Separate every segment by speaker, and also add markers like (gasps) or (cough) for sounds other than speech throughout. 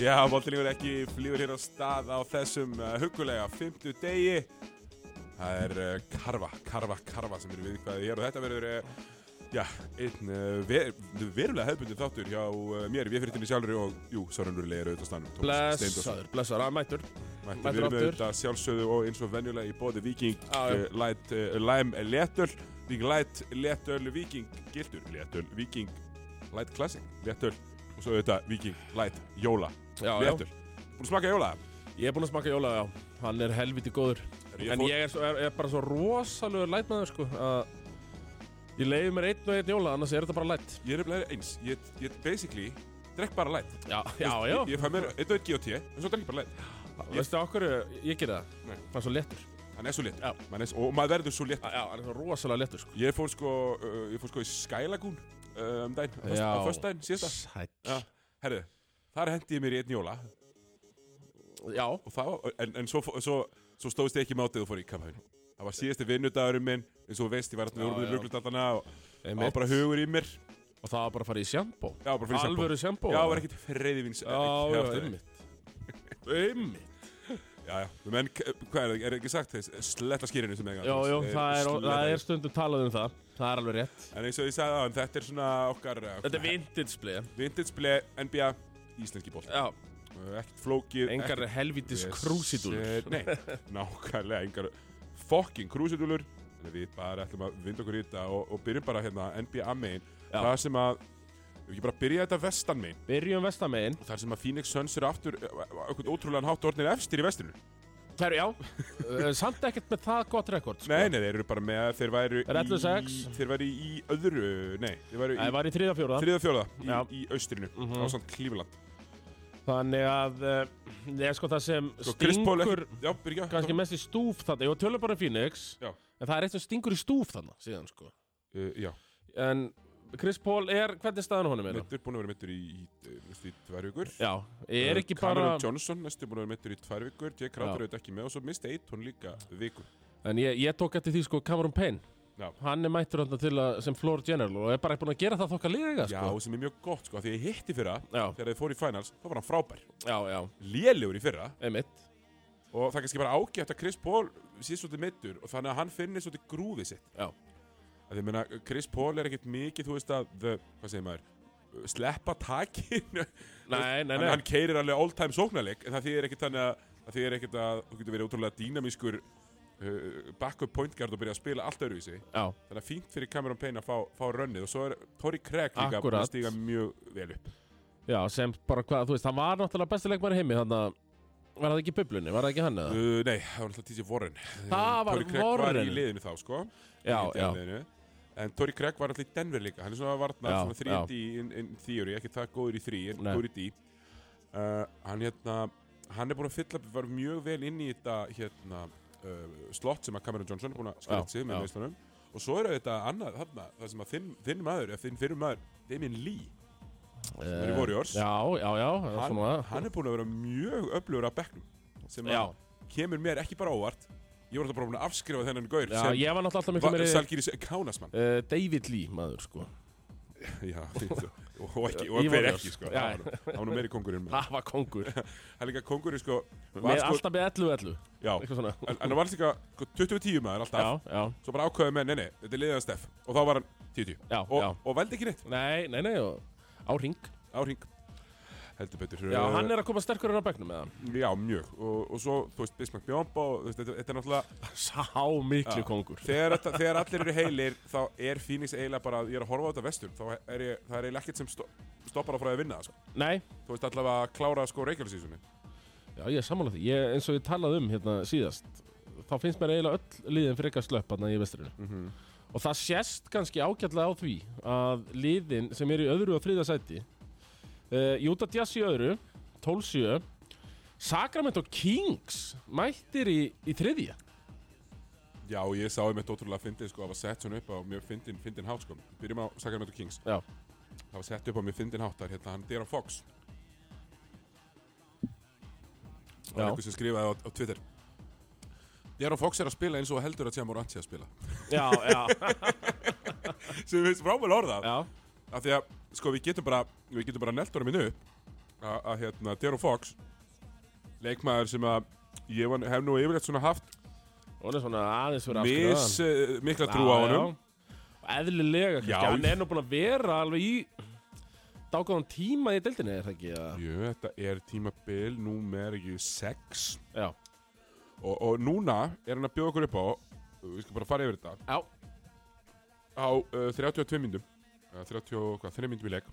Speaker 1: Já, Voldlingur ekki flýgur hér á stað á þessum uh, hugulega fymtu degi. Það er uh, karfa, karfa, karfa sem er viðkvæðið hér og þetta verður, uh, já, einn uh, ver verulega hefðbundin þáttur hjá uh, mér, við fyrirtinni sjálfur og, jú, Sörunurli er auðvitað stannum.
Speaker 2: Blessaður, blessaður, að mættur
Speaker 1: Mættu
Speaker 2: mættur
Speaker 1: við erum
Speaker 2: aftur.
Speaker 1: auðvitað sjálfsögðu og eins og venjulega í bóði Viking
Speaker 2: Já, já.
Speaker 1: uh, Light uh, Lime Letöl, Viking Light Letöl, Viking Gildur Letöl, Viking Light Classic Letöl og svo auðvitað Viking Light Jóla
Speaker 2: Já, já.
Speaker 1: Letöl. Búin að smaka Jóla?
Speaker 2: Ég er búinn að smaka jóla, já, hann er helviti góður
Speaker 1: Er ég
Speaker 2: En
Speaker 1: fór-
Speaker 2: ég er, svo, er, er bara svo rosalegur lætmaður, sko að Ég leiði mér einn og einn jóla, annars er þetta bara lætt
Speaker 1: Ég er nefnilega eins, ég, ég basically drekk bara light
Speaker 2: Já, já, já,
Speaker 1: Ég, ég fæ mér eitt og eitt GOT, en svo drekk ég bara light ég-
Speaker 2: veistu okkur, ég gerði það
Speaker 1: Nei.
Speaker 2: Hann er svo léttur
Speaker 1: Hann er svo léttur,
Speaker 2: Já.
Speaker 1: Maður er svo- og maður verður svo léttur
Speaker 2: Já, hann er svo rosalega léttur, sko
Speaker 1: Ég fór sko, uh, ég fór sko í Sky Lagoon uh, um daginn, á föst- á föstudaginn, síðasta
Speaker 2: Sæll
Speaker 1: Já, herðu, þar hendi ég mér í einn jóla
Speaker 2: Já,
Speaker 1: og þá, en, en svo, fó- svo, svo stóðst ég ekki mátið og fór í kampæn Það var síðasti vinnudagurinn minn, eins og þú veist, ég var alltaf
Speaker 2: Já,
Speaker 1: með úrbúinu
Speaker 2: já.
Speaker 1: rugglutatana og það
Speaker 2: einmitt
Speaker 1: var bara hugur í mér
Speaker 2: Og það var bara að fara í sjambó
Speaker 1: Já, bara fyrir sambó.
Speaker 2: Alvöru sjambó
Speaker 1: Já, var ekkert freyðivins
Speaker 2: Já, já, einmitt Einmitt
Speaker 1: Já, já, menn, k- hvað er það, er ekki sagt þess, sletta skýrinu sem eiga
Speaker 2: Já, já,
Speaker 1: Eh,
Speaker 2: það er,
Speaker 1: sletta-
Speaker 2: það er stundum talað um það Það er alveg rétt
Speaker 1: En eins og ég sagði það, þetta er svona okkar eh,
Speaker 2: Þetta er vintage play
Speaker 1: Vintage play, NBA, íslenski ból
Speaker 2: Já,
Speaker 1: Ekkert flókið
Speaker 2: engar
Speaker 1: ekkert-
Speaker 2: helvitis
Speaker 1: Yes, eh,
Speaker 2: krúsidúlur
Speaker 1: Nei, nákvæmlega, engar fucking krúsidúlur Þannig við bara ætlum að vinda okkur í þetta og, og byrjum bara hérna NBA megin
Speaker 2: Já.
Speaker 1: Það sem að, ef ekki bara byrja þetta vestan megin
Speaker 2: Byrjum vestamegin
Speaker 1: Þar sem að Phoenix Suns eru aftur, okkur ótrúlegan hátt orðnir efstir í vestinu
Speaker 2: Herru, já Eh, Samt ekkert með það gott rekord sko.
Speaker 1: Nei, nei, þeir eru bara með að þeir væru
Speaker 2: Er 11
Speaker 1: í,
Speaker 2: sex?
Speaker 1: þeir væru í öðru, nei, þeir væru
Speaker 2: Það
Speaker 1: í
Speaker 2: var í þriða fjóruða
Speaker 1: þriða fjóða í,
Speaker 2: Já.
Speaker 1: í austrinu, mm
Speaker 2: Mhm.
Speaker 1: á samt Cleveland.
Speaker 2: Þannig að Það er sko það sem
Speaker 1: Svo Chris Paul
Speaker 2: stingur
Speaker 1: ekki, já, byrja,
Speaker 2: kannski mest í stúf þarna Ég var tölum bara um Phoenix
Speaker 1: Já.
Speaker 2: En það er eitt sem stingur í stúf þarna síðan sko
Speaker 1: uh, já,
Speaker 2: En Chris Paul er, hvernig er staðan á honum er það?
Speaker 1: mittur, búin að vera mittur í, í, eh, næstu í tvær vikur.
Speaker 2: Já, er
Speaker 1: Eh,
Speaker 2: ekki bara
Speaker 1: Cameron Johnson, næstu búin að vera mittur í tvær vikur, Jake Crowder
Speaker 2: Já.
Speaker 1: auðvitað ekki með og svo misti eitt hún líka viku.
Speaker 2: En ég, ég tók eftir því sko Cameron Payne
Speaker 1: Já.
Speaker 2: Hann er mættur hann til að sem floor general Og er bara ekki búin að gera það þokka líka
Speaker 1: Já,
Speaker 2: sko
Speaker 1: sem er mjög gott, sko, af því ég hitti fyrra,
Speaker 2: Já,
Speaker 1: þegar þið fór í finals, þá var hann frábær.
Speaker 2: já, já,
Speaker 1: Lélegur í fyrra
Speaker 2: einmitt
Speaker 1: og það er kannski bara ágætt að Chris Paul sé svolítið mittur og þannig að hann finnir svolítið grúfið sitt.
Speaker 2: Já,
Speaker 1: að ég meina, Chris Paul er ekkert mikið, þú veist að, the, hvað segir maður, uh, sleppa takin,
Speaker 2: nei, nei,
Speaker 1: hann,
Speaker 2: nei
Speaker 1: hann keirir alveg all time sóknarleik, en það þýðir ekkert þannig að, það þýðir ekkert að þú getur verið ótrúlega dýnamískur uh, backup point guard og byrja að spila allt öðruvísi,
Speaker 2: Já,
Speaker 1: þannig að fínt fyrir Cameron Payne að fá, fá rönnið og svo er Tori Craig líka búinn
Speaker 2: Akkurat.
Speaker 1: að stíga mjög vel upp.
Speaker 2: já, sem bara hvað, þú veist Hann var náttúrulega besti leikmæri heimi Þannig að var það ekki í bublunni, var það ekki hann eða?
Speaker 1: Uh, nei, það var náttúrulega T.J. Warren.
Speaker 2: Það var
Speaker 1: Tori Craig var
Speaker 2: Warren.
Speaker 1: í liðinu þá, sko.
Speaker 2: Já,
Speaker 1: Í
Speaker 2: já,
Speaker 1: liðinu. En Tori Craig var alltaf í Denver líka, hann er svona varnar,
Speaker 2: Já,
Speaker 1: svona 3D in, in theory, ekki það góður í 3, en
Speaker 2: Nei.
Speaker 1: góður í D. Uh, hann hérna, hann er búin að fylla, var mjög vel inn í þetta hérna, uh, slott sem að Cameron Johnson er búin að skrætt
Speaker 2: Já,
Speaker 1: sig með
Speaker 2: já.
Speaker 1: meðslunum. Og svo er þetta annað, þarna, það sem að þinn, þinn maður, eða þinn fyrir maður, Damien Lee, er í
Speaker 2: Eh,
Speaker 1: Warriors.
Speaker 2: Já, já, já, það er
Speaker 1: hann,
Speaker 2: svona
Speaker 1: hann er búin að vera mjög öflugur af bekknum, sem
Speaker 2: Já,
Speaker 1: að kemur mér ekki bara óvart, ég var alltaf bara búin að afskrifa þennan gaur
Speaker 2: já,
Speaker 1: sem
Speaker 2: ég var náttúrulega alltaf miklu
Speaker 1: var
Speaker 2: meiri
Speaker 1: Salgiris Kánasmann.
Speaker 2: eh, David Lee, maður,
Speaker 1: (laughs)
Speaker 2: sko
Speaker 1: Já, (laughs) og og ekki, og
Speaker 2: Í
Speaker 1: hver
Speaker 2: Warriors.
Speaker 1: ekki sko
Speaker 2: Já.
Speaker 1: Það var nú- það var nú meiri kongurinn með
Speaker 2: Það var kongur
Speaker 1: Það er líka kongurinn sko var
Speaker 2: Með
Speaker 1: sko,
Speaker 2: alltaf með 11-11
Speaker 1: já, en
Speaker 2: Eitthvað svona
Speaker 1: en hann var líka sko, 20-10 maður alltaf
Speaker 2: Já, já,
Speaker 1: Svo bara ákveðu með, nei, nei, þetta er liðan Steff Og þá var hann 10-10
Speaker 2: já, já
Speaker 1: Og, og veldi ekki neitt
Speaker 2: Nei, nei, nei, og á ring
Speaker 1: á hring Heldur betur
Speaker 2: Já, hann er að koma sterkur inn á begnum með hann
Speaker 1: Já, mjög Og, og svo, þú veist, Bismarck Bjombo Þetta þetta er náttúrulega
Speaker 2: Sá miklu
Speaker 1: Já.
Speaker 2: kongur
Speaker 1: þegar, þetta- þegar allir eru heilir Þá er Phoenix eiginlega bara Ég er að horfa á þetta vestur Þá er ég, það er eiginlega ekkert sem sto, stoppar á frá því að vinna það, sko.
Speaker 2: Nei,
Speaker 1: Þú veist allavega að klára sko reykjálsísunni
Speaker 2: já, ég er sammála því ég, eins og ég talaði um hérna síðast þá finnst mér eiginlega öll liðin frekar slöpp hérna í vestrinu
Speaker 1: mm -hmm.
Speaker 2: og það sést kannski ágætlega á því að liðin sem eru í öðru og þriða sæti uh, Utah Jazz í öðru 12-7 Sacramento Kings mættir í, í þriðja
Speaker 1: Já, og ég sá einmitt ótrúlega fyndið sko, það var sett svona upp á mjög fyndin, fyndin hátt sko. Byrjum á Sacramento Kings.
Speaker 2: Já.
Speaker 1: Það var sett upp á mjög fyndin hátt þar, hérna, hann Deron Fox. Það var
Speaker 2: Já.
Speaker 1: einhver sem skrifaði á, á Twitter. Jaron Fox er að spila eins og heldur að Tjamur Antje að spila
Speaker 2: Já, já,
Speaker 1: sem við finnst frábæl orðað
Speaker 2: já,
Speaker 1: af því að sko við getum bara við getum bara neldur minn upp að, að hérna Jaron Fox leikmaður sem að ég var, hef nú yfirleitt svona haft
Speaker 2: hún er svona aðeins fyrir
Speaker 1: mis, uh, mikla trú á honum
Speaker 2: Eðlilega, kannski,
Speaker 1: Já.
Speaker 2: hann er nú búin að vera alveg í dágóðan tíma í deildinni, er það ekki? eða?
Speaker 1: Jú, þetta er tímabil númer 6
Speaker 2: Já,
Speaker 1: og, og núna er hann að bjóða okkur upp á við skal bara fara yfir þetta
Speaker 2: já,
Speaker 1: á uh, 32 myndum uh, 30, og hvað, 3 myndum í leik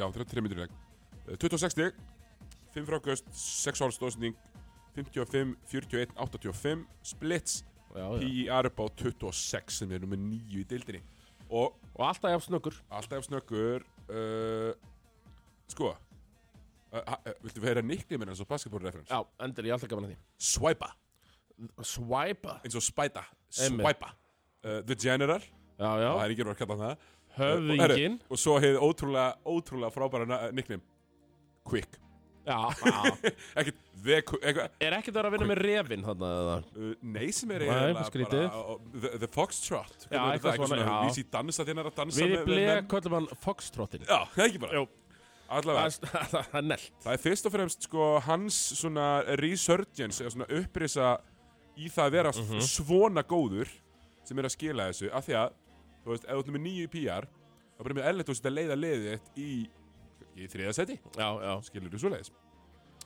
Speaker 1: já, 33 myndum í leik uh, 26 stig 5 frákast, 6 hálfstóðsning 55, 41, 85 splits,
Speaker 2: já, já.
Speaker 1: PIR upp á 26 sem er nummer 9 í deildinni og
Speaker 2: Og alltaf jafn snöggur
Speaker 1: alltaf snöggur uh, sko uh, uh, viltu vera nickname hans á basketballreferens?
Speaker 2: Já, endur, ég er alltaf gaman að því
Speaker 1: Swipa,
Speaker 2: Swipa
Speaker 1: eins og spæta
Speaker 2: Einmitt.
Speaker 1: Swipa, uh, The General
Speaker 2: Já, já,
Speaker 1: það er ekki verið að kalla hann það
Speaker 2: höfðingin
Speaker 1: Og svo hefði ótrúlega, ótrúlega frábæra na- nickname Quick
Speaker 2: (laughs) Já, já
Speaker 1: Ekkert The Quick eitthvað,
Speaker 2: Er ekkert að vera að vinna með refin þarna eða?
Speaker 1: uh, Nei sem er
Speaker 2: Nei, skrítið.
Speaker 1: bara uh, The, the Foxtrot
Speaker 2: Já,
Speaker 1: Hvernig er
Speaker 2: eitthvað
Speaker 1: þetta?
Speaker 2: svona, já.
Speaker 1: Vísi dansa þérna að dansa
Speaker 2: Við í
Speaker 1: með- með
Speaker 2: blei
Speaker 1: menn?
Speaker 2: köllum hann Foxtrottin
Speaker 1: Já, það er ekki bara
Speaker 2: Jú.
Speaker 1: Allavega,
Speaker 2: Það er- (laughs) það er nellt
Speaker 1: það er fyrst og fremst sko, hans svona resurgence eða svona upprisa í það að vera
Speaker 2: Mhm.
Speaker 1: svona góður sem er að skila þessu af því að, þú veist, ef þú ert með nýju PR þá er bara með erlegt þú setja að leiða leiðið þitt í, í þriða seti
Speaker 2: Já, já
Speaker 1: skilur þú svoleiðis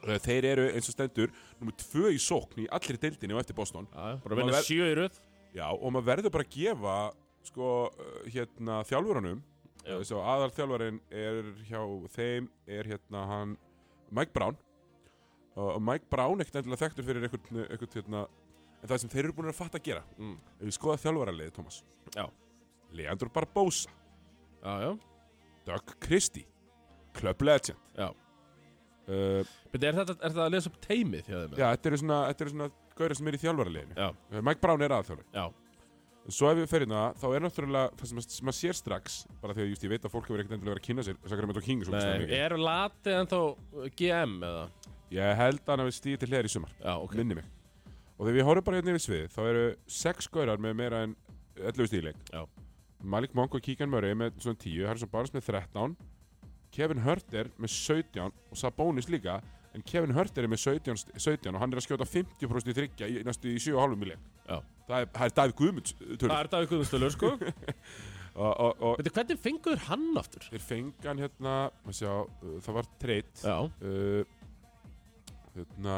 Speaker 1: Uh, þeir eru eins og stendur nummer tvö í sókn í allri deildinni og eftir Boston
Speaker 2: Já, bara að
Speaker 1: Maður
Speaker 2: vinna
Speaker 1: ver-
Speaker 2: sjö í röð
Speaker 1: já, og maður verður bara að gefa sko, uh, hérna, þjálfurunum
Speaker 2: Já.
Speaker 1: þess að aðalþjálfarinn er hjá þeim er hérna hann Mike Brown uh, og Mike Brown ekkert endilega þekktur fyrir einhvern, einhvern hérna, en það sem þeir eru búin að fatta að gera
Speaker 2: Mm.
Speaker 1: ef við skoða þjálfaraliði, Thomas
Speaker 2: Já.
Speaker 1: Leandro Barbosa,
Speaker 2: Já, já
Speaker 1: Doug Christie Club Legend
Speaker 2: Já.
Speaker 1: uh,
Speaker 2: Beti, er þetta, er þetta að lesa upp teimið hjá þeim?
Speaker 1: Já, þetta eru svona, þetta eru svona gaurið sem er í þjálfaraleginu.
Speaker 2: Já.
Speaker 1: Eh, Mike Brown er aðþjálfari.
Speaker 2: Já,
Speaker 1: Svo ef við ferum það, þá er náttúrulega það sem maður- sem maður sér strax, bara því að just, ég veit að fólk hefur ekkert endilega verið að kynna sér Sacramento Kings og
Speaker 2: Nei,
Speaker 1: mikið.
Speaker 2: er latið ennþá uh, GM eða?
Speaker 1: Ég held að hann hafi stíð til hliðar í sumar,
Speaker 2: Já, ok
Speaker 1: minni mig. Og þegar við horfum bara hérna yfir sviðið, þá eru sex gaurar með meira en 11 stíðleik.
Speaker 2: Já.
Speaker 1: Malik Monk og Kíkan Murray með svona 10, Harrison Barnes með 13, Kevin Hurter með 17 og Sabonis líka, en Kevin Hurter er með 17, st- 17 og hann er að skjóta 50% í þryggja í næstu í 7,5 milík.
Speaker 2: Já. Ah.
Speaker 1: Það er, það er Davíð Guðmunds
Speaker 2: Það
Speaker 1: tölur
Speaker 2: er Davík Guðmundsdölur, (laughs) sko
Speaker 1: og, og, og
Speaker 2: Beti, hvernig fengur hann aftur?
Speaker 1: þeir fengi hann hérna maður sjá, uh, það var treyt
Speaker 2: Já,
Speaker 1: uh, hérna,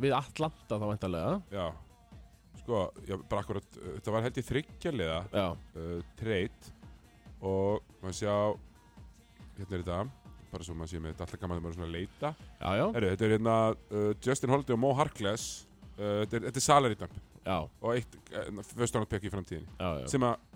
Speaker 2: við Atlanta þá væntalega
Speaker 1: já sko, já, bara akkurat uh, þetta var held í þryggjarliða
Speaker 2: Já,
Speaker 1: uh, treyt og maður sjá hérna er þetta bara svo maður sé með þetta alltaf gaman þegar maður er svona að leita
Speaker 2: já, já,
Speaker 1: Heru, þetta er hérna uh, Justin Holiday og Mo Harkless uh, þetta er, þetta er salarítan
Speaker 2: já,
Speaker 1: og eitt uh, föstunarpekki í framtíðinni
Speaker 2: já, já.
Speaker 1: sem að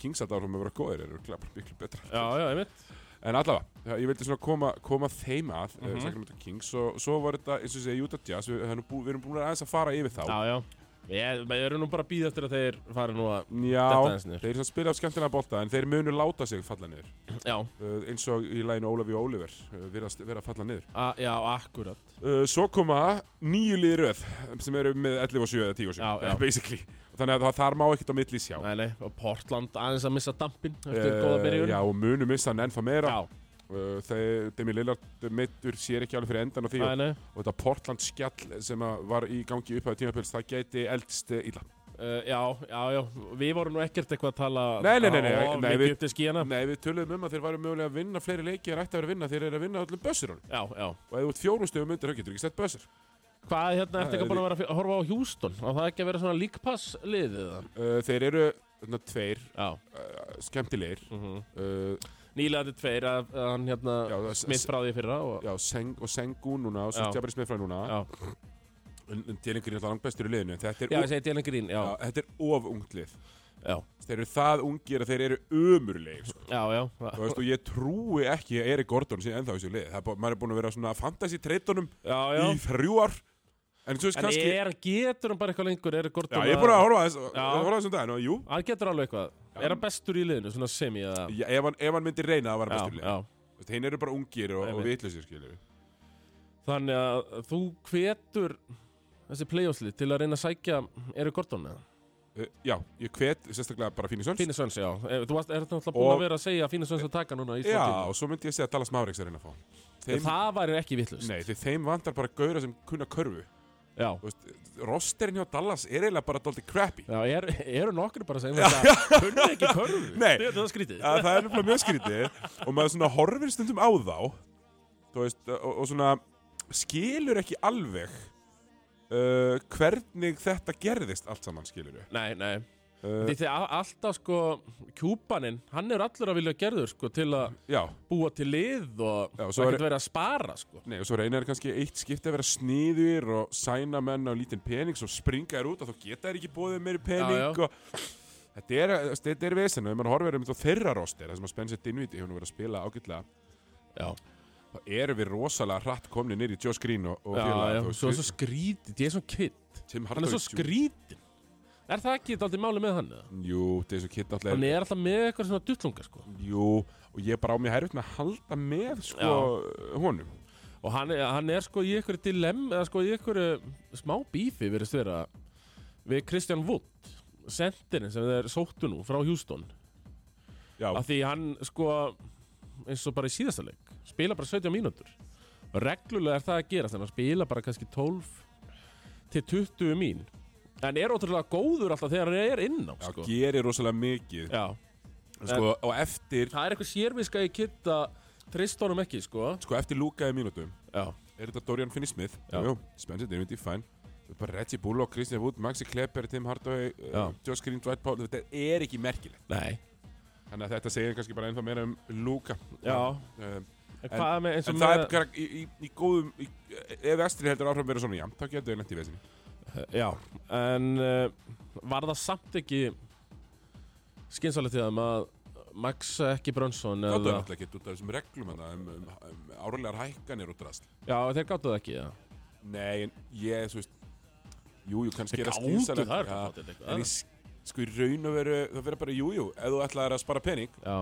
Speaker 1: Kingsatárfum er verið góðir eru klart miklu betra
Speaker 2: Já, já, einmitt
Speaker 1: En allavega, ja, ég vildi svona koma, koma þeim að, mm
Speaker 2: Mhm.
Speaker 1: -hmm. Sacramento Kings, og svo var þetta, eins og ég segi, Utah Jazz, við, það er nú bú, við erum búin aðeins að fara yfir þá.
Speaker 2: Já, já Ég, ég eru nú bara að býða eftir að þeir fari nú að Þetta
Speaker 1: Já,
Speaker 2: aðeins niður.
Speaker 1: þeir sem spila af skemmtilega bolta, en þeir munu láta sig falla niður,
Speaker 2: Já,
Speaker 1: uh, eins og í læginu Ólafi og Óliver, uh, vera, vera að falla niður.
Speaker 2: a, já, akkurat
Speaker 1: Uh, svo koma nýju liði röð, sem eru með 11 og 7 eða 10 og 7,
Speaker 2: Já, já.
Speaker 1: basically. Þannig að það, þar má ekkert á milli sjá.
Speaker 2: Nei, nei, og Portland aðeins að missa dampin Eftir
Speaker 1: Eh,
Speaker 2: góða byrjun
Speaker 1: já, og munu missa hann ennþá meira.
Speaker 2: já,
Speaker 1: Uh, þeir, Demi Lillard mittur sér ekki alveg fyrir endan á því og
Speaker 2: nei, nei
Speaker 1: og þetta Portland skjall sem að var í gangi upphæðu tímapils, það gæti eldst eh, illa.
Speaker 2: Uh, já, já, já, við vorum nú ekkert eitthvað að tala
Speaker 1: Nei, nei, nei, nei,
Speaker 2: of
Speaker 1: nei,
Speaker 2: mikið
Speaker 1: við-
Speaker 2: upp til skíana
Speaker 1: Nei, við töluðum um að þeir væru mögulega að vinna fleiri leiki en ætti að vera að vinna, þeir eru að vinna öllum bössurunum.
Speaker 2: Já, já
Speaker 1: Og ef þú ert fjórum stöðum undir, þá getur þú ekki sett bössur.
Speaker 2: Hvað er hérna
Speaker 1: Það
Speaker 2: eftir
Speaker 1: er
Speaker 2: ekki búin að vera að f- horfa á Houston? Á það ekki að vera svona líkpass liðið það?
Speaker 1: Uh, þeir eru þarna, tveir
Speaker 2: Já
Speaker 1: uh, skemmtilegir. Uh,
Speaker 2: Mhm. Nýlega þetta tveir að að hann hérna
Speaker 1: já, það-
Speaker 2: smitt frá því í fyrra og,
Speaker 1: já, Seng og Sengu núna og
Speaker 2: Já.
Speaker 1: Sutjabari Smifra núna.
Speaker 2: Já,
Speaker 1: En en Djellingur er alltaf langt bestur í liðinu, en þetta er,
Speaker 2: já, ég
Speaker 1: of-
Speaker 2: segi Dylan Green, já,
Speaker 1: já, þetta er of ungt lið.
Speaker 2: já,
Speaker 1: Þeir eru það ungir að þeir eru ömurlegir, sko.
Speaker 2: já, já,
Speaker 1: Þú veist, og ég trúi ekki að Erik Gordon sé ennþá í þessu lið. Það er bú- Maður er búin að vera svona fantasy-treitunum
Speaker 2: já, já.
Speaker 1: í þrjú ár en þú veist
Speaker 2: En
Speaker 1: kannski
Speaker 2: er, getur hann bara eitthvað lengur, er
Speaker 1: já,
Speaker 2: Gordon
Speaker 1: ég er búin að horfa að þessu
Speaker 2: Já.
Speaker 1: horfa að þessum daginn og jú
Speaker 2: Hann getur alveg eitthvað,
Speaker 1: Já.
Speaker 2: er hann bestur í liðinu, svona semi eða
Speaker 1: já, ef, hann, ef hann myndi reyna að vera
Speaker 2: Já,
Speaker 1: bestur
Speaker 2: já
Speaker 1: lið hinn eru bara ungir og, og
Speaker 2: Einmitt.
Speaker 1: vitlausir skilur
Speaker 2: Þannig að þú hvetur þessi playoffslið til að reyna að sækja Eric Gordon eða?
Speaker 1: Uh, já, ég hvet sérstaklega bara Fíni Söns.
Speaker 2: Fíni Svens, já. Eh, Þú varst, er þetta náttúrulega búin
Speaker 1: Og-
Speaker 2: að vera að segja að Fíni Svens að taka núna í
Speaker 1: Já,
Speaker 2: Íslandi?
Speaker 1: og svo myndi ég segja að Dallas Mavericks er að reyna að fá. hann. Þeim,
Speaker 2: Það væri ekki vittlust.
Speaker 1: nei, því þeim vantar bara gauðra sem kunna körfu.
Speaker 2: Já.
Speaker 1: Þú veist, rosterinn hjá Dallas er eiginlega bara doldi crappy.
Speaker 2: Já, er, eru nokkur bara að segja um þetta, kunni ekki
Speaker 1: (laughs)
Speaker 2: körfu?
Speaker 1: Nei.
Speaker 2: Þetta er það skrítið.
Speaker 1: Að það er nefnilega mjög skrítið og maður svona horfir stundum á þá þú veist, og, og svona skilur ekki alveg uh, hvernig þetta gerðist allt saman skilur við.
Speaker 2: Nei, nei.
Speaker 1: Uh,
Speaker 2: Því þegar alltaf sko, kjúpaninn, hann er allur að vilja gerður sko til að
Speaker 1: já,
Speaker 2: búa til lið og
Speaker 1: Já,
Speaker 2: já,
Speaker 1: og svo
Speaker 2: ekkert
Speaker 1: er-
Speaker 2: verið að spara sko.
Speaker 1: nei, og svo reynir kannski eitt skipti að vera sniður og sæna menn á lítinn pening svo springa þær út og þá geta þær ekki bóðið meiri pening
Speaker 2: Já, já.
Speaker 1: og þetta er, þú veist, þetta er vesen og ef maður horfir um þá þeirra roster það sem að spenna sér dinnvíti, hún er verið að spila ágætlega
Speaker 2: Já,
Speaker 1: þá erum við rosalega hratt komni nýri Josh Green og, og
Speaker 2: já,
Speaker 1: félaga,
Speaker 2: já.
Speaker 1: þú veist,
Speaker 2: Svo, svo skrítið, ég er svo kitt.
Speaker 1: Tim
Speaker 2: Hann er
Speaker 1: Hardaway
Speaker 2: svo
Speaker 1: Jr.
Speaker 2: skrítið. Er það ekki daldið máli með hann? eða?
Speaker 1: Jú, þessu kitt náttúrulega
Speaker 2: Hann er alltaf með eitthvað svona duttlunga sko.
Speaker 1: Jú, og ég er bara á mér herfitt með að halda með sko honum
Speaker 2: Og hann, er- hann er sko í einhverju dilemm eða sko í einhverju smá bífi verið vera við Christian Wood sendirinn sem þeir sóttu nú frá Houston
Speaker 1: Já,
Speaker 2: af því hann sko eins og bara í síðasta leik spila bara 17 mínútur og reglulega er það að gerast en hann spila bara kannski 12 til 20 mín en er ótrúlega góður alltaf þegar hann er inná
Speaker 1: já
Speaker 2: sko.
Speaker 1: gerir rosalega mikið
Speaker 2: Já,
Speaker 1: sko, Og eftir,
Speaker 2: það er eitthvað sérviska í kitta trist honum ekki sko
Speaker 1: sko, eftir lúkaði mínútum
Speaker 2: Já,
Speaker 1: Er þetta Dorian Finney-Smith?
Speaker 2: Já.
Speaker 1: Jú, spennsitt, erum við fæn Svo er Bara Reggie Bullock, Christian Wood, Maxi Klepper, Tim Hardaway uh,
Speaker 2: Já.
Speaker 1: Josh Green, Dwight Powell Þetta er ekki merkilegt
Speaker 2: nei
Speaker 1: Þannig að þetta segir kannski bara ennþá meira um Luka
Speaker 2: Já.
Speaker 1: uh,
Speaker 2: En, hvað með eins og
Speaker 1: En það er
Speaker 2: með-
Speaker 1: karak- í, í, í góðum í, Ef Estri heldur áfram að vera svona jæmt Þá getur þau nætti í vesinni
Speaker 2: Já, en uh, var það samt ekki skynsalegt í þeim að maxa ekki Brunson
Speaker 1: Gáttu
Speaker 2: eða,
Speaker 1: það náttúrulega ekki út af þessum reglum hana, um, um, um árlegar hækkanir og drast
Speaker 2: Já, þeir gáttu það ekki já.
Speaker 1: Nei, en ég, þú veist Jú, jú, kannski
Speaker 2: Þeir
Speaker 1: er það
Speaker 2: gátu,
Speaker 1: skynsamlegt,
Speaker 2: það er
Speaker 1: ja,
Speaker 2: gott, þetta er eitthvað
Speaker 1: En ég,
Speaker 2: annað.
Speaker 1: sk- sko, í raun og veru Það verður bara, jú, jú, ef þú ætlar að spara pening
Speaker 2: Já.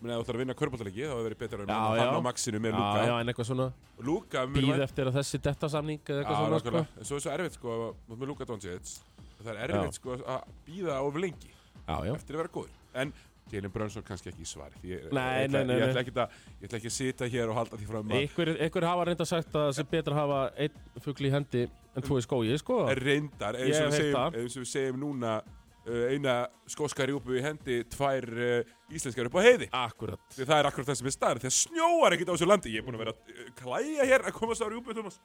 Speaker 1: menn ef þú ætlar að vinna körbóltalegi, þá verður betra að
Speaker 2: Já,
Speaker 1: vinna
Speaker 2: já.
Speaker 1: hann á maxinu með
Speaker 2: já,
Speaker 1: Luka
Speaker 2: já, en eitthvað svona
Speaker 1: Og Luka mun
Speaker 2: býð
Speaker 1: vænt-
Speaker 2: eftir að þessi detta samning eða
Speaker 1: Já,
Speaker 2: eitthvað svona
Speaker 1: nákvæmlega. En Svo er svo erfitt, sko, að- með Luka Doncic Það er erfitt, sko, að býða of lengi
Speaker 2: sko. Já, já,
Speaker 1: eftir að vera góður En Jalen Brunson kannski ekki í svari því ég,
Speaker 2: Nei,
Speaker 1: ég,
Speaker 2: nei,
Speaker 1: ætla-
Speaker 2: nei,
Speaker 1: ég,
Speaker 2: nei.
Speaker 1: ætla ekkert að- ég ætla ekki að sita hér og halda því fram að
Speaker 2: ykkur, ykkur hafa reynda sagt að það sé betra að hafa einn fugl í hendi en tvo í skói, sko
Speaker 1: Er reyndar,
Speaker 2: Ég
Speaker 1: eins og við
Speaker 2: hef heyrt
Speaker 1: segjum,
Speaker 2: það.
Speaker 1: eins og við segjum núna uh, eina skóska rjúpu í hendi tvær uh, íslenskar upp á heiði
Speaker 2: Akkurat
Speaker 1: því það er akkurat það sem er starf, því að snjóar ekkert á þessu landi ég er búin að vera að uh, klæja hér að komast á rjúpu Thomas.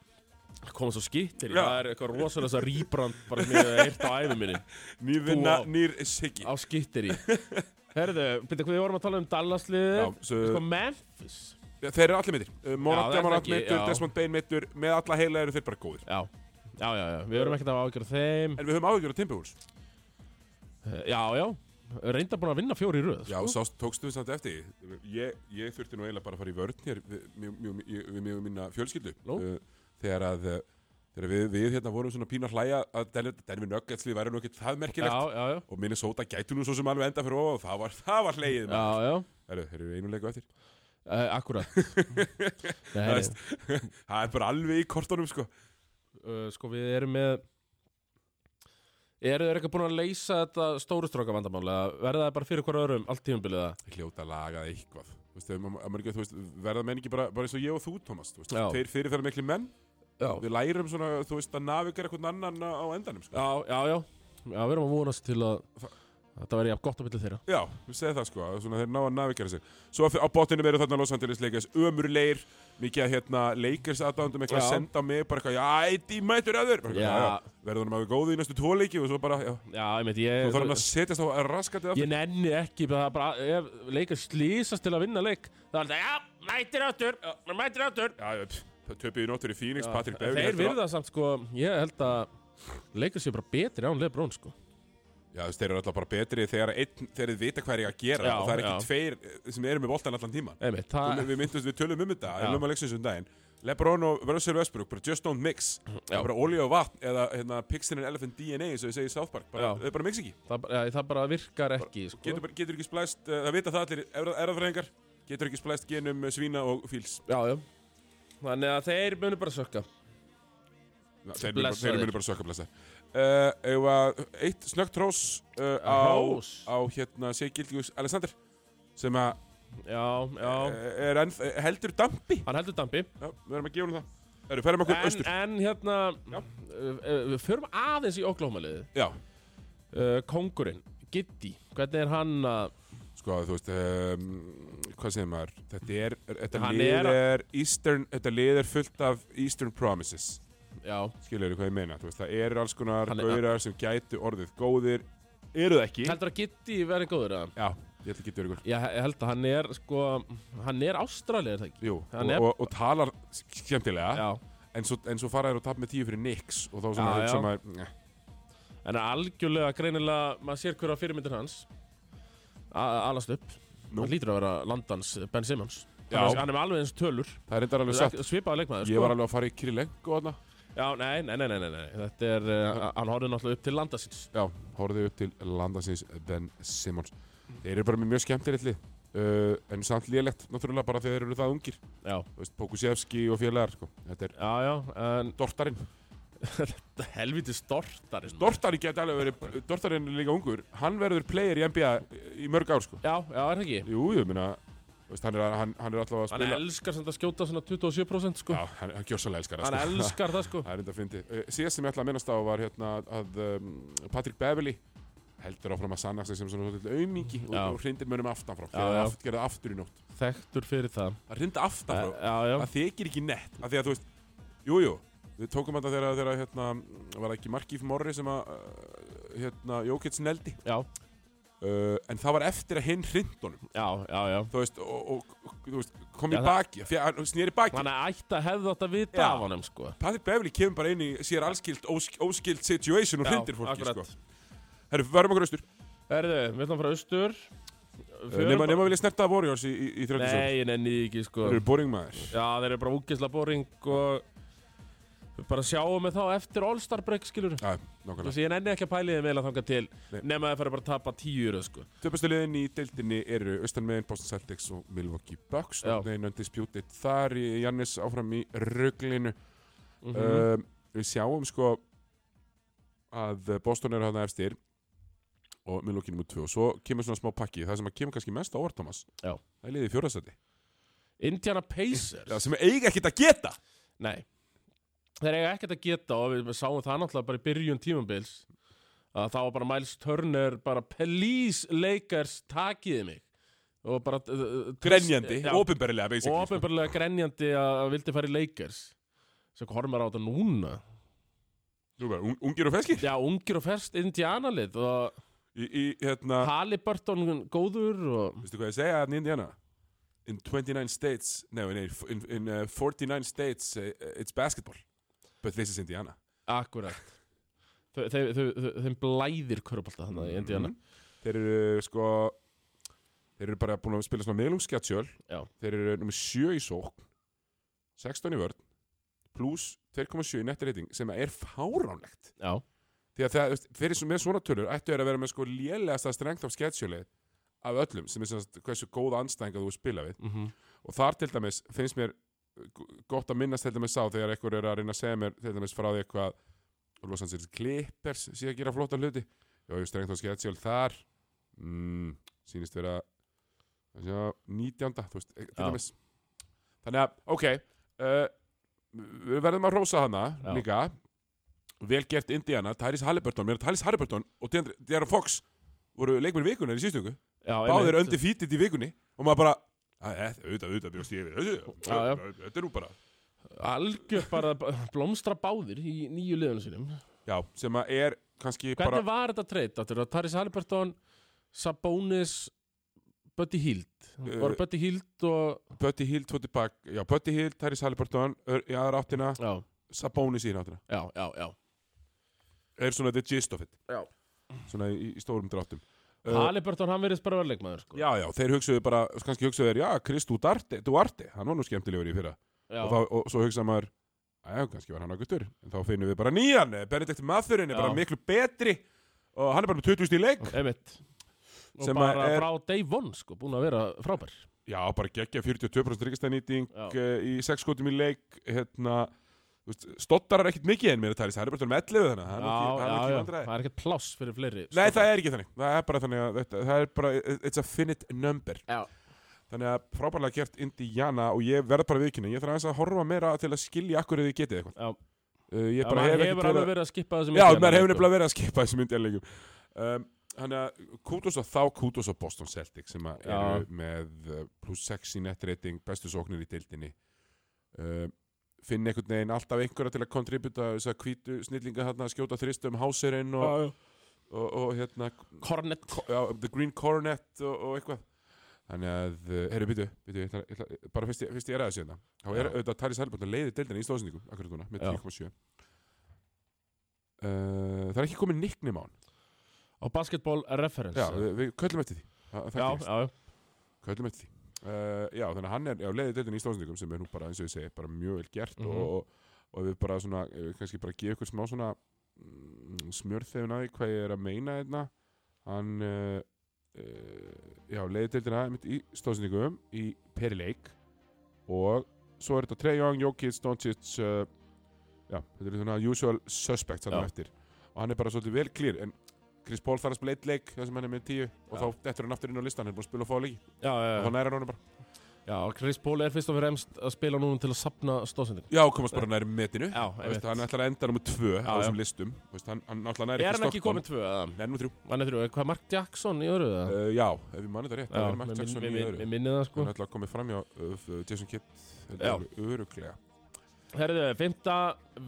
Speaker 2: Koma svo skittir,
Speaker 1: Já.
Speaker 2: það er eitthvað rosalega þess að rýbrand bara sem ég hef eirt á æfum minni
Speaker 1: nýr vinna,
Speaker 2: Þú á.
Speaker 1: nýr siggi
Speaker 2: á skittir í Herðu, byrja hvað við vorum að tala um
Speaker 1: Já,
Speaker 2: Dallas-liðið
Speaker 1: svo-
Speaker 2: Sko Memphis
Speaker 1: þeir eru allir meittir, uh,
Speaker 2: Já, það
Speaker 1: Morata
Speaker 2: er
Speaker 1: Morant
Speaker 2: ekki,
Speaker 1: meittur,
Speaker 2: já.
Speaker 1: Desmond Bain meittur með alla heila eru þeir bara góðir
Speaker 2: Já, já, já, já. við verðum ekkert að ágjöra þeim
Speaker 1: en við höfum áhyggjur á Timberwolves
Speaker 2: Já, já, reynda búin að vinna fjóri í röð sko.
Speaker 1: já, sást tókstu við samt eftir því. ég, ég þurfti nú eiginlega bara að fara í vörn hér við mjög- mjög- mjög- við mig og minna fjölskyldu
Speaker 2: Nú?
Speaker 1: Uh, þegar að uh, þegar við, við hérna vorum svona pína hlæja að Denver Denver Nuggets lið væri nú ekkert það
Speaker 2: já,
Speaker 1: merkilegt
Speaker 2: já, já,
Speaker 1: og Minnesota gætu nú svo sem alveg enda fyrir ofa og það var, það var hlegið
Speaker 2: já, já.
Speaker 1: Heru, heru, einu leiku eftir
Speaker 2: Uh, (laughs) akkurat Nei,
Speaker 1: Það veist. það er bara alveg í kortunum sko
Speaker 2: uh, Sko við erum með Eru þeir eitthvað búin að leysa þetta stóru stróka vandamál eða verða það bara fyrir hver öðrum allt tímabilið eða?
Speaker 1: Þeir hljóta að laga það eitthvað Þú veist, ef ma- ef maður ekki- þú veist, verða menn ekki bara, bara eins og ég og þú Thomas þú veist,
Speaker 2: Já.
Speaker 1: þeir fyrir það miklu menn
Speaker 2: Já,
Speaker 1: við lærum svona þú veist að navigera eitthvað annan á á endanum sko.
Speaker 2: já, já, já Já, við erum að vonast til að þetta verði jafn gott á milli þeirra
Speaker 1: já, við segðum það sko að svona, þeir ná að navigera sig svo á botninum eru þarna Los Angeles Lakers ömurleir mikið að hérna Lakers aðdándum eitthvað
Speaker 2: Já.
Speaker 1: að senda á mig bara eitthvað já, ætti mætur að þér
Speaker 2: Já.
Speaker 1: verður hann að vera góði í næstu tvo leiki og svo bara já,
Speaker 2: Já, ég meint, ég
Speaker 1: Þá þarf hann að setjast á raskatið aftur.
Speaker 2: Ég nenni ekki, það er bara, ef leikar slýsast til að vinna leik, það er alltaf, já, mætir áttur, mætir áttur.
Speaker 1: Já, já, töpuði nóttur í Phoenix,
Speaker 2: Já,
Speaker 1: Patrick
Speaker 2: en
Speaker 1: Beverly.
Speaker 2: Þeir virða samt sko, ég held að leikur sér bara betri án Lebrón sko
Speaker 1: Já, þú veist, þeir eru alltaf bara betri þegar, einn, þegar þið vita hvað er ég að gera
Speaker 2: Já,
Speaker 1: og það er ekki
Speaker 2: já.
Speaker 1: tveir eh, sem eru með boltan allan tíman.
Speaker 2: Einmitt,
Speaker 1: Ah.
Speaker 2: það,
Speaker 1: Við myndumst, við tölum um þetta,
Speaker 2: Já.
Speaker 1: við lögum að leiksins um daginn. Lebron og Russell Westbrook, bara just don't mix. Það er bara olja og vatn eða hérna, Pixin and Elephant DNA, eins og ég segi í South Park. Bara,
Speaker 2: Já.
Speaker 1: þau bara mix ekki.
Speaker 2: það, bara- já, það bara virkar ekki sko
Speaker 1: Getur, bara, getur ekki splæst, uh, það vita það allir, erðafræðingar, getur ekki splæst genum eh, svína og fíls.
Speaker 2: Já, já Þannig að þeir munu bara sökka
Speaker 1: Ná, Þeir munu bara-
Speaker 2: Blessaðir.
Speaker 1: þeir munu bara sökka blessa uh, Eða eitt snöggt hrós uh, á,
Speaker 2: Hrós?
Speaker 1: á hérna Sigildius Alexander sem að
Speaker 2: Já, já,
Speaker 1: eh, er enn, eh, heldur dampi
Speaker 2: hann heldur dampi
Speaker 1: Já, við erum að gefa hún það Það eru, ferum okkur
Speaker 2: en,
Speaker 1: austur
Speaker 2: en hérna
Speaker 1: Já.
Speaker 2: uh, uh, Við förum aðeins í oklahómaliðið
Speaker 1: Já,
Speaker 2: uh, Kongurinn, Giddy Hvernig er hann að
Speaker 1: sko þú veist um, hvað segir maður þetta er, þetta
Speaker 2: Hann
Speaker 1: lið
Speaker 2: er að-
Speaker 1: er Eastern, þetta lið er fullt af Eastern Promises
Speaker 2: Já,
Speaker 1: skilur þið hvað ég meina þú veist, það eru alls konar
Speaker 2: Hann er-
Speaker 1: gaurar sem gætu orðið góðir eru það ekki
Speaker 2: heldur að Giddy verði góður að
Speaker 1: Já, ég ætla að geta verið ykkur
Speaker 2: Ég ég held að hann er sko Hann er ástralið er það ekki
Speaker 1: Jú,
Speaker 2: Hann
Speaker 1: og,
Speaker 2: er-
Speaker 1: og, og talar skemmtilega
Speaker 2: Já,
Speaker 1: en svo, en svo fara þér og tap með tíu fyrir Nix og þá svona
Speaker 2: Já,
Speaker 1: hugsa
Speaker 2: já.
Speaker 1: maður "Eh, "Njeh."
Speaker 2: en algjörlega greinilega Maður sér hverja fyrirmyndir hans a- Alast upp
Speaker 1: Nú.
Speaker 2: Hann lítur að vera landans Ben Simmons
Speaker 1: Já.
Speaker 2: Hann er- Hann er með alveg eins tölur
Speaker 1: það er reyndar alveg satt
Speaker 2: Svipaði leikmaður
Speaker 1: ég var alveg að fara í Kirilenko þarna
Speaker 2: Já, nei, nei, nei, nei, nei, nei. Þetta er, uh, hann horfði náttúrulega upp til landa síns
Speaker 1: já, horfðu upp til landasins Ben Simmons þeir eru bara með mjög skemmtilegt lið uh, en samt lélegt náttúrulega bara þegar þeir eru það ungir
Speaker 2: Já,
Speaker 1: Þú veist, Pókusevski og félagar sko. þetta er
Speaker 2: já, já en, (laughs)
Speaker 1: Dortarinn
Speaker 2: Helviti stortarinn
Speaker 1: Dortarinn geti alveg verið Dortarinn er líka ungur hann verður player í NBA í mörg ár sko.
Speaker 2: Já, já, er það ekki
Speaker 1: jú, ég meina þú veist, hann, er, hann, hann er alltaf að
Speaker 2: Hann
Speaker 1: spila
Speaker 2: elskar samt að skjóta svona 27% sko
Speaker 1: já, hann, hann gjör svolítið elskar það,
Speaker 2: Hann
Speaker 1: sko.
Speaker 2: elskar það sko
Speaker 1: (laughs) Það er enda að fyndi. Síðast sem ég ætla að minnast á var hérna að um, Patrick Beverly heldur áfram að sanna sig sem svona svolítið aumingi og,
Speaker 2: Já.
Speaker 1: og hrindir mönnum aftan frá.
Speaker 2: Já,
Speaker 1: Gerði
Speaker 2: já.
Speaker 1: aft, gerði það aftur í nótt.
Speaker 2: Þekktur fyrir það
Speaker 1: Að hrinda aftan frá.
Speaker 2: Eh, Já, já,
Speaker 1: Það þykir ekki nett. Af því að þú veist, jú, jú, við tókum þetta þegar, þegar hérna, var það ekki Markíf Morri sem að, uh, hérna, Jókits neldi.
Speaker 2: já,
Speaker 1: Uh, en það var eftir að hinn hrindunum.
Speaker 2: já, já, já.
Speaker 1: Þú veist, og, og, og þú veist, kom í
Speaker 2: Já, það-
Speaker 1: baki, því að hann snýri baki.
Speaker 2: Hann ætti að hefða þetta vita
Speaker 1: Já.
Speaker 2: af honum sko
Speaker 1: Patrick Beverly kemur bara inn í sér allskilt, ósk, óskilt situation og
Speaker 2: Já,
Speaker 1: hrindir fólki,
Speaker 2: akkurat.
Speaker 1: sko. Herru, verðum okkur austur.
Speaker 2: Herðu, við ætlum að fara austur
Speaker 1: Eh,
Speaker 2: Förum
Speaker 1: Nefna,
Speaker 2: bara-
Speaker 1: nefna vilja snerta að Warriors í, í, í 30 sekúndur.
Speaker 2: Nei, ég nenni því ekki sko
Speaker 1: Þeir eru boring maður.
Speaker 2: Já, þeir eru bara úkisla boring og Við bara sjáum við þá eftir All-Star break skilur
Speaker 1: Já, nákvæmlega.
Speaker 2: Þessi ég nenni ekki að pæli þeim vel að þanga til
Speaker 1: Nei.
Speaker 2: Nefn að þeir fara bara að tapa tíu yfir sko.
Speaker 1: Töpustu liðin í deildinni eru austanmiðin, Boston Celtics og Milwaukee Bucks.
Speaker 2: Já.
Speaker 1: Þeir undisputed þar, í- Jannis áfram í rugglinu.
Speaker 2: mm
Speaker 1: um, við sjáum sko að Boston eru þarna efstir og Milwaukee nummer 2 og svo kemur svona smá pakki. Það sem að kemur kannski mest á orð, Thomas.
Speaker 2: Já.
Speaker 1: Það er liðið í fjórðastæti.
Speaker 2: Indiana Pacers
Speaker 1: Já, sem eiga ekkert að geta.
Speaker 2: Nei Þeir eiga ekkert að geta og við, við sáum það náttúrulega bara í byrjun tímambils að þá var bara Miles Turner bara please Lakers takiði mig og bara uh, uh,
Speaker 1: Grenjandi,
Speaker 2: Já,
Speaker 1: opinberilega, basically.
Speaker 2: og ofinbarlega grenjandi að að vildi fara í Lakers sem horfum maður á þetta núna
Speaker 1: Þú veist, un- ungir og feskir.
Speaker 2: Já, ungir og ferst Indiana-lið og
Speaker 1: Í, í, hérna...
Speaker 2: Halliburton góður og
Speaker 1: Veistu hvað ég segja hérna í Indiana? In 29 states, no, in, in, in uh, 49 states, uh, it's basketball. But this is Indiana.
Speaker 2: akkurat þau, þau, þau, þau, þeim blæðir körpallta þannig í Indiana
Speaker 1: Mhm. Þeir eru uh, sko, þeir eru bara búin að spila svona meðlungsskjatsjöl.
Speaker 2: Já.
Speaker 1: Þeir eru nummer 7 í sókn, 16 í vörn, pluss 2,7 í nettreiting sem er fáránlegt.
Speaker 2: Já,
Speaker 1: Því að það, þú veist, fyrir svo- með svona tölur ættu þeir að vera með sko lélegasta strengt af sketsjölið af öllum sem er sem sagt hversu góða anstæðinga þú spila við.
Speaker 2: mm
Speaker 1: og þar til dæmis finnst mér uh, g- gott að minnast til dæmis á þegar einhver er að reyna að segja mér til dæmis frá því eitthvað Los Angeles Clippers sé að gera flotta hluti já, ég strengt á sketsjál þar mm, sýnist vera sjá, 19. þú veist, eh, til
Speaker 2: Já.
Speaker 1: dæmis þannig að, ok uh, við verðum að rósa hana
Speaker 2: Já.
Speaker 1: líka vel gert Indiana, Tyrese Halliburton mér er Tyrese Halliburton og Deandre- Deandre Fox voru leikmenn vikunar í sístöku
Speaker 2: já
Speaker 1: báðir
Speaker 2: einmitt.
Speaker 1: öndi fítið í vikunni og maður bara "Æ, þetta- auðvitað, auðvitað, bjóst ég við þessu
Speaker 2: Já, já.
Speaker 1: þetta er nú bara
Speaker 2: algjör bara blómstra báðir í nýju liðunum sínum
Speaker 1: já, sem að er kannski
Speaker 2: hvernig
Speaker 1: bara
Speaker 2: var þetta treyt áttur að Taris Halliburton Sabonis Buddy Hield
Speaker 1: Eh,
Speaker 2: voru Buddy Hield og
Speaker 1: Pötti Hill, Tóti Bakk já, Pötti Hill, Terri Saliburton í aðra áttina,
Speaker 2: já,
Speaker 1: Sabonis í hina áttina
Speaker 2: já, já, já.
Speaker 1: er svona the gist of it
Speaker 2: Já.
Speaker 1: svona í, í stórum dráttum Uh,
Speaker 2: Halliburton hann verðist bara verðleikmaður sko.
Speaker 1: já, já, þeir hugsuðu bara kannski hugsuðu þeir, já, Kristú Duarte, Duarte hann var nú skemmtilegur í fyrra
Speaker 2: já,
Speaker 1: og, þá, og svo hugsaði maður Já, kannski var hann ágættur, en þá finnum við bara nýjan, eh, Benedikt Mathurinn er
Speaker 2: Já.
Speaker 1: bara miklu betri og hann er bara með 20 stíl leik
Speaker 2: einmitt og
Speaker 1: Sem að
Speaker 2: bara
Speaker 1: er-
Speaker 2: frá day one sko, búin að vera frábær
Speaker 1: Já, bara geggja 42% ríkastæðnýting
Speaker 2: Já.
Speaker 1: uh, í 6 skotum í leik hérna, þú veist, stottar er ekkert mikið en mér að tala í þess, hann er bara svona með 11 þannig að hann er ekki- hann er
Speaker 2: já,
Speaker 1: ekki
Speaker 2: já,
Speaker 1: vandræði.
Speaker 2: það er ekkert pláss fyrir fleiri sko.
Speaker 1: Nei, það er ekki þannig. Það er bara þannig að þetta, það er bara, it's a finite number.
Speaker 2: Já.
Speaker 1: Þannig að frábærlega gert Indiana og ég verð bara viðkynna. Ég þarf aðeins að horfa meira til að skilja akkur þið getið eitthvað.
Speaker 2: Já.
Speaker 1: Uh, ég
Speaker 2: Já,
Speaker 1: bara
Speaker 2: maður
Speaker 1: hef ekki
Speaker 2: hefur alveg verið að skippa þessum
Speaker 1: Já, maður hefur nefnilega verið að skipa þessum Indiana-leikum. Um, Þannig að kútos á þá, kútos á Boston Celtics sem að eru
Speaker 2: Já.
Speaker 1: með uh, plus 6 í netreiting, bestu sóknir í deildinni. Uh, finn einhvern veginn alltaf einhverja til að kontributa þess að hvítu snillinga þarna að skjóta þristum háserinn og,
Speaker 2: verið
Speaker 1: og, og hérna
Speaker 2: Kornet
Speaker 1: ko- já, The Green Coronet og, og eitthvað Þannig að, uh, herru, býtu, býtu, ég ætla, ég ætla, bara fyrst ég, fyrst ég er aðeins hérna Þá er
Speaker 2: Já.
Speaker 1: auðvitað Tari Sælbjörn að leiði deildina í stóðsendingum akkurat núna, með
Speaker 2: Já.
Speaker 1: 10,7 uh, Eh, Það er ekki komið nicknum á hann
Speaker 2: og Basketball Reference
Speaker 1: Já, við, við köllum eftir því Það, það
Speaker 2: já,
Speaker 1: gerist.
Speaker 2: já, já.
Speaker 1: köllum eftir því uh, Já, þannig að hann er, já, leiði deildina í stóðsendingum sem er nú bara, eins og ég segi, bara mjög vel gert
Speaker 2: Mhm.
Speaker 1: og, og, og við bara svona, eh, kannski bara gefa ykkur smá svona mm, smjörþefun að því hvað ég er að meina hérna hann uh, uh, já, leiði deildina einmitt í stóðsendingum í perileik og svo er þetta Trey Young, Jokic, Doncic uh, já, þetta er svona usual suspects hann
Speaker 2: Já.
Speaker 1: eftir og hann er bara svolítið vel klýr en Chris Paul þarf að spila eitt leik þar sem hann er með tíu og
Speaker 2: Já.
Speaker 1: þá dettur hann aftur inn á listan, hann er búin að spila og fá leiki
Speaker 2: Já, já,
Speaker 1: og
Speaker 2: já.
Speaker 1: þá næra hann honum bara
Speaker 2: já, og Chris Paul er fyrst og fremst að spila núna til að sapna stóðsending
Speaker 1: Já, komast bara nær metinu
Speaker 2: Já,
Speaker 1: Þú
Speaker 2: einmitt.
Speaker 1: veist, Hann ætlar að enda nummer tvö á
Speaker 2: Já, já.
Speaker 1: þessum listum Þú veist, Hann, hann náttúrulega nær
Speaker 2: Er
Speaker 1: ekki
Speaker 2: hann ekki komið tvö? eða?
Speaker 1: Nei, nummer þrjú
Speaker 2: Hann er þrjú, er hvað Mark Jackson í öru? eða?
Speaker 1: uh, Já, ef við mannum þetta rétt þá
Speaker 2: Já,
Speaker 1: er Mark
Speaker 2: við-
Speaker 1: Jackson
Speaker 2: við-
Speaker 1: í
Speaker 2: við-
Speaker 1: öðru
Speaker 2: Við minnið það sko
Speaker 1: Hann ætla að koma fram hjá uh, Jason Kidd
Speaker 2: Já.
Speaker 1: Öruglega
Speaker 2: Herðu, fymta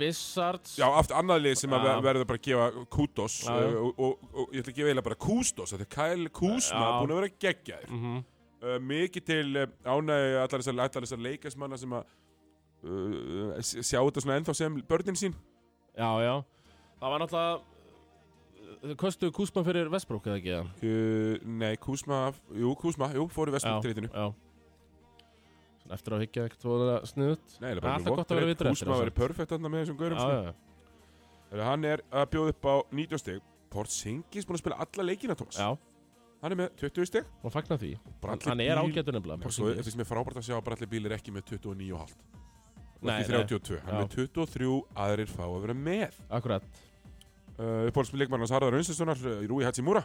Speaker 2: Wizards
Speaker 1: Já, aftur annað lið sem að
Speaker 2: Já.
Speaker 1: ver- verður bara að gefa kútos
Speaker 2: Já, já.
Speaker 1: uh, og, og, og ég ætla að gefa eiginlega bara kústos Þetta er Kyle Kuzma
Speaker 2: Já.
Speaker 1: búin að vera geggjaðir
Speaker 2: Mhm.
Speaker 1: uh, Mikið til uh, ánægju allar þessar, allar þessar leikasmanna sem að uh, s- sjá þetta svona ennþá sem börnin sín
Speaker 2: já, já Það var náttúrulega Þau kostuðu Kuzma fyrir Westbrook eða ekki? eða?
Speaker 1: uh, Nei, Kuzma, jú, Kuzma, jú, fóru vestum til
Speaker 2: já Svona Eftir að higgja ekkert voru sniðut
Speaker 1: Nei, það er
Speaker 2: Það er
Speaker 1: bara
Speaker 2: alltaf gott að vera vitur eftir
Speaker 1: Húsma
Speaker 2: það,
Speaker 1: verið perfekt þarna með þessum gaurum
Speaker 2: Já,
Speaker 1: sko.
Speaker 2: já,
Speaker 1: Þegar Hann er að bjóða upp á 90 stig Porzingis búin að spila alla leikina, Thomas
Speaker 2: já,
Speaker 1: Hann er með 20 stig
Speaker 2: og fagna því
Speaker 1: bara
Speaker 2: Hann
Speaker 1: allir
Speaker 2: hann er
Speaker 1: bíl-
Speaker 2: ágætur nefnilega
Speaker 1: Nei, Svo er
Speaker 2: Porzingis.
Speaker 1: finnst mér frábært að sjá að bara allir bílir ekki með 29,5 Og
Speaker 2: Nei,
Speaker 1: ekki 32 Hann er
Speaker 2: Já.
Speaker 1: með 23 aðrir fá að vera með
Speaker 2: Akkurat
Speaker 1: uh, Uppáhaldsmið leikmann hans Harðar Unsinssonar Rúi Hatsimura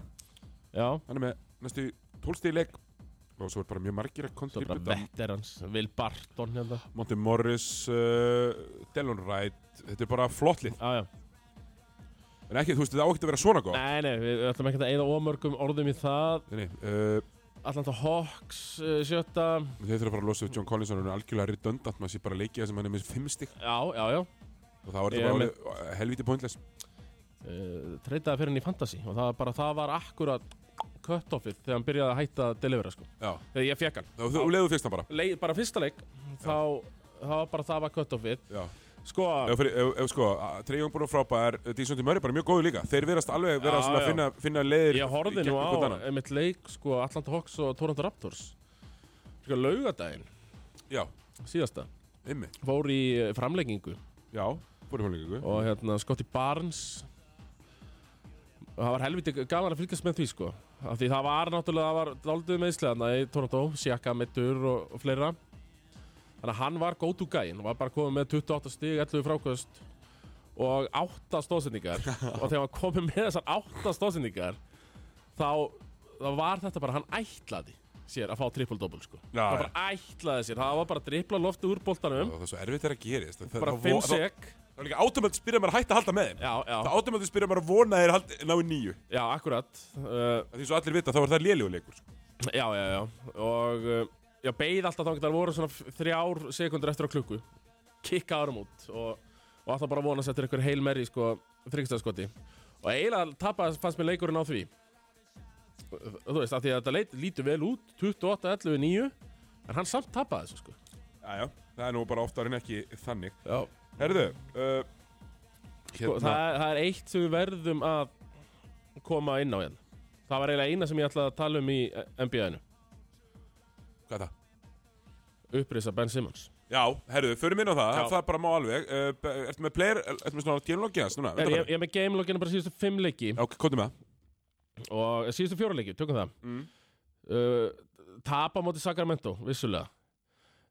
Speaker 2: Já,
Speaker 1: Hann er með næstu 12 stig í leik Og svo er bara mjög margir að
Speaker 2: svo bara
Speaker 1: kontributa
Speaker 2: veterans Will Barton hérna
Speaker 1: Monty Morris uh, Delon Wright Þetta er bara flott lið
Speaker 2: Já, já
Speaker 1: En ekki, þú veist, það á ekki að vera svona góð
Speaker 2: Nei, nei, við ætlum ekki að eyða ómörgum orðum í það
Speaker 1: Nei, nei, uh,
Speaker 2: Atlanta Hawks uh, sjötta
Speaker 1: Þeir þurfa bara að losa við John Collins og hann er algjörlega redundant, maður sé bara leikið sem hann er með fimm stygg
Speaker 2: Já, já, já
Speaker 1: og þá er
Speaker 2: Ég
Speaker 1: þetta
Speaker 2: er
Speaker 1: bara
Speaker 2: með-
Speaker 1: orðið helviti pointless
Speaker 2: uh, Treytaði fyrir henni í Fantasy Og það var bara, það var akkurat cut-offið Þegar hann byrjaði að hætta að delivera sko
Speaker 1: Já,
Speaker 2: Þegar ég fekk hann
Speaker 1: þá þú leiðu fyrst hann bara
Speaker 2: Leið, Bara fyrsta leik Þá, þá var bara það var cut-offið
Speaker 1: Já,
Speaker 2: Sko,
Speaker 1: ef, fyrir, ef, ef sko, Treyjón búin og frábær Dísundi Mörri bara mjög góðu líka, þeir verðast alveg vera
Speaker 2: Já,
Speaker 1: svona
Speaker 2: já.
Speaker 1: að finna, finna leiðir
Speaker 2: ég horfði nú á Einmitt leik, sko, Atlanta Hawks og Toronto Raptors Sko, laugadaginn
Speaker 1: Já,
Speaker 2: Síðasta
Speaker 1: ymmi,
Speaker 2: Fór í eh, framlengingu
Speaker 1: já, búin fólkingu
Speaker 2: og hérna Scotty Barnes og það var helviti gaman að fylgjast með því sko af því það var náttúrulega, það var dálduð meðslega í Toronto, Siaka, Mittur og, og fleira þannig að hann var góð úr gæin og var bara komið með 28 stig 11 frákvöst og 8 stóðsendingar og þegar hann komið með þessar 8 stóðsendingar þá, þá var þetta bara hann ætlaði sér að fá triple-double sko
Speaker 1: Já, já.
Speaker 2: hann bara ætlaði sér, það var bara að dripla lofti úr boltanum,
Speaker 1: Það er svo erfitt þegar að gerist Það,
Speaker 2: bara
Speaker 1: það,
Speaker 2: 5
Speaker 1: það,
Speaker 2: sek
Speaker 1: það er líka átumöld spyrja maður að hætta að halda með þeim
Speaker 2: já, já,
Speaker 1: Það átumöld spyrja maður að vona að þeir haldi- nái nýju
Speaker 2: já, akkurat uh,
Speaker 1: Af Því svo allir vita þá er það léljóleikur sko.
Speaker 2: Já, já, já Og uh, já, beigð alltaf þangt Það voru svona f- þrjár sekundur eftir á klukku Kikka árum út Og, og alltaf bara að vonast eftir einhver heil merri sko, Þryggstæðskoti Og eiginlega tappa fannst mér leikurinn á því Uh, Þú veist, af því að þetta leit, lítur vel út 28, 11, 9 En hann samt tappaði þessu sko
Speaker 1: Já, já, það er nú bara oftar en ekki þannig
Speaker 2: Já
Speaker 1: Herðu, uh, hérna-
Speaker 2: sko, það, er- það er eitt sem við verðum að koma inn á hérna Það var eiginlega eina sem ég ætlaði að tala um í NBA-inu
Speaker 1: Hvað er það?
Speaker 2: Upprisa Ben Simmons
Speaker 1: Já, herruðu, förum inn á það,
Speaker 2: Já.
Speaker 1: það bara má alveg uh, b- Ertu með player, ertu með svona genlókiðans núna?
Speaker 2: Eh, Ég, ég, ég er með gamelogginu bara síðustu fimm leiki
Speaker 1: Já, komdu með það
Speaker 2: og síðustu fjóruleiki, tökum það
Speaker 1: Mm.
Speaker 2: uh, tapa á móti Sacramento, vissulega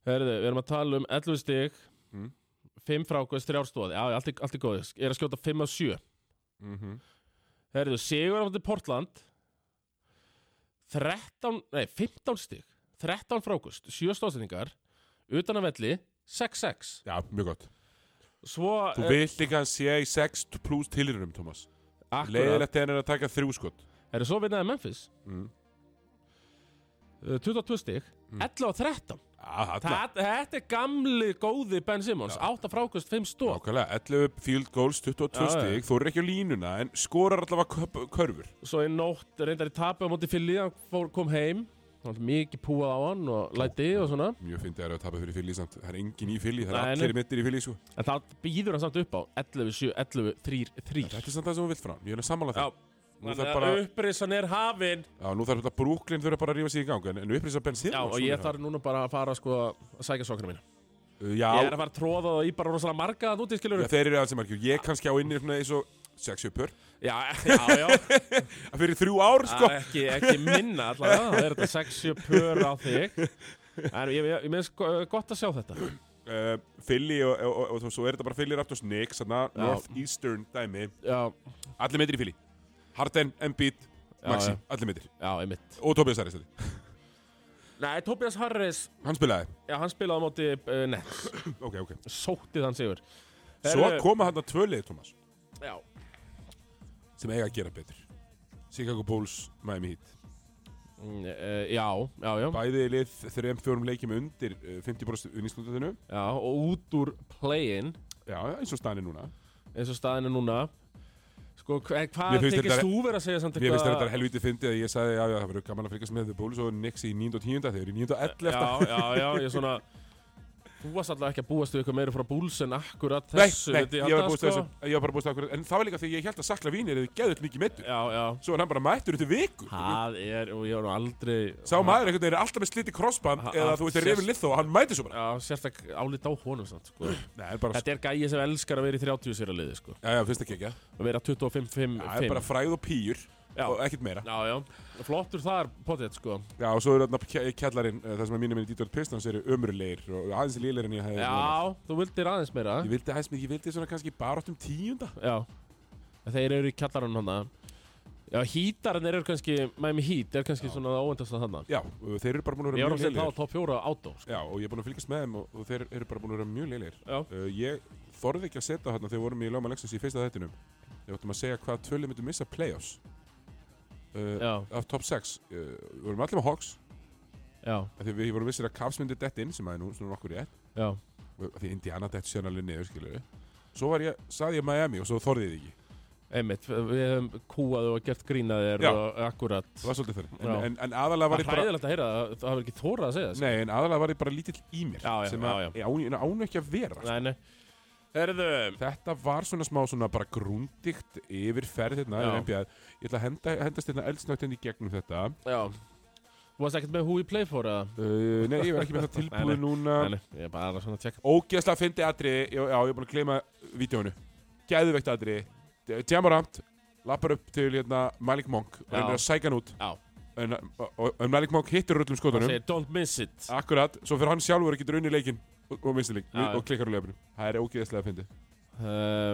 Speaker 2: Herðu, við erum að tala um 11 stig
Speaker 1: Mm.
Speaker 2: 5 frákvæðs, 3 árstóði Já, já, allt er, allt er góðis Er að skjóta 5 af 7
Speaker 1: Mhm.
Speaker 2: Herðu, Sigur áfandi Portland 13, nei, 15 stig 13 frákvæðs, 7 stóðsendingar Utan að velli, 6-6
Speaker 1: Já, mjög gott.
Speaker 2: Svo eh,
Speaker 1: Þú vilt líka að hann sé í 6 plus tilurinnum, Thomas.
Speaker 2: Akkurat
Speaker 1: Leðilegt er hann að taka þrjú skot.
Speaker 2: Herðu, svo vinnaði Memphis
Speaker 1: Mm.
Speaker 2: uh, 22 stig 11 og 13
Speaker 1: Ah, alla.
Speaker 2: Það, Þetta er gamli góði Ben Simmons 8 frákvæðs, 5 stóð
Speaker 1: Nákvæmlega, 11 field goals, 22
Speaker 2: Já, já.
Speaker 1: stig, þú ekki á línuna en skorar allavega köp- körfur.
Speaker 2: Svo í nótt reyndar í tapu á móti Fili Hann fór, kom heim Hann var mikið púað á hann og læti og svona
Speaker 1: Mjög fyndið er að tapa fyrir fylgið samt. Það er engin í fylgið, það
Speaker 2: Nei,
Speaker 1: er
Speaker 2: nei.
Speaker 1: allir mittir í sko. fylgið svo.
Speaker 2: En það býður hann samt upp á 11, 7, 11, 3, 3
Speaker 1: Þetta er samt það sem hún vilt frá. Ég er að sammála
Speaker 2: Já,
Speaker 1: það. Nú
Speaker 2: þannig
Speaker 1: þarf
Speaker 2: að
Speaker 1: bara,
Speaker 2: upprisan er hafin
Speaker 1: já, nú þarf þetta Brooklyn þurfa bara að rífa sig í gang, en, en upprýsa Ben Simmons.
Speaker 2: Já, og
Speaker 1: hún
Speaker 2: ég
Speaker 1: er það.
Speaker 2: þarf núna bara að fara sko að sækja sokkana mína
Speaker 1: Uh, Já,
Speaker 2: Ég er að fara að tróða það í bara rosalega marga að úti, skilur
Speaker 1: já, þeir eru alls margir. Ég kannski á inni svona eins og sexjöpur.
Speaker 2: Já, já, já,
Speaker 1: Fyrir þrjú ár,
Speaker 2: sko.
Speaker 1: sko.
Speaker 2: ekki, ekki minna allavega Það er þetta sexu pör á þig En ég, ég, ég minnst gott að sjá þetta
Speaker 1: Uh, Philly og, og, og, og, svo er þetta bara Philly Raptors Knicks, þarna,
Speaker 2: Já.
Speaker 1: Northeastern dæmi.
Speaker 2: Já,
Speaker 1: Allir mittir í Philly. Harden, Embiid, Maxi,
Speaker 2: já.
Speaker 1: allir mittir.
Speaker 2: já, einmitt
Speaker 1: Og Tobias Harris, þetta.
Speaker 2: Nei, Tobias Harris,
Speaker 1: hann spilaði.
Speaker 2: já, hann spilaði á móti uh, Nets
Speaker 1: Ok, ok.
Speaker 2: Sóttið hann sigur
Speaker 1: Svo
Speaker 2: Herru,
Speaker 1: koma hann að tvölið, Thomas,
Speaker 2: Já,
Speaker 1: sem eiga að gera betur. Chicago Bulls, Miami Heat.
Speaker 2: Mm, eh, já, já, já
Speaker 1: Bæði lið þrejum fjórum leikjum undir eh, 50% unningslundatinu.
Speaker 2: Já, og út úr play-in
Speaker 1: Já, já, eins og stanni núna.
Speaker 2: eins og staðinu núna Sko, hva-
Speaker 1: Mér
Speaker 2: hvað
Speaker 1: finnst
Speaker 2: tekist
Speaker 1: þetta-
Speaker 2: þú verið að segja samt
Speaker 1: Mér finnst þetta helvítið fyndið að ég sagði að það verður gaman að fylgjast með The Bulls og Knicks í 9. og 10. Þeir eru í 9. og 11.
Speaker 2: Já, já, já, ég er svona Þú varst alltaf ekki að búast við ykkur meira frá búls en akkurat þessu
Speaker 1: nei,
Speaker 2: myndi
Speaker 1: nei,
Speaker 2: ég
Speaker 1: ég var
Speaker 2: halda,
Speaker 1: búist
Speaker 2: sko.
Speaker 1: sko? þessu, ég var bara búist þessu En það var líka þegar ég held að sakla vínir eða geðut mikið meittur
Speaker 2: Já, já
Speaker 1: Svo er hann bara mættur út í viku
Speaker 2: Það er, og ég var nú aldrei
Speaker 1: Sá maður einhvern veginn er alltaf með sliti krossband
Speaker 2: Ha-
Speaker 1: Eða
Speaker 2: ha-
Speaker 1: þú veist, þeir reyfin lið þó og hann mætir svo bara
Speaker 2: Já, sérstak álít á honum samt, sko
Speaker 1: Nei, það er bara,
Speaker 2: Þetta er gæi sem elskar að vera í 30 sér að liði, sko
Speaker 1: já, já, finnst ekki ekki
Speaker 2: Að vera 25, 5,
Speaker 1: Það er bara fræð og pýjur
Speaker 2: Já.
Speaker 1: Og ekkert meira
Speaker 2: Já, já Flottur þar, potið, sko
Speaker 1: Já, og svo er þarna kjallarinn eh, Það sem að mínum minni Dítor Pistons eru ömurlegir Og aðeins lélegir en ég hefði vonað.
Speaker 2: Já, þú vildir aðeins meira
Speaker 1: Ég vildi aðeins mikið, ég vildi svona kannski baráttum tíunda
Speaker 2: Já En Þeir eru í kjallarinn hana Já, hítarinn eru kannski Miami Heat er kannski svona óvendast að hana
Speaker 1: Já, og þeir eru bara búin að vera
Speaker 2: Ég var að
Speaker 1: mjög
Speaker 2: setja þá
Speaker 1: lélegir
Speaker 2: á top 4 átó sko.
Speaker 1: Já, og ég er búin að fylgjast með þeim og, og þeir eru bara búin að vera mjög lélegir
Speaker 2: Já,
Speaker 1: Uh, ég þorði ekki að setja þarna þegar við vorum í Lóma Lexus í fyrsta þættinum. Við áttum að segja hvað tvölið myndum missa play-offs. Uh,
Speaker 2: já,
Speaker 1: af top 6. Uh, við vorum allir með Hawks,
Speaker 2: já,
Speaker 1: af því við vorum vissir að Cavs myndi dett inn, sem aðeins nú svona nokkur rétt.
Speaker 2: já
Speaker 1: og Af því Indiana dett síðan alveg niður, skilur Svo var ég, saði ég Miami og svo þorði ég því ekki.
Speaker 2: Einmitt, við hefum kúað og gert grínað þér
Speaker 1: Já.
Speaker 2: og akkurat
Speaker 1: Það var svolítið þannig. En,
Speaker 2: Já.
Speaker 1: en, en aðalega
Speaker 2: Það
Speaker 1: var
Speaker 2: var
Speaker 1: ég bara...
Speaker 2: hræðilegt að heyra það, það hefur ekki þórað að segja það sko.
Speaker 1: Nei, en aðalega var ég bara lítill í mér.
Speaker 2: Já, já,
Speaker 1: sem að,
Speaker 2: já,
Speaker 1: já. Án, án ekki að vera.
Speaker 2: Nei, nei Herðu
Speaker 1: Þetta var svona smá svona bara grúndikt yfirferð hérna.
Speaker 2: Já.
Speaker 1: yfir NBA. Ég ætla að henda, hendast hérna eldsnögt inn í gegnum þetta.
Speaker 2: Já Þú varst ekkert með hú í play for að
Speaker 1: Uh, nei, ég var ekki með það tilbúið
Speaker 2: (laughs) Nei,
Speaker 1: núna
Speaker 2: Nei, nei, ég er bara svona að tjekka
Speaker 1: Ógeðslega fyndi atri Já, já, ég er búin að gleyma vídjónu Gæðuvegt atri Tjamaramt Lappar upp til hérna Malik Monk Og
Speaker 2: Já.
Speaker 1: reynir að sæka hann út
Speaker 2: Já.
Speaker 1: En, og, og, en Malik Monk hittir rullum
Speaker 2: Það
Speaker 1: skotunum
Speaker 2: segir don't miss it
Speaker 1: Akkurat Svo fyrir hann sjálfur og getur unni leikinn Og, og minnstu leik
Speaker 2: Já, já.
Speaker 1: Og klikkar úr leifinu Það er ógeðslega fyndi
Speaker 2: uh,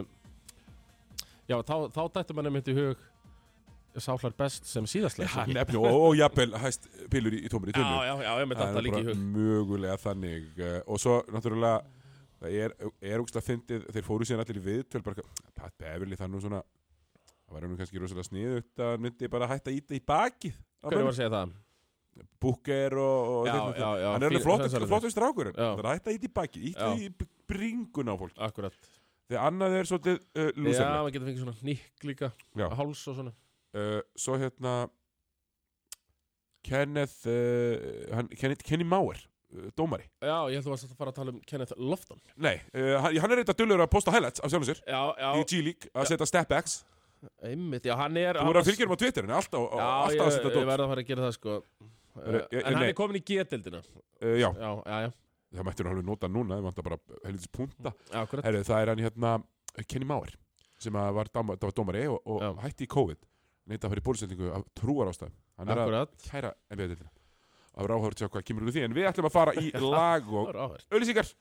Speaker 2: Já, þá, þá dættu mann einmitt í hug Sáflar best sem síðastlega
Speaker 1: Hann efni og, og jafnvel Hæst pilur í, í tómur í tunnu
Speaker 2: Já, já, já, ég með
Speaker 1: Það
Speaker 2: þetta
Speaker 1: er
Speaker 2: líka í
Speaker 1: bara
Speaker 2: hug
Speaker 1: mögulega þannig eh, og svo náttúrulega það er, er úkst að fyndið, þeir fóru síðan allir í viðtöl bara, eitthvað, Pat Beverly þannig svona það var nú kannski rosalega sniðugt að myndi bara hætta að íta í bakið á
Speaker 2: Hvernig var
Speaker 1: mönnum.
Speaker 2: að segja það?
Speaker 1: Booker og, og
Speaker 2: Já,
Speaker 1: þeir-
Speaker 2: já, já,
Speaker 1: hann er alveg
Speaker 2: fín-
Speaker 1: flottur
Speaker 2: þessari
Speaker 1: flottur strákur
Speaker 2: Já.
Speaker 1: það er að hætta að íta í bakið, íta
Speaker 2: Já.
Speaker 1: í b- bringuna á fólk
Speaker 2: Akkurat
Speaker 1: þegar annað er svolítið uh,
Speaker 2: Já,
Speaker 1: lúsarlega
Speaker 2: maður getur fengið svona nýkk líka
Speaker 1: Já.
Speaker 2: Háls og svona
Speaker 1: uh, svo hérna Kenneth, uh, hann, Kenneth Kenny Mauer, uh, dómari
Speaker 2: Já, ég held að þú varst að fara að tala um Kenneth Lofton
Speaker 1: Nei, uh, hann, hann er eitthvað dullur að posta highlights af sjálfum sér
Speaker 2: Já,
Speaker 1: í
Speaker 2: já,
Speaker 1: G-League að setja stepbacks
Speaker 2: einmitt, já, hann er
Speaker 1: Þú voru að fylgjum á Twitterinu, alltaf,
Speaker 2: Já,
Speaker 1: alltaf
Speaker 2: ég,
Speaker 1: að setja
Speaker 2: ég
Speaker 1: dót
Speaker 2: verð að fara að gera það sko
Speaker 1: Eru-
Speaker 2: Eh,
Speaker 1: ég-
Speaker 2: En hann
Speaker 1: nei.
Speaker 2: er komin í G-dildina
Speaker 1: uh, Já,
Speaker 2: Já, já, já,
Speaker 1: það mættir hann alveg nota núna, það vantar bara helvitis punta
Speaker 2: já, akkurat
Speaker 1: Herru, það er hann hérna, Kenny Mauer sem að var, dama, það var dómari og,
Speaker 2: Já.
Speaker 1: og hætti í COVID Neita að fara í bólusendingu af trúar ástæðum Hann er að
Speaker 2: Akkurat,
Speaker 1: kæra NBA-dildina Af ráhóður til hvað kemur úr því En við ætlum að fara í lag
Speaker 2: það
Speaker 1: og
Speaker 2: var áhverð
Speaker 1: auðlýsingar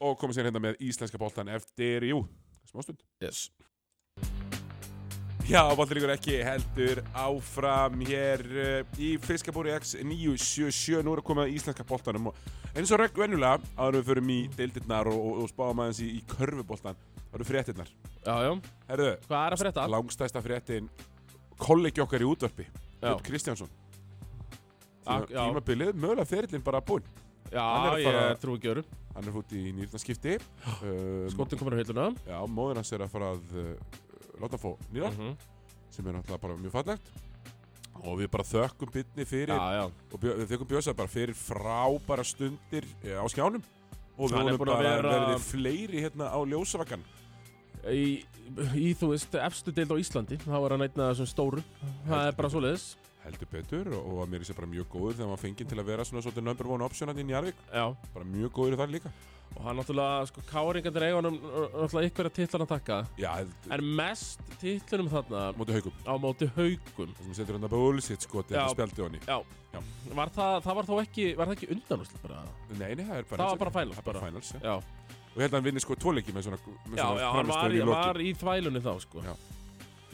Speaker 1: og komum sér hérna með íslenska boltan eftir, jú, smástund.
Speaker 2: Yes.
Speaker 1: Já, boltalíkur ekki heldur áfram hér uh, í Fiskabúri X 977. Nú er að koma að íslenska boltanum og eins og regn venjulega áður en við förum í deildirnar og, og, og spáum aðeins í, í körfuboltan. Það eru fréttirnar.
Speaker 2: Já, já.
Speaker 1: Herðu,
Speaker 2: Hvað er að frétta?
Speaker 1: langstæsta fréttin kollegi okkar í útvarpi,
Speaker 2: Já.
Speaker 1: Björn Kristjánsson.
Speaker 2: Ak- já.
Speaker 1: Tímabilið, mögulega ferillin bara búinn.
Speaker 2: Já,
Speaker 1: Hann er að
Speaker 2: ég
Speaker 1: fara-
Speaker 2: trú ekki öru.
Speaker 1: Hann er fótt í
Speaker 2: (gasps)
Speaker 1: nýrnaskipti. Um,
Speaker 2: Skotin komur á hilluna.
Speaker 1: Já, móðir hans er að fara að uh, láta fó nýra
Speaker 2: Mhm.
Speaker 1: sem er náttúrulega bara mjög fallegt og við bara þökkum bytni fyrir
Speaker 2: Já, já.
Speaker 1: og bjö, við þökkum bjösa bara fyrir frábæra stundir eh, á skjánum og við
Speaker 2: Hann er
Speaker 1: vonum
Speaker 2: búinn að
Speaker 1: bara að
Speaker 2: vera-
Speaker 1: verði fleiri hérna á ljósavakan
Speaker 2: Í, í þú veist, efstu deild á Íslandi, þá var hann einn af þessum stóru. Það er bara svoleiðis.
Speaker 1: heldur betur og, og að mér er sér bara mjög góður þegar maður fengið til að vera svona svolítið number one option hann í Njarvík,
Speaker 2: Já.
Speaker 1: bara mjög góður þar líka
Speaker 2: Og hann náttúrulega, sko, káringandir eiga honum náttúrulega ykkur að titlan að taka.
Speaker 1: Já, heldur,
Speaker 2: En mest titlunum þarna
Speaker 1: móti haugum
Speaker 2: á móti haugum.
Speaker 1: það sem setur hann að bullshit sko þetta
Speaker 2: Já.
Speaker 1: spjaldi honni
Speaker 2: Já.
Speaker 1: Já.
Speaker 2: Var það, það var þá ekki, var það ekki undanúsl bara?
Speaker 1: Nei, nei, það er bara
Speaker 2: Það var bara finals,
Speaker 1: Það er bara
Speaker 2: bara.
Speaker 1: finals, já.
Speaker 2: Já,
Speaker 1: Og hérna hann vinni sko tvoleiki með svona, með
Speaker 2: já,
Speaker 1: svona
Speaker 2: já hann var,
Speaker 1: frammistöðu
Speaker 2: í-
Speaker 1: í
Speaker 2: hann
Speaker 1: lokin.
Speaker 2: var í þvælunni þá, sko.
Speaker 1: Já.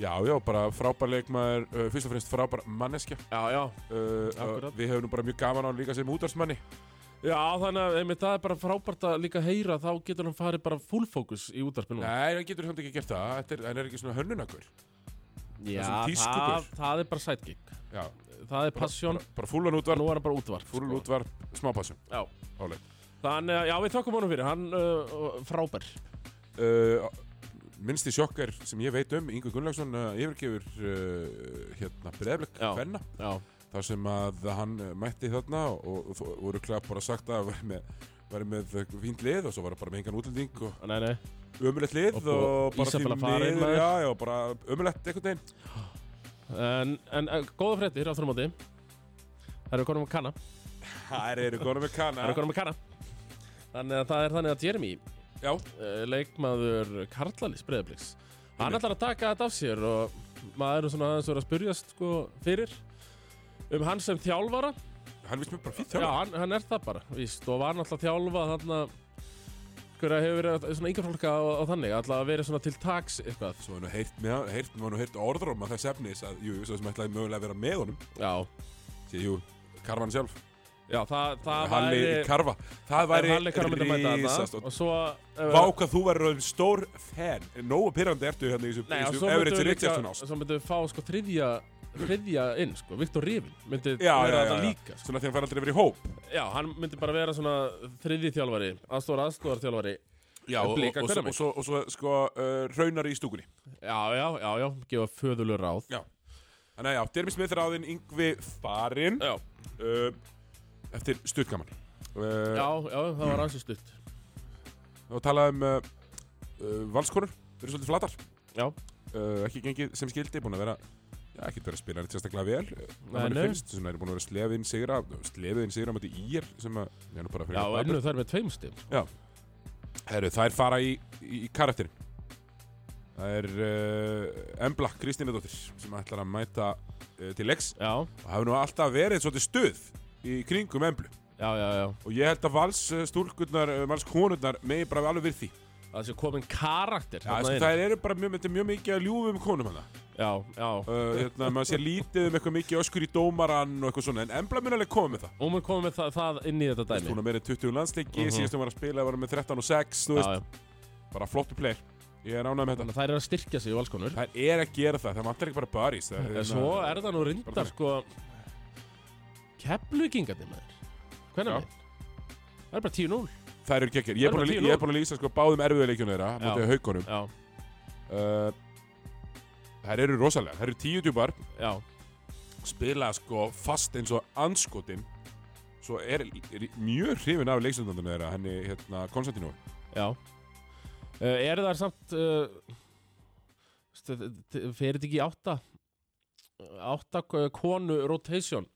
Speaker 1: Já, já, bara frábær leikmaður, uh, fyrst og fremst frábær manneskja.
Speaker 2: Já, já.
Speaker 1: Uh, uh,
Speaker 2: Akkurat.
Speaker 1: við hefum nú bara mjög gaman á hann líka sem útvarsmanni.
Speaker 2: Já, þannig að einmitt, það er bara frábært að líka heyra, þá getur hann farið bara full focus í útarpinu.
Speaker 1: Nei, hann getur samt ekki gert það, Þetta er, hann er ekki svona hönnunakur.
Speaker 2: Já,
Speaker 1: það er svona tískugur.
Speaker 2: það, það er bara sidekick.
Speaker 1: Já,
Speaker 2: Það er passion,
Speaker 1: bara, bara fúlan útvarp,
Speaker 2: nú er hann bara útvarp.
Speaker 1: fúlan
Speaker 2: sko.
Speaker 1: útvarp, smápassum,
Speaker 2: Já.
Speaker 1: áleik.
Speaker 2: Þannig að, já, við þökkum honum fyrir, hann uh, frábær.
Speaker 1: Uh, minnsti sjokkar sem ég veit um, Ingu Gunnlaugsson uh, yfirgefur uh, hérna breyðblik
Speaker 2: Já.
Speaker 1: hvenna.
Speaker 2: Já,
Speaker 1: þar sem að hann eh, mætti þarna og, og þó- voru klæða bara sagt að veri með, veri með fínt lið og svo var það bara með engan útlending og
Speaker 2: nei, nei.
Speaker 1: ömulegt lið og,
Speaker 2: Og búið-
Speaker 1: bara
Speaker 2: Ísabella
Speaker 1: því
Speaker 2: farin,
Speaker 1: miður,
Speaker 2: maður.
Speaker 1: já, já, bara ömulegt einhvern veginn
Speaker 2: En, en uh, góða fréttir, aftur á móti. Það eru konum að kanna.
Speaker 1: Það eru konum með
Speaker 2: Það
Speaker 1: kana
Speaker 2: eru konum að kanna. Þannig að það er þannig að Jeremy,
Speaker 1: Já,
Speaker 2: uh, leikmaður Karlalis Breiðabliks, hann ætlar að taka þetta af sér og maður er svona aðeins voru að spyrjast sko fyrir um hann sem þjálfara
Speaker 1: hann vist mér bara fínt
Speaker 2: Já,
Speaker 1: þjálfari
Speaker 2: hann, hann er það bara, víst, og var náttúrulega að þjálfa þarna hverja hefur verið að- svona yngjaflokka og, og þannig, alltaf að vera svona til taks eitthvað,
Speaker 1: Svo hann heirt, með, heirt, var nú heirt orður um að þess efnis að, jú, jú, svo sem ætlaði mögulega að vera með honum
Speaker 2: já,
Speaker 1: Sér, jú, karvan sjálf
Speaker 2: já, það, það
Speaker 1: Halli
Speaker 2: væri
Speaker 1: karva Það væri
Speaker 2: Halli Karl myndi að mæta
Speaker 1: risast
Speaker 2: þarna og svo ef-
Speaker 1: Vá hvað þú verður orðinn stór fan Nóa pyrrandi ertu hérna í þessu-
Speaker 2: Nei,
Speaker 1: í
Speaker 2: og svo
Speaker 1: þessu
Speaker 2: myndum
Speaker 1: Everett
Speaker 2: við líka,
Speaker 1: Richardson ást
Speaker 2: svo myndum við fá sko þriðja, þriðja inn, sko, Viktor Rivin myndi
Speaker 1: já, já, já,
Speaker 2: vera þetta
Speaker 1: já.
Speaker 2: líka, sko.
Speaker 1: Svona því hann fær aldrei verið í hóp
Speaker 2: Já, hann myndi bara vera svona þriði þjálfari, aðstóra aðstóra þjálfari.
Speaker 1: Já, og, og,
Speaker 2: Blika
Speaker 1: og, svo-
Speaker 2: hverra
Speaker 1: og,
Speaker 2: megin.
Speaker 1: svo, og svo sko uh, raunar í stúkunni
Speaker 2: Já, já, já, já, gefa föðulur ráð.
Speaker 1: Já Þannig að já, Dermis með þráðin Yngvi Farin
Speaker 2: Já,
Speaker 1: uh, Eftir stuttgaman
Speaker 2: já,
Speaker 1: uh,
Speaker 2: já, það var ansið stutt.
Speaker 1: Og talaði um uh, uh, valskonur Þeir eru svolítið flatar
Speaker 2: Já,
Speaker 1: uh, Ekki gengið sem skildi Búin að vera Já, ekkert verið að spila neitt sérstaklega vel uh,
Speaker 2: Nei,
Speaker 1: manni
Speaker 2: nei.
Speaker 1: finnst, Svona er búin að vera slefiðin sigra Slefiðin sigra mæti í er Sem að Já, nú bara
Speaker 2: já,
Speaker 1: fyrir
Speaker 2: ennum þær með tveim stíl.
Speaker 1: Herru, þær fara í, í, í karakterin Það er uh, Embla Kristínadóttir sem ætlar að mæta uh, til leiks
Speaker 2: Já,
Speaker 1: og hafa nú alltaf verið svolítið stuð í kringum emblu
Speaker 2: já, já, já.
Speaker 1: og ég held að vals eh, stúlkurnar, eh, vals konurnar megi bara alveg við því
Speaker 2: Það sé komin karakter.
Speaker 1: ja,
Speaker 2: þarna
Speaker 1: sko,
Speaker 2: inn.
Speaker 1: það eru bara mjög, þetta er mjög mikið að ljúfa um konum hana
Speaker 2: Já, já.
Speaker 1: uh, hérna, maður sé lítið um eitthvað mikið öskur í dómarann og eitthvað svona en embla mun alveg koma með það
Speaker 2: Og mér komið með það, það inn í þetta
Speaker 1: Þú veist,
Speaker 2: dæmi.
Speaker 1: hún er meira en 20 landsleiki, uh
Speaker 2: Mhm.
Speaker 1: -huh. síðast hún var að spila var hún með 13 og 6, þú
Speaker 2: Já,
Speaker 1: veist,
Speaker 2: já.
Speaker 1: bara flottu player ég er ánægð með þetta
Speaker 2: Þannig að þær eru að styrkja sig í valskonur.
Speaker 1: það er að gera það, það vantar ekki bara barís það, hérna-
Speaker 2: En svo er það nú reyndar sko Keflugingarnir maður Hvernig
Speaker 1: Já.
Speaker 2: með? Það er bara 10-0
Speaker 1: það eru gekkir, ég er
Speaker 2: Það
Speaker 1: búin að,
Speaker 2: er bara
Speaker 1: lí- ég er búin að lýsa sko, báðum erfiðuleikjunum þeirra,
Speaker 2: Já.
Speaker 1: mútið haugunum
Speaker 2: Já,
Speaker 1: uh, það eru rosalega, það eru tíu djúpar
Speaker 2: já,
Speaker 1: spila sko fast eins og anskotin svo er, er mjög hrifin af leiksundandum þeirra henni hérna Konstantinó
Speaker 2: já uh, Eru þar samt uh, stu- t- Fer þetta ekki í átta Átta k- konu rotation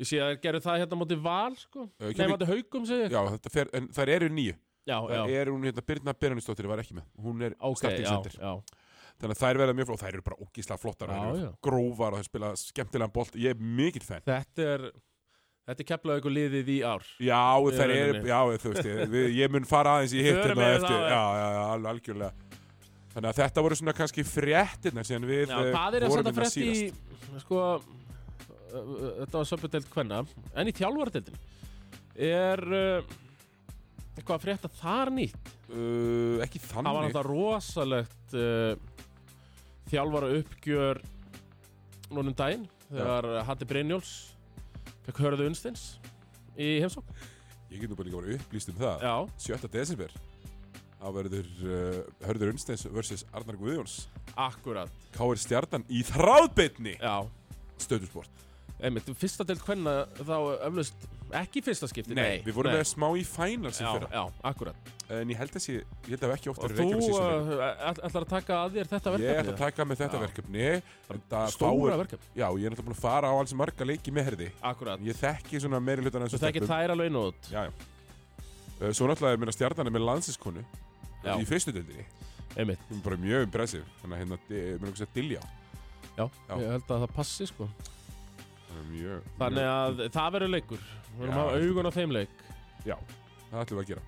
Speaker 2: Ég sé að gerðu það hérna móti val sko
Speaker 1: Eh,
Speaker 2: Nei,
Speaker 1: kemur-
Speaker 2: móti haugum segi ég
Speaker 1: Já, þetta fer, en þær eru nýju
Speaker 2: Já,
Speaker 1: Það
Speaker 2: já,
Speaker 1: er hún, hérna, Birna Birnisdóttir var ekki með Hún er
Speaker 2: ok,
Speaker 1: starting
Speaker 2: já,
Speaker 1: center
Speaker 2: já
Speaker 1: Þannig að þær verða mjög flott og þær eru bara ógísla flottar
Speaker 2: Já,
Speaker 1: já,
Speaker 2: já.
Speaker 1: Grófar og þær spila skemmtilegan bolt Ég er mikill fenn
Speaker 2: Þetta er Þetta er keflað ykkur liðið í ár
Speaker 1: Já,
Speaker 2: Í
Speaker 1: þær eru,
Speaker 2: rauninni.
Speaker 1: já, þú veist, ég, við, ég mun fara aðeins í hitt
Speaker 2: Förum
Speaker 1: hérna
Speaker 2: yfir
Speaker 1: eftir,
Speaker 2: það á
Speaker 1: já, já, já, alveg algjörlega. Þannig að þetta voru svona kannski fréttirna sem við
Speaker 2: Já,
Speaker 1: eh,
Speaker 2: það er að
Speaker 1: vorum hérna
Speaker 2: setja frétt í
Speaker 1: síðast.
Speaker 2: Sko uh, uh, Þetta var söpudeld hvenna En í þjálfaradeldin Er uh, Eitthvað að frétta þar nýtt
Speaker 1: Uh, ekki
Speaker 2: Það var
Speaker 1: þannig.
Speaker 2: náttúrulega rosalegt uh, Þjálfara uppgjör Núnum um daginn Þegar Hatti Brynjóls Fekk hörðu unnstins Í heimsók
Speaker 1: Ég get nú bara líka voru upplýst um það.
Speaker 2: Já
Speaker 1: 7. desember. Það verður uh, Hörður Unnsteins vs. Arnar Guðjóns.
Speaker 2: Akkurat
Speaker 1: Káir Stjarnan í þráðbytni.
Speaker 2: Já
Speaker 1: Stöðusport.
Speaker 2: Einmitt, fyrsta deild hvenna þá öflust ekki í fyrsta skipti, nei.
Speaker 1: Við vorum með smá í finals í
Speaker 2: Já,
Speaker 1: fyrra.
Speaker 2: já, akkurat.
Speaker 1: En ég held að sé, ég held að við ekki oft
Speaker 2: Og
Speaker 1: verið
Speaker 2: þú
Speaker 1: reykjum síðan.
Speaker 2: uh, ætl- ætlar að taka að þér þetta
Speaker 1: Ég ætla
Speaker 2: verkefni?
Speaker 1: að taka með þetta
Speaker 2: Já.
Speaker 1: verkefni. enda
Speaker 2: Stóra
Speaker 1: fáir-
Speaker 2: verkefni,
Speaker 1: Já, ég er náttúrulega búin að fara á alls marga leiki með herði.
Speaker 2: akkurat.
Speaker 1: Ég þekki svona meiri hlutan
Speaker 2: Þú þekkir þær alveg nót.
Speaker 1: Já, já. Uh, Svo náttúrulega er minna stjarnan er með landsinskonu
Speaker 2: Já.
Speaker 1: í fyrstu dildinni.
Speaker 2: Einmitt,
Speaker 1: Hún er bara mjög impressiv. Þannig að hérna, mér langar að segja dilja.
Speaker 2: já,
Speaker 1: Já.
Speaker 2: ég held að það passi sko.
Speaker 1: Þannig að mjög...
Speaker 2: Þannig
Speaker 1: mjög,
Speaker 2: að það verður leikur. Við
Speaker 1: Já,
Speaker 2: erum að hafa
Speaker 1: heldur
Speaker 2: augun á þeim leik.
Speaker 1: Já, það ætlum við að gera.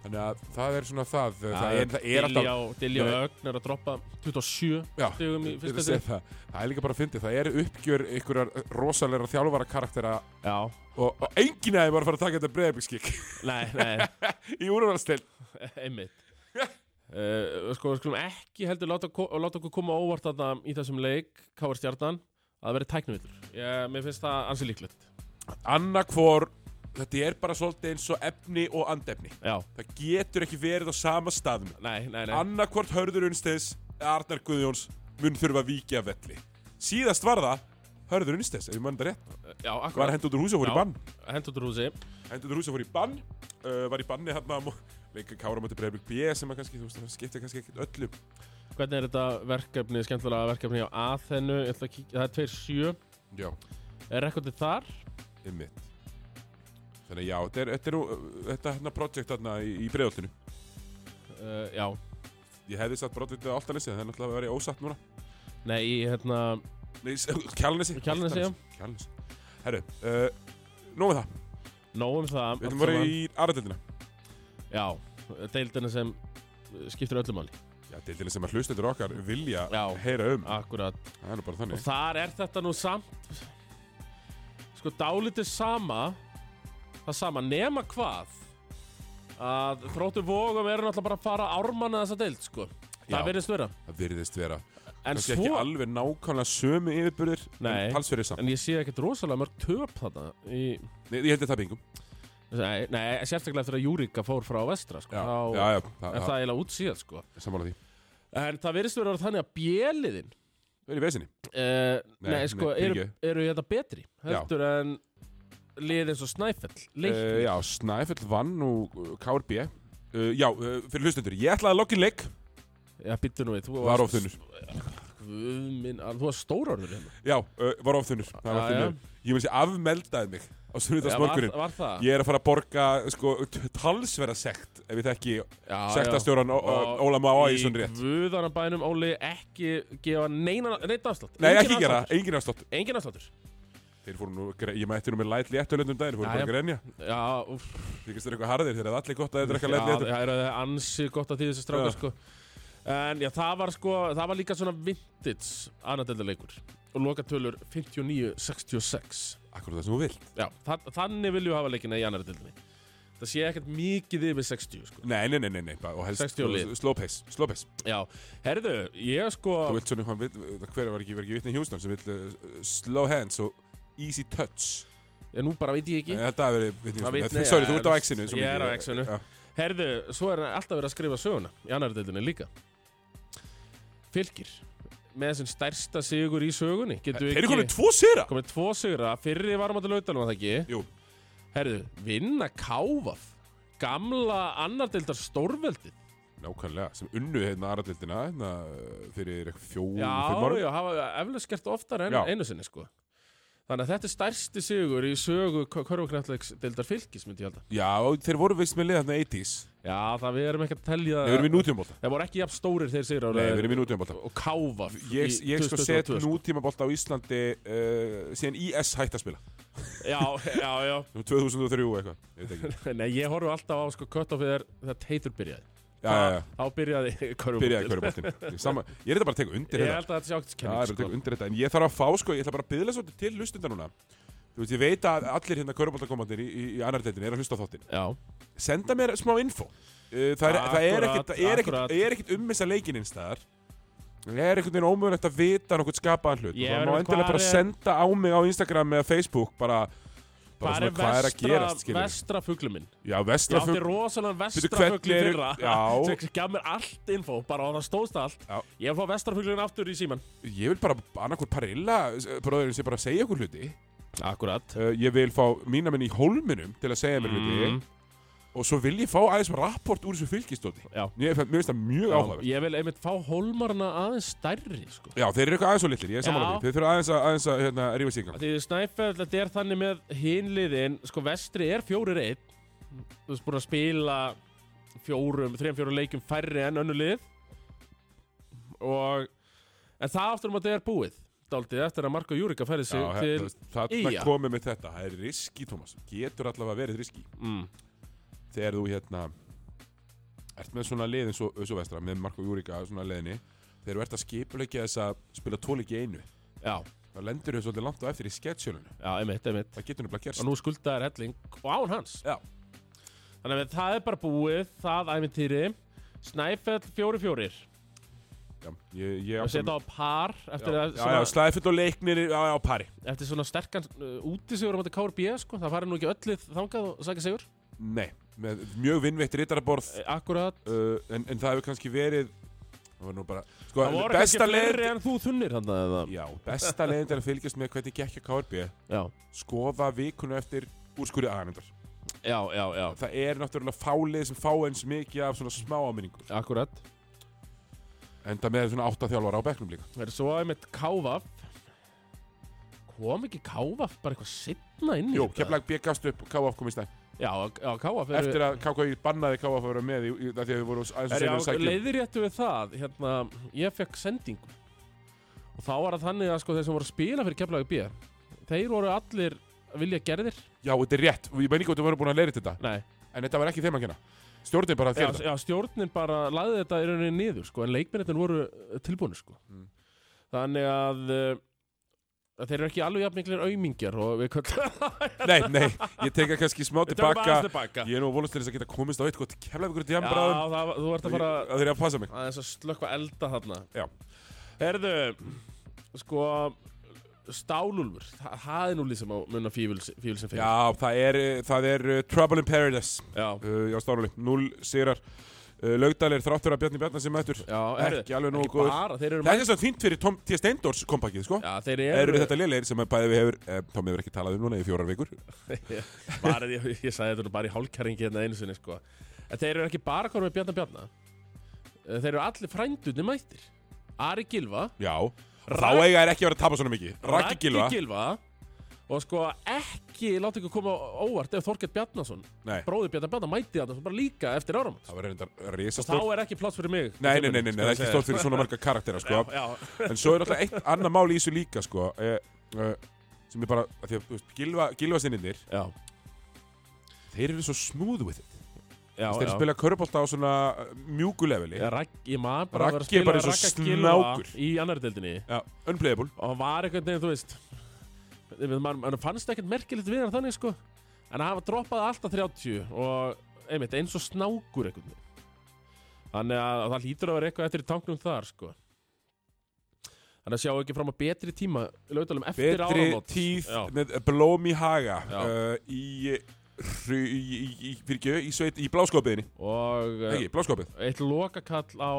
Speaker 1: Þannig að það er svona það. eh,
Speaker 2: Já,
Speaker 1: það, er, það er alltaf...
Speaker 2: Dilljá
Speaker 1: Nei.
Speaker 2: Ögn er að droppa 27
Speaker 1: Já,
Speaker 2: stigum í
Speaker 1: ég er
Speaker 2: fyrsta
Speaker 1: að segja
Speaker 2: deild.
Speaker 1: það. það er líka bara að fyndi. Það er uppgjör einhverjar rosalega þjálfara karaktera
Speaker 2: Já,
Speaker 1: og, og enginn aðeins var að fara að taka þetta breyðabíkskikk
Speaker 2: nei, nei,
Speaker 1: (laughs) í úrvalstil.
Speaker 2: einmitt uh, sko, við skulum ekki heldur láta, ko- láta okkur koma á óvart þarna í þessum leik Káar Stjarnan að vera tæknuvillur ég, mér finnst það ansi líklegt
Speaker 1: Annarkvor, þetta er bara svolítið eins og efni og andefni.
Speaker 2: já,
Speaker 1: Það getur ekki verið á sama staðum.
Speaker 2: nei, nei, nei
Speaker 1: Annarkvort Hörður Unnsteins eða Arnar Guðjóns mun þurfa að víkja af velli. Síðast var það Hörður Unnsteins, ef ég mann það rétt.
Speaker 2: já,
Speaker 1: Var
Speaker 2: akkurat,
Speaker 1: hendur út úr húsi og fór í
Speaker 2: Já.
Speaker 1: bann.
Speaker 2: hendur út úr húsi
Speaker 1: Hendur út úr húsi og fór í bann. Uh, var í banni hann að leika kára mæti Breiðbjörg B sem að kannski, þú veist, það skiptir kannski ekkert öllu.
Speaker 2: hvernig er þetta verkefni, skemmtilega verkefni á Aþenu, ég ætla að kíkja, það er 2-7
Speaker 1: Já,
Speaker 2: er rekordið þar
Speaker 1: ymmit. Þannig að já, þetta er, þetta er, nú- þetta hérna projekt hérna í, í Breiðoltinu.
Speaker 2: uh, já,
Speaker 1: Ég hefði satt brotið alltaf lesið, það er náttúrulega að vera ósatt núna.
Speaker 2: nei, í, hérna
Speaker 1: Nei, (laughs) Kjálnesi.
Speaker 2: Kjalarnesi, já.
Speaker 1: Kjálnesi. Herru, uh, nóg með það.
Speaker 2: nóg um það
Speaker 1: Við ætlum
Speaker 2: allt
Speaker 1: að vera
Speaker 2: saman.
Speaker 1: í aðrætildina.
Speaker 2: já, deildina sem uh, skiptir öllu máli
Speaker 1: Já, deildinni sem að hlustendur okkar vilja
Speaker 2: Já.
Speaker 1: heyra um.
Speaker 2: akkurat
Speaker 1: Það er nú bara
Speaker 2: Og
Speaker 1: þannig.
Speaker 2: þar er þetta nú samt Sko dálítið sama Það sama nema hvað Að þróttu vógum eru náttúrulega bara að fara ármanna þessa deild sko
Speaker 1: Já.
Speaker 2: Það verðist vera
Speaker 1: Það virðist vera.
Speaker 2: En
Speaker 1: Kannski ekki
Speaker 2: svo
Speaker 1: alveg nákvæmlega sömu yfirburðir,
Speaker 2: Nei.
Speaker 1: en talsverðir saman.
Speaker 2: En ég sé ekkert rosalega mörg töp þarna í,
Speaker 1: Nei, ég held að það bingum.
Speaker 2: nei, nei, sérstaklega eftir að Júrika fór frá vestra sko
Speaker 1: Já,
Speaker 2: þá
Speaker 1: já, já, það,
Speaker 2: Er
Speaker 1: það,
Speaker 2: það eiginlega útsíðað sko
Speaker 1: sammála því.
Speaker 2: En það verðist vera þannig að bjeliðin
Speaker 1: Við erum í vesinni.
Speaker 2: Uh, nei,
Speaker 1: Nei,
Speaker 2: sko,
Speaker 1: nei,
Speaker 2: eru,
Speaker 1: fyrirgefðu.
Speaker 2: eru þetta betri
Speaker 1: Já.
Speaker 2: heldur en liðið eins og Snæfell leikni
Speaker 1: Uh, já, Snæfell vann og uh, KRB. Uh, já, uh, fyrir hlustendur, ég ætlaði að lokkin leik.
Speaker 2: Já, býttu nú við, þú
Speaker 1: Var of þunnur.
Speaker 2: Guð minn, al- þú var stórorður hérna.
Speaker 1: Já, uh, var of þunnur. Það var
Speaker 2: Já, já.
Speaker 1: þunnur. Ég meins ég afmeldaði mig á
Speaker 2: var,
Speaker 1: sunnudagsmorgunin.
Speaker 2: var það?
Speaker 1: Ég er að fara að borga sko, t- talsverða sekt ef ég þekki
Speaker 2: já,
Speaker 1: sektastjóran Ó- Ó- Óla Má Ægisson
Speaker 2: Í
Speaker 1: rétt.
Speaker 2: guðana bænum Óli ekki gefa neina, neitt afslátt.
Speaker 1: Nei,
Speaker 2: Enginn
Speaker 1: ekki gera,
Speaker 2: afsláttur.
Speaker 1: það, engin afslátt.
Speaker 2: Engin afsláttur.
Speaker 1: Þeir fóru nú, gre- ég mætti nú með læt léttölund um daginn, þeir fóru bara
Speaker 2: Jæja.
Speaker 1: að grenja.
Speaker 2: Já, úff.
Speaker 1: Þykist þeir eitthvað harðir, þeir hefði allir gott að þeir drekka
Speaker 2: Já,
Speaker 1: læt léttölund.
Speaker 2: það er að ansi gott að því þessi stráka,
Speaker 1: Já.
Speaker 2: sko. En já, það var sko, það var líka svona vintage annaðeldaleikur. Og lokatölur 59-66.
Speaker 1: Akkur það sem þú vilt.
Speaker 2: Já, það, þannig viljum við hafa leikina í annaðeldalinni. Það sé ekkert mikið yfir 60, sko.
Speaker 1: Nei, nei, nei, nei, nei, bara- og
Speaker 2: 60 og lið.
Speaker 1: helst slow pace, slow pace.
Speaker 2: Já, herðu, ég sko...
Speaker 1: Þú vilt svona eitthvað, vill- hver var ekki, var ekki vitni Hjúsnum sem vill uh, slow hands og easy touch.
Speaker 2: Já, nú bara veit ég ekki.
Speaker 1: Nei, Þetta hefur verið vitni
Speaker 2: Það vitni,
Speaker 1: Hjúsnum. Sorry, þú
Speaker 2: ja,
Speaker 1: ert á X-inu. svo
Speaker 2: ég
Speaker 1: mikið.
Speaker 2: er á X-inu.
Speaker 1: Já.
Speaker 2: Herðu, svo er hann alltaf verið að skrifa söguna í annar deildinni líka. Fylgir, með þessum stærsta sigur í sögunni. Getum við
Speaker 1: Eh, Þeir eru
Speaker 2: ekki...
Speaker 1: komin tvo sýra.
Speaker 2: komið tvo sigra, fyrri varum að lautanum að það ekki.
Speaker 1: Jú,
Speaker 2: Herðu, vinna káfað. Gamla annar deildar stórveldið.
Speaker 1: nákvæmlega, sem unnu hérna aðradildina hérna, uh, fyrir eitthvað fjóðum,
Speaker 2: Já,
Speaker 1: fimm árum.
Speaker 2: já, hafa eflaust gert oftar en
Speaker 1: Já.
Speaker 2: einu sinni, sko. Þannig að þetta er stærsti sigur í sögu körfuknallegs deildar fylgis, myndi ég halda.
Speaker 1: Já, og þeir voru veist með lið hérna 80s.
Speaker 2: Já, það við erum ekki að telja...
Speaker 1: Nei, við erum í nútímabólta.
Speaker 2: Það voru ekki jafn stórir þeir sigur
Speaker 1: Nei, við erum í nútímabólta.
Speaker 2: og káfa
Speaker 1: Ég,
Speaker 2: í
Speaker 1: ég sko set
Speaker 2: 2022, sko.
Speaker 1: eh, nútímabolt á Íslandi uh, síðan IS hætti að spila
Speaker 2: Já, já, já
Speaker 1: 2003 eitthvað, ég veit ekki.
Speaker 2: Nei, ég horfi alltaf á sko cut-offið þegar þetta heitur byrjaði
Speaker 1: Já, já, já,
Speaker 2: Þá byrjaði (laughs) körfum
Speaker 1: byrjaði hverju bóttin. Ég er þetta bara að teka undir
Speaker 2: Ég
Speaker 1: þetta.
Speaker 2: held að þetta sé ákvæmt
Speaker 1: Já, ég er bara
Speaker 2: kenning
Speaker 1: að teka
Speaker 2: sko.
Speaker 1: undir þetta. En ég þarf að fá, sko, ég ætla bara að byðla svolítið til hlustundar núna. Þú veist, ég veit að allir hérna körubóltakomandir í, í, í annar deildinni er að hlusta á þóttin.
Speaker 2: Já,
Speaker 1: Senda mér smá info. Uh, Það er, það er
Speaker 2: Akkurat,
Speaker 1: ekkit, það er ekkit,
Speaker 2: akkurat.
Speaker 1: það er um ekkit ummissa leikin einstæðar. Það er einhvern veginn ómögulegt að vita nokkuð skapaðan hlut.
Speaker 2: Ég
Speaker 1: og það
Speaker 2: er
Speaker 1: má
Speaker 2: alveg
Speaker 1: endilega
Speaker 2: hvar
Speaker 1: bara
Speaker 2: er-
Speaker 1: senda á mig á Instagram eða Facebook bara, bara
Speaker 2: hvað
Speaker 1: svona
Speaker 2: er
Speaker 1: hvað er að
Speaker 2: vestra,
Speaker 1: gerast, skilur.
Speaker 2: vestra fuglum minn?
Speaker 1: Já,
Speaker 2: Ég
Speaker 1: vestra
Speaker 2: átti rosalega vestra
Speaker 1: Bíddu,
Speaker 2: fugli
Speaker 1: hvernig
Speaker 2: fyrra
Speaker 1: eru- Já.
Speaker 2: (laughs) Sem gaf mér allt info, bara og það stóðst allt
Speaker 1: Já.
Speaker 2: Ég fór vestra fuglun aftur í síman
Speaker 1: Ég vil bara annarkur parilla bróðurinn sem bara að segja okkur hluti
Speaker 2: Akkurat
Speaker 1: uh, Ég vil fá mína minn í hólminum til að segja mér
Speaker 2: Mm.
Speaker 1: hluti Og svo vil ég fá aðeins rapport úr þessu fylgistóti
Speaker 2: Já.
Speaker 1: Mér mér finnst það mjög áhugaverð
Speaker 2: Ég vil einmitt fá hólmarna aðeins stærri sko.
Speaker 1: Já, þeir eru eitthvað aðeins og litlir, ég er samanlega
Speaker 2: Já.
Speaker 1: því Þeir þurfa aðeins að, aðeins að hérna, rífa sig í gang
Speaker 2: Því snæfell, þetta er þannig með hinliðin Sko vestri er fjórir einn Þú veist búin að spila fjórum, þrejum fjórum leikjum færri en önnu lið Og En það aftur um að þetta er búið Daldið eftir að Marko Júrika færði sig
Speaker 1: Já, hérna,
Speaker 2: til
Speaker 1: til... það, það
Speaker 2: Eyja.
Speaker 1: komið með þetta Það er riski, Tómas, getur allavega verið riski
Speaker 2: mm,
Speaker 1: Þegar þú hérna Ert með svona lið eins og eins og vestra Með Marko Júrika svona leiðinni Þegar þú ert að skipulegja þess að spila tóleiki einu
Speaker 2: Já,
Speaker 1: Það lendur þau svolítið langt á eftir í sketsjölunum
Speaker 2: já, einmitt, einmitt
Speaker 1: Það getur nefnilega gerst
Speaker 2: Og nú skuldaðar helling og án hans
Speaker 1: Já.
Speaker 2: Þannig að það er bara búið, það æmintýri Snæfell fjóri fjórir
Speaker 1: Já, ég, ég
Speaker 2: Og setja á par eftir,
Speaker 1: já,
Speaker 2: að,
Speaker 1: já, já,
Speaker 2: svona,
Speaker 1: slæði fullt og leiknir já, já, á pari
Speaker 2: eftir svona sterkan uh, útisigur um þetta KRB sko. Það farið nú ekki öllið þangað og sækja sigur
Speaker 1: Nei, með mjög vinnveitt rittaraborð uh,
Speaker 2: Eh, Akkurat
Speaker 1: en, en það hefur kannski verið Það var nú bara sko,
Speaker 2: Það voru kannski
Speaker 1: besta
Speaker 2: fleiri
Speaker 1: leiðin
Speaker 2: en þú þunnir þannig að það
Speaker 1: Já, besta leiðin er að fylgjast með hvernig gekk að KRB
Speaker 2: Já,
Speaker 1: Skoða vikuna eftir úrskurði aðanendar
Speaker 2: já, já, já
Speaker 1: Það er náttúrulega fálið sem fá eins mikið af svona smá áminningu
Speaker 2: Akkurat
Speaker 1: Enda með svona átta þjálfara á bekknum líka
Speaker 2: Það er svo að einmitt kávaf Kom ekki kávaf bara eitthvað sittna inn í
Speaker 1: Jú,
Speaker 2: þetta?
Speaker 1: keflag bjökkast upp og KF komist næ
Speaker 2: Já, já kávaf eru-
Speaker 1: Eftir að KKI bannaði KF að vera með í, í, Það því að við vorum aðeins og
Speaker 2: Er
Speaker 1: seinir að
Speaker 2: já,
Speaker 1: sækja um-
Speaker 2: leiðiréttu við það, hérna, ég fekk sendingu og þá var það þannig að sko þeir sem voru að spila fyrir Keflavík B þeir voru allir vilja gerðir
Speaker 1: Já, þetta er rétt, og ég meina ekki að þú verður búin að leira þetta
Speaker 2: Nei,
Speaker 1: En þetta var ekki þeim að kenna Stjórnin bara að
Speaker 2: já,
Speaker 1: gera þetta
Speaker 2: já, stjórnin bara laði þetta í rauninni niður sko, en leikminnetin voru eh, tilbúnir sko.
Speaker 1: Mm.
Speaker 2: þannig að, eh, að þeir eru ekki alveg jafn miklir aumingjar og við köllum
Speaker 1: Nei, nei, ég teka kannski smá
Speaker 2: (laughs)
Speaker 1: tilbaka
Speaker 2: tilbaka
Speaker 1: Ég er nú volast til þess að geta komist á eitthvað Keflaði ykkur
Speaker 2: Já,
Speaker 1: djambráðum
Speaker 2: það, var- þú ert að fara
Speaker 1: Það er að passa mig
Speaker 2: aðeins að slökva elda þarna
Speaker 1: Já.
Speaker 2: Herðu, sko Stálúlfur, það, það er nú lísum á munna fífil, fífil sem fyrir
Speaker 1: Já, það er, eh, það er uh, Trouble in Paradise
Speaker 2: Já,
Speaker 1: uh, Já, stánuli, 0 sigrar uh, Laugdalir, þráttur að Bjarni Bjarnar sem mættur
Speaker 2: já herðu,
Speaker 1: Ekki alveg nógu
Speaker 2: ekki
Speaker 1: góður
Speaker 2: bara, þeir eru
Speaker 1: Það er svo fínt fyrir Tom T. Steindors kompakið, sko
Speaker 2: Já, þeir
Speaker 1: Eru
Speaker 2: eru
Speaker 1: þetta lélegir sem að bæði við hefur eh, Tom hefur ekki talað um núna í fjórar vikur
Speaker 2: (laughs) bara, ég, ég sagði þetta nú bara í hálkæringi hérna einu sinni sko. en þeir eru ekki bara konum með Bjarnar Bjarnar Eh, þeir eru allir frændunni mættir Ari Gilva
Speaker 1: Já, þá
Speaker 2: Ragn-
Speaker 1: eiga er ekki að vera að tapa svona mikið Raggi Gilva
Speaker 2: Gilva og sko ekki láta ykkur koma á óvart ef Þorgett Bjarnason
Speaker 1: Nei,
Speaker 2: bróði Bjarnar Bjarnar mætti þarna bara líka eftir áram
Speaker 1: það var reyndar
Speaker 2: og þá
Speaker 1: risastórt
Speaker 2: er ekki pláts fyrir mig
Speaker 1: Nei, nei, nei, nei, nei, það er ekki stórt fyrir svona marga karaktera, sko. En svo er alltaf eitt annað mál í þessu líka, sko, e, e, sem er bara, af því að, þú veist, gilva, gilva sinniðnir,
Speaker 2: Já,
Speaker 1: þeir eru svo smooth with it.
Speaker 2: já,
Speaker 1: Þess, þeir
Speaker 2: já, já.
Speaker 1: spila körbólta á svona eh, mjúkuleveli,
Speaker 2: Já, Ragg, ég maður bara að vera að
Speaker 1: Raggi er
Speaker 2: spila
Speaker 1: bara eins og
Speaker 2: Ragga Gylfa
Speaker 1: snákur.
Speaker 2: í annar deildinni
Speaker 1: ja, unplayable.
Speaker 2: og hann var einhvern veginn, þú veist man, man, man fannst ekkert merkilegt við hann þannig sko en hann droppaði alltaf 30 og einmitt eins og snákur einhvern veginn þannig að það hlýtur að vera eitthvað eftir í tanknum þar sko þannig að sjá ekki fram að betri tíma lögdalum eftir
Speaker 1: Betri
Speaker 2: áramót
Speaker 1: tíð
Speaker 2: Já.
Speaker 1: með blóm í haga
Speaker 2: Já.
Speaker 1: uh, í, hru- í, í, í, fyrir ekki, í sveit, í bláskopiðinni.
Speaker 2: og eh,
Speaker 1: Ekki, bláskopið.
Speaker 2: eitt lokakall á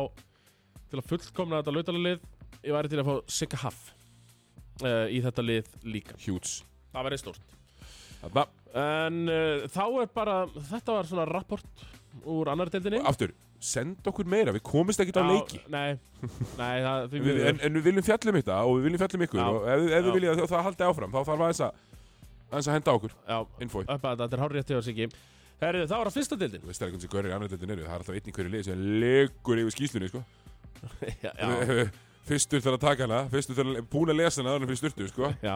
Speaker 2: til að fullkomna þetta lautalið ég væri til að fá Sigga Haff uh, í þetta lið líka
Speaker 1: Hjúts.
Speaker 2: það væri stórt
Speaker 1: Þarna,
Speaker 2: en uh, þá er bara þetta var svona rapport úr annar deildinni
Speaker 1: aftur, send okkur meira, við komist ekkert á
Speaker 2: Já,
Speaker 1: leiki. (laughs)
Speaker 2: nei, nei það, því
Speaker 1: Við,
Speaker 2: miður.
Speaker 1: en, en við viljum fjallum þetta og við viljum fjallum ykkur
Speaker 2: Já.
Speaker 1: og ef, ef
Speaker 2: Já.
Speaker 1: við viljum að það haldi áfram þá þarf aðeins að, aðeins að henda á okkur
Speaker 2: já,
Speaker 1: infói.
Speaker 2: upp að þetta, þetta er hár rétt hjá Siggi Herri, það var að fyrsta deildin
Speaker 1: Þú veist ekki hvernig sem görir í annar deildin eru, það er alltaf einn í hverju liði sem legur yfir skýslunni, sko.
Speaker 2: (laughs) já, já,
Speaker 1: (laughs) Fyrstur þarf að taka hana, fyrstur þarf að búin að lesa hana þannig fyrir styrtu, sko.
Speaker 2: já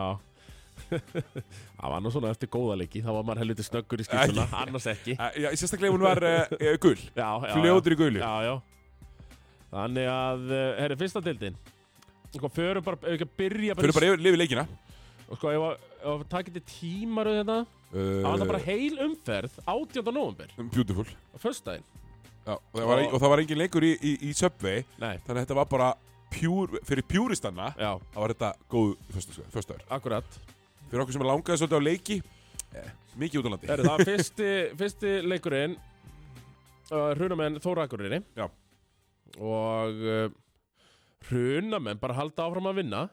Speaker 2: (laughs) Það var nú svona eftir góða leiki, þá var maður helviti snöggur í skýrtuna, annars ekki.
Speaker 1: Eh, Já, sérstaklega ef hún var uh, gul,
Speaker 2: Já, já, já.
Speaker 1: fljótur í gulu.
Speaker 2: Já, já. Þannig að, eh, herri, fyrsta deildin. Sko, förum bara, ef við ekki að byrja
Speaker 1: Fyrir bara
Speaker 2: í...
Speaker 1: yfir, lifið leikina.
Speaker 2: Og sko, ef að- ef að taka þetta tímaru þetta, þá var það bara
Speaker 1: Uh,
Speaker 2: heil umferð 18. november,
Speaker 1: beautiful.
Speaker 2: á föstudaginn.
Speaker 1: Já, og, það var,
Speaker 2: Og-
Speaker 1: og það var engin leikur í, í, í Subway,
Speaker 2: Nei,
Speaker 1: þannig að þetta var bara pjúr, fyrir pjúristanna,
Speaker 2: já,
Speaker 1: þá var þetta góð föstaður.
Speaker 2: akkurat.
Speaker 1: Fyrir okkur sem langaði svolítið á leiki, eh, mikið út á landi.
Speaker 2: Herri, það var fyrsti, fyrsti leikurinn, uh, hrunamenn Þóra Akurinni.
Speaker 1: Já.
Speaker 2: Og uh, hrunamenn bara halda áfram að vinna.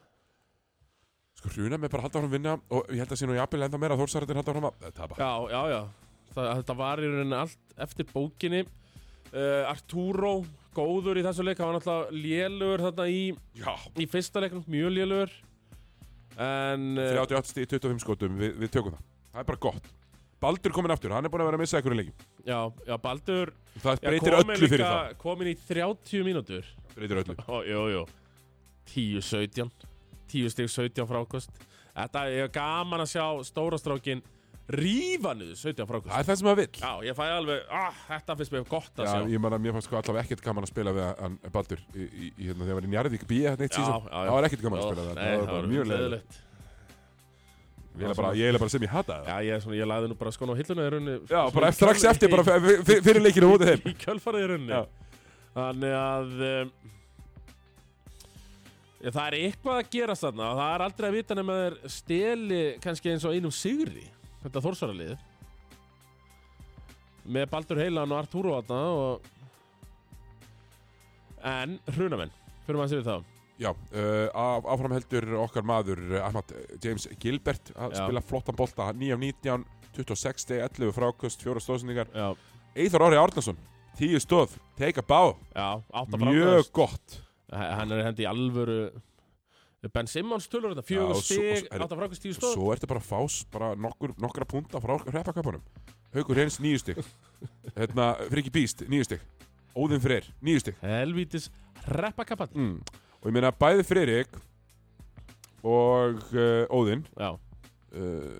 Speaker 1: Sko, hruna með bara halda áfram að vinna og ég held að sé nú jafnvel enda meira að Þórsarðin halda áfram að Eh, tapa.
Speaker 2: Já, já, já. Það, þetta var í rauninni allt eftir bókinni. Uh, Arturo, góður í þessu leik, hann var náttúrulega lélugur þarna í,
Speaker 1: Já,
Speaker 2: í fyrsta leiknum, mjög lélugur. En, uh,
Speaker 1: 38 stíð, 25 skotum, við, við tökum það. Það er bara gott. Baldur komin aftur, hann er búin að vera að missa einhverju leikum.
Speaker 2: já, já, Baldur
Speaker 1: Það
Speaker 2: já,
Speaker 1: breytir
Speaker 2: kominn
Speaker 1: öllu fyrir það.
Speaker 2: Kominn í 30 mínútur.
Speaker 1: Breytir öllu.
Speaker 2: Ó, jú, jú. 10-17. 10 stík 17 frákost. Þetta er gaman að sjá stóra strákin rífa niður 17 frákost.
Speaker 1: Það er það sem maður vill.
Speaker 2: Já, ég fæ alveg, ah, þetta finnst mér gott að
Speaker 1: Já,
Speaker 2: sjá.
Speaker 1: ég man að mér fannst sko allavega ekkert gaman að spila við hann eh, Baldur í, í, í hérna þegar hann var í Njarðvík B hérna eitt
Speaker 2: Já,
Speaker 1: sísón.
Speaker 2: já, já.
Speaker 1: Það var ekkert gaman að spila við
Speaker 2: Ó,
Speaker 1: hann.
Speaker 2: nei,
Speaker 1: Það var bara mjög leiðilegt.
Speaker 2: leiðilegt.
Speaker 1: Ég er bara, ég eiginlega bara sem ég hataði það.
Speaker 2: Já, ég, er svona, ég lagði nú bara skona á hilluna í rauninni
Speaker 1: Já,
Speaker 2: svona
Speaker 1: bara
Speaker 2: í
Speaker 1: eftir, strax
Speaker 2: kjölfarið-
Speaker 1: eftir, bara f- f- fyrir leikinu
Speaker 2: (laughs)
Speaker 1: út af þeim.
Speaker 2: Í kjölfarið í rauninni
Speaker 1: Já.
Speaker 2: Þannig að um, ja, Það er eitthvað að gerast þarna og Það er aldrei að vita nema þeir steli kannski eins og einum sigri Þetta þórsvaralið Með Baldur Heilan og Arturo þarna og... En, hrunamenn Fyrir maður að segja þá
Speaker 1: Já, uh, af, áfram heldur okkar maður eh, Ahmad eh, James Gilbert að
Speaker 2: Já.
Speaker 1: spila flottan bolta, 9 af 19 26 steg, 11 frákust, 4 stóðsendingar
Speaker 2: Já,
Speaker 1: Eithar Orri Árnason 10 stóð, teika bá
Speaker 2: já átta
Speaker 1: mjög gott
Speaker 2: Hann er hendi í alvöru Ben Simmons tölur þetta
Speaker 1: Já,
Speaker 2: Fjögur
Speaker 1: og svo- og
Speaker 2: stig,
Speaker 1: svo- er-
Speaker 2: átta frákast tíu stóð
Speaker 1: Svo ertu bara að fá s- bara nokkur, nokkra punta frá hreppakapunum Haukur Hreins 9 steg hérna, Friki Bíst 9 steg Óðinn Freyr 9 steg
Speaker 2: Helvítis reppakappandi
Speaker 1: mm. og ég meina bæði Freyrik og uh, Óðinn
Speaker 2: Já,
Speaker 1: uh,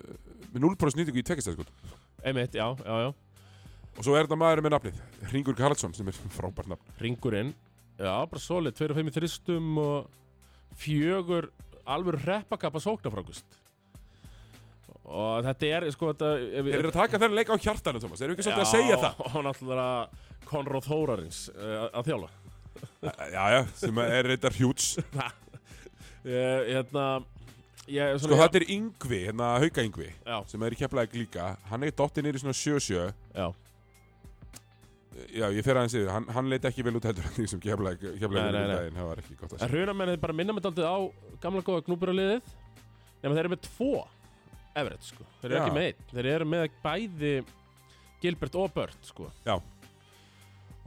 Speaker 1: með 0% nýtingu í tvekistæðskot
Speaker 2: einmitt, já, já, já
Speaker 1: Og svo er þetta maður með nafnið, Ringur Karlsson sem er (laughs) frábært nafn.
Speaker 2: Ringurinn, já, bara solid 2 og 5 í þristum og fjögur alveg reppakappa sóknarfrákust og þetta er, sko, þetta ef,
Speaker 1: Þeir eru að taka þennan leik á hjartanu, Thomas, erum við ekki svolítið að segja það? (laughs)
Speaker 2: Já, og náttúrulega Konrad Þórarins uh, að- að þjála
Speaker 1: Já, já, sem er reyndar hjúts.
Speaker 2: ég, Hérna, ég,
Speaker 1: Eh, Sko þetta er Yngvi, hérna Hauka Yngvi,
Speaker 2: Já,
Speaker 1: sem er í keflaðið líka. Hann er dottið niður í svona sjö-sjö.
Speaker 2: já,
Speaker 1: Já, ég fer aðeins yfir, hann, hann leit ekki vel út heldur hann því sem keflaðið
Speaker 2: Nei,
Speaker 1: keflaðið
Speaker 2: nei, nei.
Speaker 1: daginn, það var ekki gott að
Speaker 2: en hrunamennið bara minna með daldið á gamla góða knúburaliðið nema þeir eru með tvo Everett, sko, þeir eru
Speaker 1: Já.
Speaker 2: ekki með einn þeir eru með bæði Gilbert og Bört, sko
Speaker 1: Já.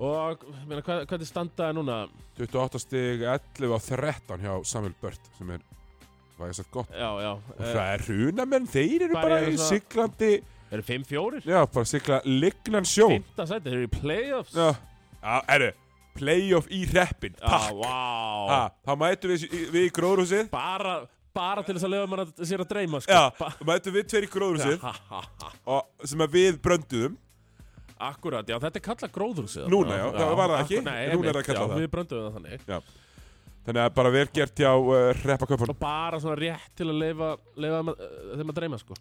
Speaker 2: Og meina, hvað, hvað er standaði núna?
Speaker 1: segja. 28 stig 11 og 13 hjá Samuel Bört, sem er, hvað ég sagt, gott.
Speaker 2: Já, já eh,
Speaker 1: Og það er runamenn, þeir eru
Speaker 2: bara
Speaker 1: bara
Speaker 2: eru
Speaker 1: í
Speaker 2: svona-
Speaker 1: siglandi,
Speaker 2: Það eru 5-4
Speaker 1: já, bara sigla lignan sjó.
Speaker 2: Fymta sæti, þeir eru í playoffs
Speaker 1: Já, já erðu, playoff í reppin,
Speaker 2: Já,
Speaker 1: takk.
Speaker 2: vá
Speaker 1: Ha, þá mætum við, í- við í gróðrúsið.
Speaker 2: bara, bara til þess að lefa mann að sér að dreyma sko.
Speaker 1: Já,
Speaker 2: Ba- (laughs)
Speaker 1: þá mætum við tveir í gróðrúsið
Speaker 2: Ha, ha, ha.
Speaker 1: og sem að við brönduðum.
Speaker 2: Akkurat, já, þetta er kallað gróðrúsið
Speaker 1: Núna, já, það var það ekki.
Speaker 2: akkur-
Speaker 1: Núna
Speaker 2: Nei,
Speaker 1: er það
Speaker 2: einmitt,
Speaker 1: kallað
Speaker 2: já,
Speaker 1: það.
Speaker 2: Við brönduðum það þannig
Speaker 1: Þannig að bara vel gert hjá uh, reppaköpun.
Speaker 2: Og bara svona rétt til að leifa, leifa uh, þeim að dreyma sko.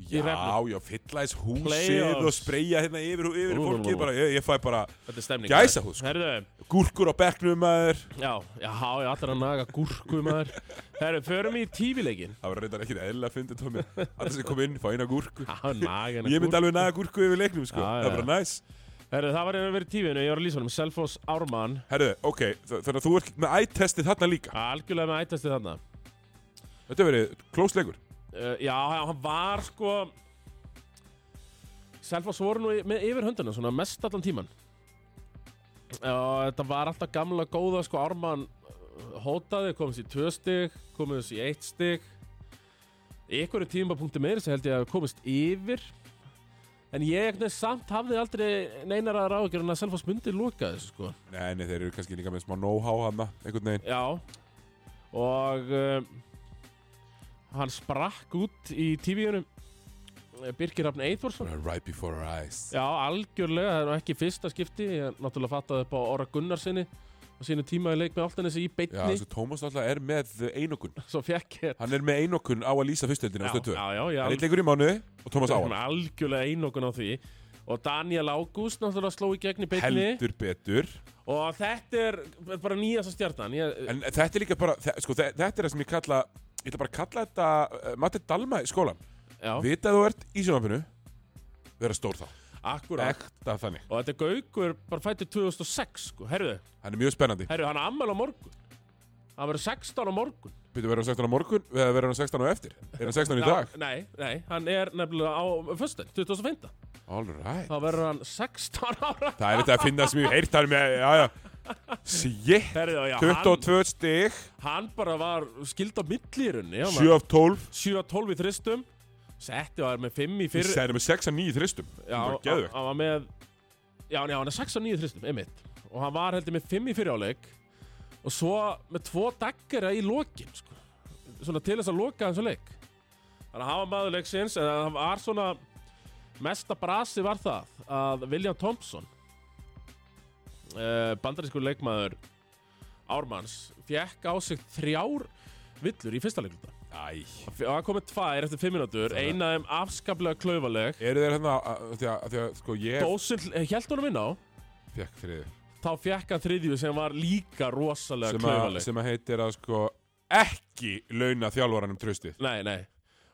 Speaker 1: Já,
Speaker 2: Hrefnu.
Speaker 1: já, fylla þess húsið
Speaker 2: Playoffs.
Speaker 1: og spreyja hérna yfir, yfir
Speaker 2: Ú, ú,
Speaker 1: fólki.
Speaker 2: ú.
Speaker 1: Bara, ég, ég fæ bara
Speaker 2: Þetta er stemning
Speaker 1: Gæsahúð, sko.
Speaker 2: Herðu,
Speaker 1: gúrkur á bekknum maður.
Speaker 2: já, já, já, allir að naga gúrku maður Herðu, förum í tífileikin
Speaker 1: Það var reyndar ekkert eðla að fyndi tómi. Allir sem kom inn, fá eina gúrku.
Speaker 2: Já, naga hennar
Speaker 1: Ég myndi
Speaker 2: gúrku.
Speaker 1: alveg naga gúrku yfir leiknum, sko.
Speaker 2: Já,
Speaker 1: Það
Speaker 2: já,
Speaker 1: er bara næs.
Speaker 2: Herðu, það var einu verið tífinu, ég var að lýsa honum Selfoss Ármann,
Speaker 1: Herðu, ok, þ- þannig að þú ert með ættestið þarna líka.
Speaker 2: algjörlega með ættasti þarna
Speaker 1: Þetta hefur verið klósleikur.
Speaker 2: uh, Já, hann var sko Selfoss voru nú í- með yfir höndina svona mest allan tíman og þetta var alltaf gamla góða sko Ármann uh, hótaði, komist í tvö stig komist í eitt stig í einhverju tímapunkti meiri sem held ég að hafi komist yfir en ég einhvern veginn samt hafði aldrei neinar að ráðgjör en að Selfoss myndi loka þessu sko
Speaker 1: Nei, nei, þeir eru kannski líka með smá know-how hana, einhvern veginn.
Speaker 2: Já Og um, eh, Hann sprakk út í Eh, TV-unum Birgir Rafn Eithvarsson
Speaker 1: Right before our eyes
Speaker 2: Já, algjörlega, það er nú ekki fyrsta skipti Ég náttúrulega fattaði upp á Óra Gunnarsinni og sínu tíma í leik með Altanesi í
Speaker 1: Já,
Speaker 2: beinni
Speaker 1: þessu Tómas alltaf er með einokun
Speaker 2: (laughs) Svo fekk ég
Speaker 1: Hann er með einokun á að lýsa fyrstöldina á stöðu
Speaker 2: já, já, já,
Speaker 1: Hann er leikur í mánu og Tómas á
Speaker 2: algjörlega,
Speaker 1: hann
Speaker 2: (laughs) algjörlega einokun á því Og Daniel Ágúst náttúrulega sló í gegn í beinni
Speaker 1: Heldur betur
Speaker 2: Og þetta er bara nýjasta stjarnan ég,
Speaker 1: En þetta er líka bara, þe- sko, þe- þetta er það sem ég kalla Ég ætla bara að kalla þetta uh, Matti Dalma í skólan
Speaker 2: Já,
Speaker 1: Vita að þú ert í sjónvarpinu Verða stór þá
Speaker 2: akkurat
Speaker 1: Ekta þannig
Speaker 2: Og þetta Gaukur bara fættur 2006 sko. Herðu,
Speaker 1: Hann er mjög spennandi
Speaker 2: herðu, hann ammæl á morgun Hann verður 16 á morgun
Speaker 1: Byrju verður hann 16 á morgun eða verður hann 16 á eftir Er hann 16 í dag?
Speaker 2: Nei, nei, hann er nefnilega á föstudaginn, 2005
Speaker 1: All right
Speaker 2: Þá verður hann 16 ára
Speaker 1: Það er þetta að finna sem ég heyrt hann með Já, já Shit
Speaker 2: Herðu, já, hann,
Speaker 1: 22 stig
Speaker 2: hann bara var skild á millirunni
Speaker 1: 7 af 12
Speaker 2: 7-12 í þristum Setti var með 5 í
Speaker 1: Ég
Speaker 2: fyrir
Speaker 1: segði með 6 af 9 þristum
Speaker 2: Já,
Speaker 1: Það var
Speaker 2: hann
Speaker 1: geðvegt
Speaker 2: hann var með Já, já, hann er 6 á 9 þristum, einmitt Og hann var heldur með 5 í fyriráleik Og svo með 2 daggera í lokin sko. Svona til þess að loka hans að leik Þannig að hafa maður leiksins En það var svona Mesta brasi var það Að William Thompson uh, Bandarískur leikmaður Ármanns Fjekk á sig þrjár villur í fyrsta leikluta
Speaker 1: Æ
Speaker 2: Og það komið tvær eftir 5 minútur
Speaker 1: Það-
Speaker 2: Eina af þeim afskaplega klaufaleg
Speaker 1: Eru þeir hérna að- að- Því að, að, því að sko ég
Speaker 2: Dósin held eh, honum inn á
Speaker 1: fekk þriði
Speaker 2: Þá fekk hann þriðju sem var líka rosalega
Speaker 1: sem, að-
Speaker 2: klaufaleg
Speaker 1: sem að heitir að sko ekki launa þjálfaranum tröstið
Speaker 2: Nei, nei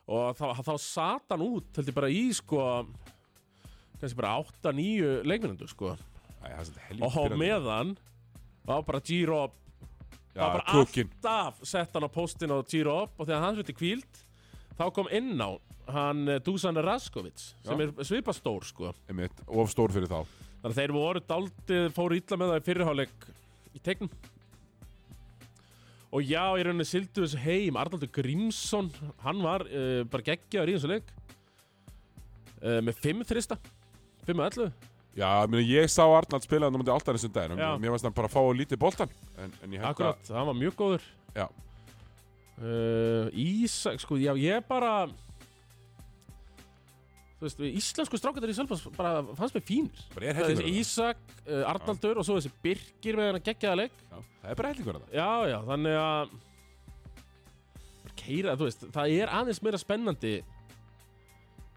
Speaker 2: Og þá, þá sat hann út held ég bara í sko kannski bara 8-9 leikminnundu sko
Speaker 1: Æ, það er svolítið
Speaker 2: Og á
Speaker 1: helvítið
Speaker 2: meðan var bara G-Rob
Speaker 1: Já,
Speaker 2: var bara
Speaker 1: kúkin
Speaker 2: alltaf sett hann á postin á G-Rob og þegar hann hluti kvíld þá kom inn á hann eh, Dusan Raskovic sem
Speaker 1: Já.
Speaker 2: er svipastór sko
Speaker 1: einmitt, Of stór fyrir þá
Speaker 2: Þannig að þeir voru daldið, fóru illa með það í fyrirháleik í teiknum. Og já, í rauninni sildu þessu heim, Arnaldur Grímsson, hann var uh, bara geggjaður í þessu leik. Uh, með fimm þrista, fimm og ellu.
Speaker 1: Já, ég meina, ég sá Arnald spila þannig að alltaf þessum um daginn
Speaker 2: Já.
Speaker 1: og Mér varst hann bara að fá að lítið boltan en, en ég held
Speaker 2: Akkurat, hann var mjög góður.
Speaker 1: Já.
Speaker 2: Uh, Ísak, sko, já, ég bara... Þú veist, íslensku strákandar í Sölfans bara fannst mér fínir.
Speaker 1: að bara er
Speaker 2: Það er
Speaker 1: hellingur
Speaker 2: þessi Ísak, uh, Arnaldur og svo þessi Birkir með hann að geggjaða leik.
Speaker 1: Já, Það er bara hellingur þetta
Speaker 2: Já, já, þannig að Keira, þú veist, það er aðeins meira spennandi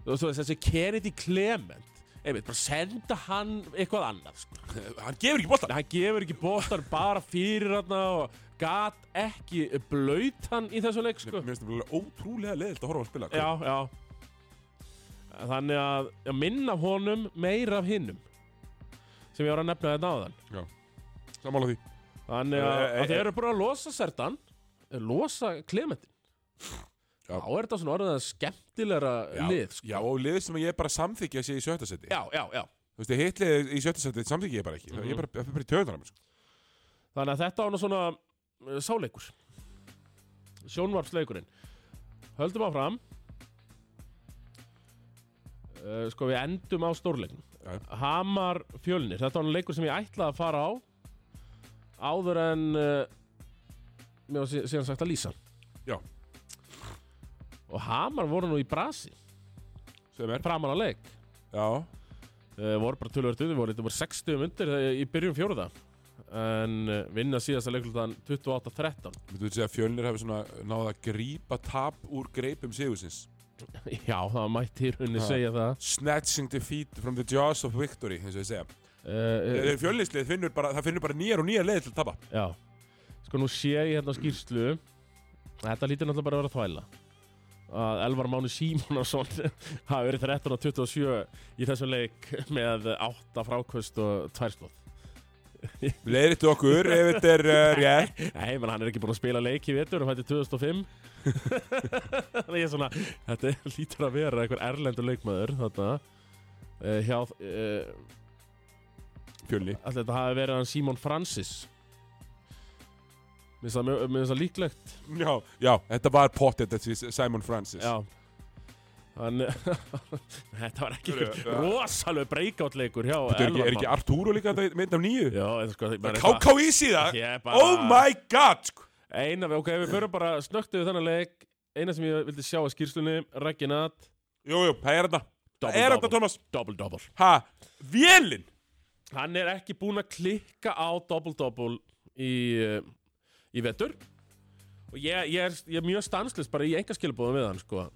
Speaker 2: Þú veist, þú veist, þessi Kennedy Clement Einmitt, bara senda hann eitthvað annað sko.
Speaker 1: Hann gefur ekki boltan
Speaker 2: (laughs) Hann gefur ekki bóttan bara fyrir hann og gat ekki blöyt hann í þessu leik
Speaker 1: Mér
Speaker 2: sko.
Speaker 1: finnst það bara ótrúlega leðilt að horfa að spila
Speaker 2: Já, já Þannig að já, minna af honum meira af hinnum sem ég var að nefna þetta áðan
Speaker 1: Sammála því
Speaker 2: Þannig að, e-
Speaker 1: Eh, eh,
Speaker 2: að þeir
Speaker 1: eh.
Speaker 2: eru bara að losa Sertan Losa Klementin
Speaker 1: Já.
Speaker 2: Þá er þetta svona orðið að skemmtilegra
Speaker 1: Já,
Speaker 2: lið sko.
Speaker 1: já, og liðið sem ég bara samþykja sé í sjöttasetti
Speaker 2: já, Mhm. já, já
Speaker 1: Þú veist, hitlið í sjöttasetti samþykja ég bara ekki mm -hmm. Ég bara, ég bara í töðunar sko.
Speaker 2: Þannig að þetta var nú svona uh, sáleikur Sjónvarpsleikurinn Höldum áfram uh, Sko við endum á stórleikum
Speaker 1: Já.
Speaker 2: Hamar fjölnir Þetta var nú leikur sem ég ætlaði að fara á Áður en uh, Mér var sí- síðan sagt að lýsa
Speaker 1: Já.
Speaker 2: Og Hamar voru nú í brasi
Speaker 1: Sem er
Speaker 2: Framan á leik
Speaker 1: Já,
Speaker 2: uh, voru bara tölvöld við voru, þetta voru 60 myndir eh, í byrjun fjóruða en uh, vinna síðasta leiklutan 28-13
Speaker 1: myndu þú segja að fjölnir hefur svona náða að grípa tap úr greipum sigursins
Speaker 2: (laughs) já, það mætti í rauninni
Speaker 1: Ha.
Speaker 2: segja það
Speaker 1: Snatching defeat from the jaws of victory eins og ég segja
Speaker 2: uh, uh,
Speaker 1: Fjölnislið finnur bara, það finnur bara nýjar og nýjar leið til að tapa
Speaker 2: já, sko nú sé ég hérna á skýrslu þetta lítur náttúrulega bara að vera þvæla að Elvar Máni Símonarsson (laughs) hafi verið 13 og 27 í þessum leik með 8 frákvöst og 2 slóð
Speaker 1: Leðrið okkur ef þetta er uh, rétt
Speaker 2: Nei, menn hann er ekki búin að spila leik í vetur og fætti 2005 (laughs) Þannig ég er svona, þetta er- lítur að vera einhver erlendur leikmaður þarna uh, hjá, uh,
Speaker 1: Fjölni
Speaker 2: alltaf þetta hafi verið hann Simon Francis Mér finnst það mjög- mér finnst það líklegt
Speaker 1: Já, já, þetta var pottet þetta er Simon Francis
Speaker 2: Já Hann, (laughs) þetta var ekki
Speaker 1: Hörru,
Speaker 2: einhver rosalega breakout leikur hjá
Speaker 1: Þetta er ekki, er ekki
Speaker 2: Elvar Már.
Speaker 1: Arturo líka þetta mynd af nýju?
Speaker 2: Já, eða sko ég bara-
Speaker 1: KKI síðan?
Speaker 2: Ég er bara-
Speaker 1: Oh my god sko.
Speaker 2: Eina, ok, við förum bara snögt yfir þennan leik eina sem ég vildi sjá að skýrslunni, Reginat,
Speaker 1: Jú, jú, það er þetta
Speaker 2: Double,
Speaker 1: Það er þetta,
Speaker 2: double.
Speaker 1: Thomas
Speaker 2: double-double.
Speaker 1: Ha, vélinn
Speaker 2: Hann er ekki búinn að klikka á double-double í, eh, í vetur. Og ég, ég, er, ég er mjög stanslist bara í engaskilabóðum við hann, sko.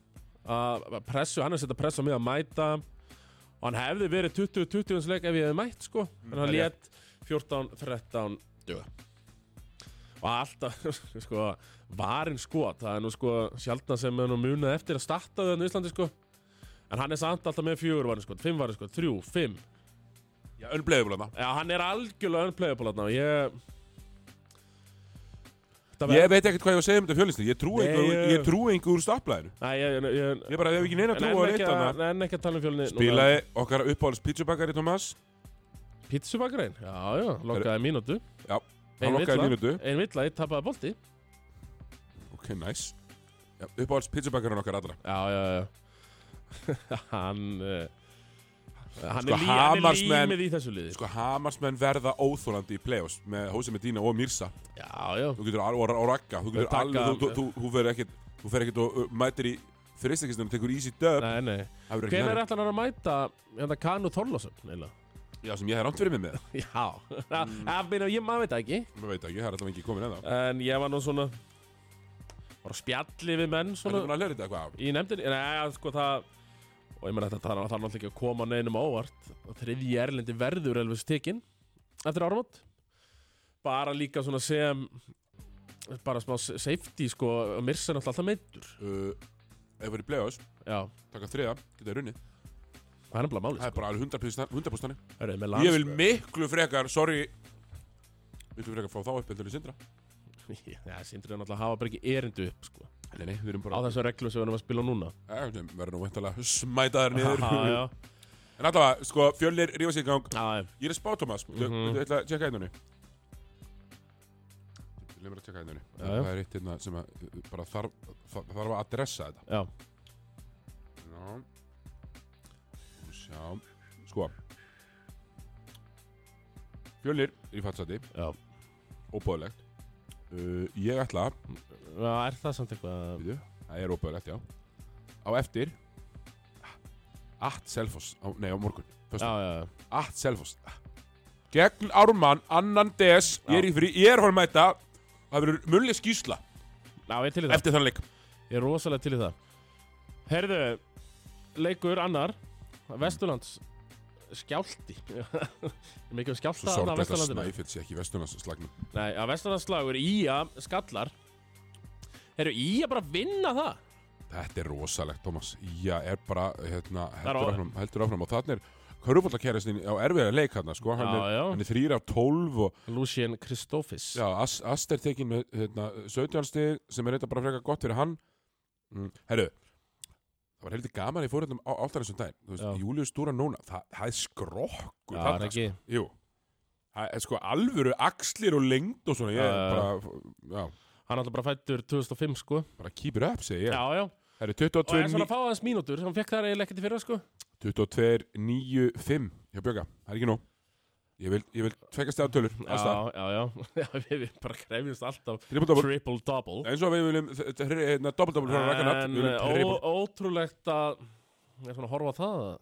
Speaker 2: Að að pressu, hann er að setja pressu á mig að mæta. Og hann hefði verið 20-20 hans leik ef ég hefði mætt, sko. En hann
Speaker 1: það er
Speaker 2: létt 14-13 duga. Og alltaf, (laughs) sko, varinn skot. Það er nú, sko, sjaldna sem hann munið eftir að starta þannig í Íslandi, sko. En hann er samt alltaf með fjögur varinn, sko. Fimm varinn, sko. Þrjú, fimm.
Speaker 1: Já, ölbleiði búin
Speaker 2: Já, hann er algjörlega unplayable hann Ég Það
Speaker 1: Ég veit ekkert hvað ég var að segja um þetta fjölinsni Ég trúi
Speaker 2: Nei, eh.
Speaker 1: einhver,
Speaker 2: ég-
Speaker 1: ég trúi einhver úr staplaðinu
Speaker 2: Nei, ég, ég, ég,
Speaker 1: Ég bara hef ekki neina
Speaker 2: En
Speaker 1: trú á
Speaker 2: enn
Speaker 1: neitt
Speaker 2: ekki, að,
Speaker 1: annað
Speaker 2: en ekki að tala um fjölni
Speaker 1: Spilaði okkar uppáhalds pizzabakari, Thomas
Speaker 2: Pítsubakarinn, já, já, lokkaði mínútu
Speaker 1: Já,
Speaker 2: Ein
Speaker 1: hann lokkaði
Speaker 2: villa,
Speaker 1: mínútu
Speaker 2: Ein villa, einn tapaði bolti
Speaker 1: Ok, nice Já, uppáhalds pizzabakarinn okkar allra
Speaker 2: Já, já, já (laughs) Hann uh, Hann
Speaker 1: Sko,
Speaker 2: er, lí, hann er
Speaker 1: Hamarsmenn-
Speaker 2: límið í þessu liði
Speaker 1: Sko, Hamarsmenn verða óþólandi í play-offs með Hósi Medina og Mirsa
Speaker 2: Já, já
Speaker 1: Þú getur alveg að rakka Þú getur
Speaker 2: Taka-
Speaker 1: alveg, þú- þú- þú- þú fer ekkert Þú fer ekkert og uh, mætir í fristakistunum og tekur easy dub
Speaker 2: Nei, nei
Speaker 1: Það verður ekki
Speaker 2: Hvenær
Speaker 1: nærri.
Speaker 2: ætlar hann að mæta Hérna Kanu Þorlásson, neila
Speaker 1: Já, sem ég hef rámt fyrir mig með
Speaker 2: (laughs) Já (laughs) Það meina, ég maður veit það ekki
Speaker 1: Mér veit ekki, það er alltaf ekki komin ennþá
Speaker 2: En ég var nú svona Var á spjalli við
Speaker 1: Það
Speaker 2: menn
Speaker 1: er
Speaker 2: svona
Speaker 1: búin að hlera þetta eitthvað
Speaker 2: Í nefndinni Nei, sko það Og ég meina þetta Það er það er náttúrulega ekki að koma neinum á óvart Og Þriðji erlendi verður elvis tekin Eftir áramót Bara líka svona sem Bara smá s- safety sko og Mirsa er náttúrulega alltaf meittur
Speaker 1: uh, Ef það er í play-offs,
Speaker 2: Já
Speaker 1: taka þriða, geta runnið
Speaker 2: Það er nefnilega
Speaker 1: Það
Speaker 2: máli
Speaker 1: er bara alveg 100% 100% þannig.
Speaker 2: Hörru, með
Speaker 1: Ég vil
Speaker 2: lands
Speaker 1: miklu frekar, sorry Miklu frekar frá þá upp heldur í sindra
Speaker 2: (laughs) Já, sindrið er náttúrulega að hafa bara ekki erindu upp sko
Speaker 1: Nei, nei, við erum
Speaker 2: Á
Speaker 1: bara
Speaker 2: þessu reglum sem við erum að spila núna
Speaker 1: Eh, Við verðum nú veintalega smætaðar
Speaker 2: (laughs)
Speaker 1: niður
Speaker 2: Já, já
Speaker 1: En allavega, sko, fjölnir rífa sig í gang
Speaker 2: Já, já.
Speaker 1: Ég er að spá Thomas, mm
Speaker 2: Mhm.
Speaker 1: -hmm. ég ætla að tjekka einnunni Ég lefum að tjekka einnunni
Speaker 2: Já, já.
Speaker 1: hérna Það er eitt hérna sem að, uh, bara þarf, þarf, þarf að adressa þetta
Speaker 2: Já,
Speaker 1: Já Sjá Sko Fjölnir er í fatsæti
Speaker 2: já.
Speaker 1: Óbóðlegt uh, Ég ætla
Speaker 2: Já, er það samt eitthvað
Speaker 1: Býtu Það er óbóðlegt, já Á eftir At Selfoss á, Nei, á morgun
Speaker 2: Já,
Speaker 1: Föstu.
Speaker 2: já, já
Speaker 1: At Selfoss Gegn Ármann Annan DS Ég er í frí Ég er að fara að mæta Það verður munlega skýsla
Speaker 2: Já, ég er til í það.
Speaker 1: Eftir þann leik
Speaker 2: Ég er rosalega til í það. Herðu, leikur annar, Vesturlands (laughs) skjálti. Er mikið um skjálta
Speaker 1: Svo sorglega
Speaker 2: þarna á
Speaker 1: þetta
Speaker 2: Vesturlandinu.
Speaker 1: snæfitt sé ekki vestunans slagnum
Speaker 2: Nei, að Vesturlands slagur Ía skallar. Herru, Ía bara vinna það.
Speaker 1: Þetta er rosalegt, Thomas. Já, er bara, hérna,
Speaker 2: er
Speaker 1: heldur
Speaker 2: á-
Speaker 1: áfram, heldur áfram. Og þarna er Körfbóltakæristin á erfiða leik hérna, sko. Hann
Speaker 2: Já,
Speaker 1: er,
Speaker 2: já.
Speaker 1: Hann er þrýr af tólf og,
Speaker 2: Lucien Kristófis.
Speaker 1: já, As- Ast er tekinn með, hérna, 17 stig sem er reynda bara frekar gott fyrir hann. Mm. Herru, það var heldur gaman í fórhundum á áttarins um daginn. Þú veist,
Speaker 2: Já.
Speaker 1: Július Stúra núna, það, það er skrokkur
Speaker 2: það er
Speaker 1: þarna,
Speaker 2: ekki.
Speaker 1: sko. Jú. Það er sko alvöru axlir og lengd og svona. Ég
Speaker 2: Já, já, já.
Speaker 1: bara, já,
Speaker 2: Hann er alltaf bara fættur 2005, sko.
Speaker 1: bara keep it up, segi ég.
Speaker 2: Já, já.
Speaker 1: Það er
Speaker 2: Og er
Speaker 1: 22,
Speaker 2: svona að fá aðeins mínútur. Hann fekk það eiginlega ekkert í fyrra, sko.
Speaker 1: 22, 9, 5 hjá Björga, það er ekki nóg ég vil, ég vil tvekja stæða tölur
Speaker 2: Já, já, já. (laughs) já við, við bara krefjumst alltaf
Speaker 1: triple-double
Speaker 2: triple-double.
Speaker 1: eins og við viljum þ- þ- hérna, double-double frá Ragnarnatt,
Speaker 2: En eh,
Speaker 1: við viljum
Speaker 2: ó,
Speaker 1: triple
Speaker 2: ótrúlegt að ég er svona að horfa á það að-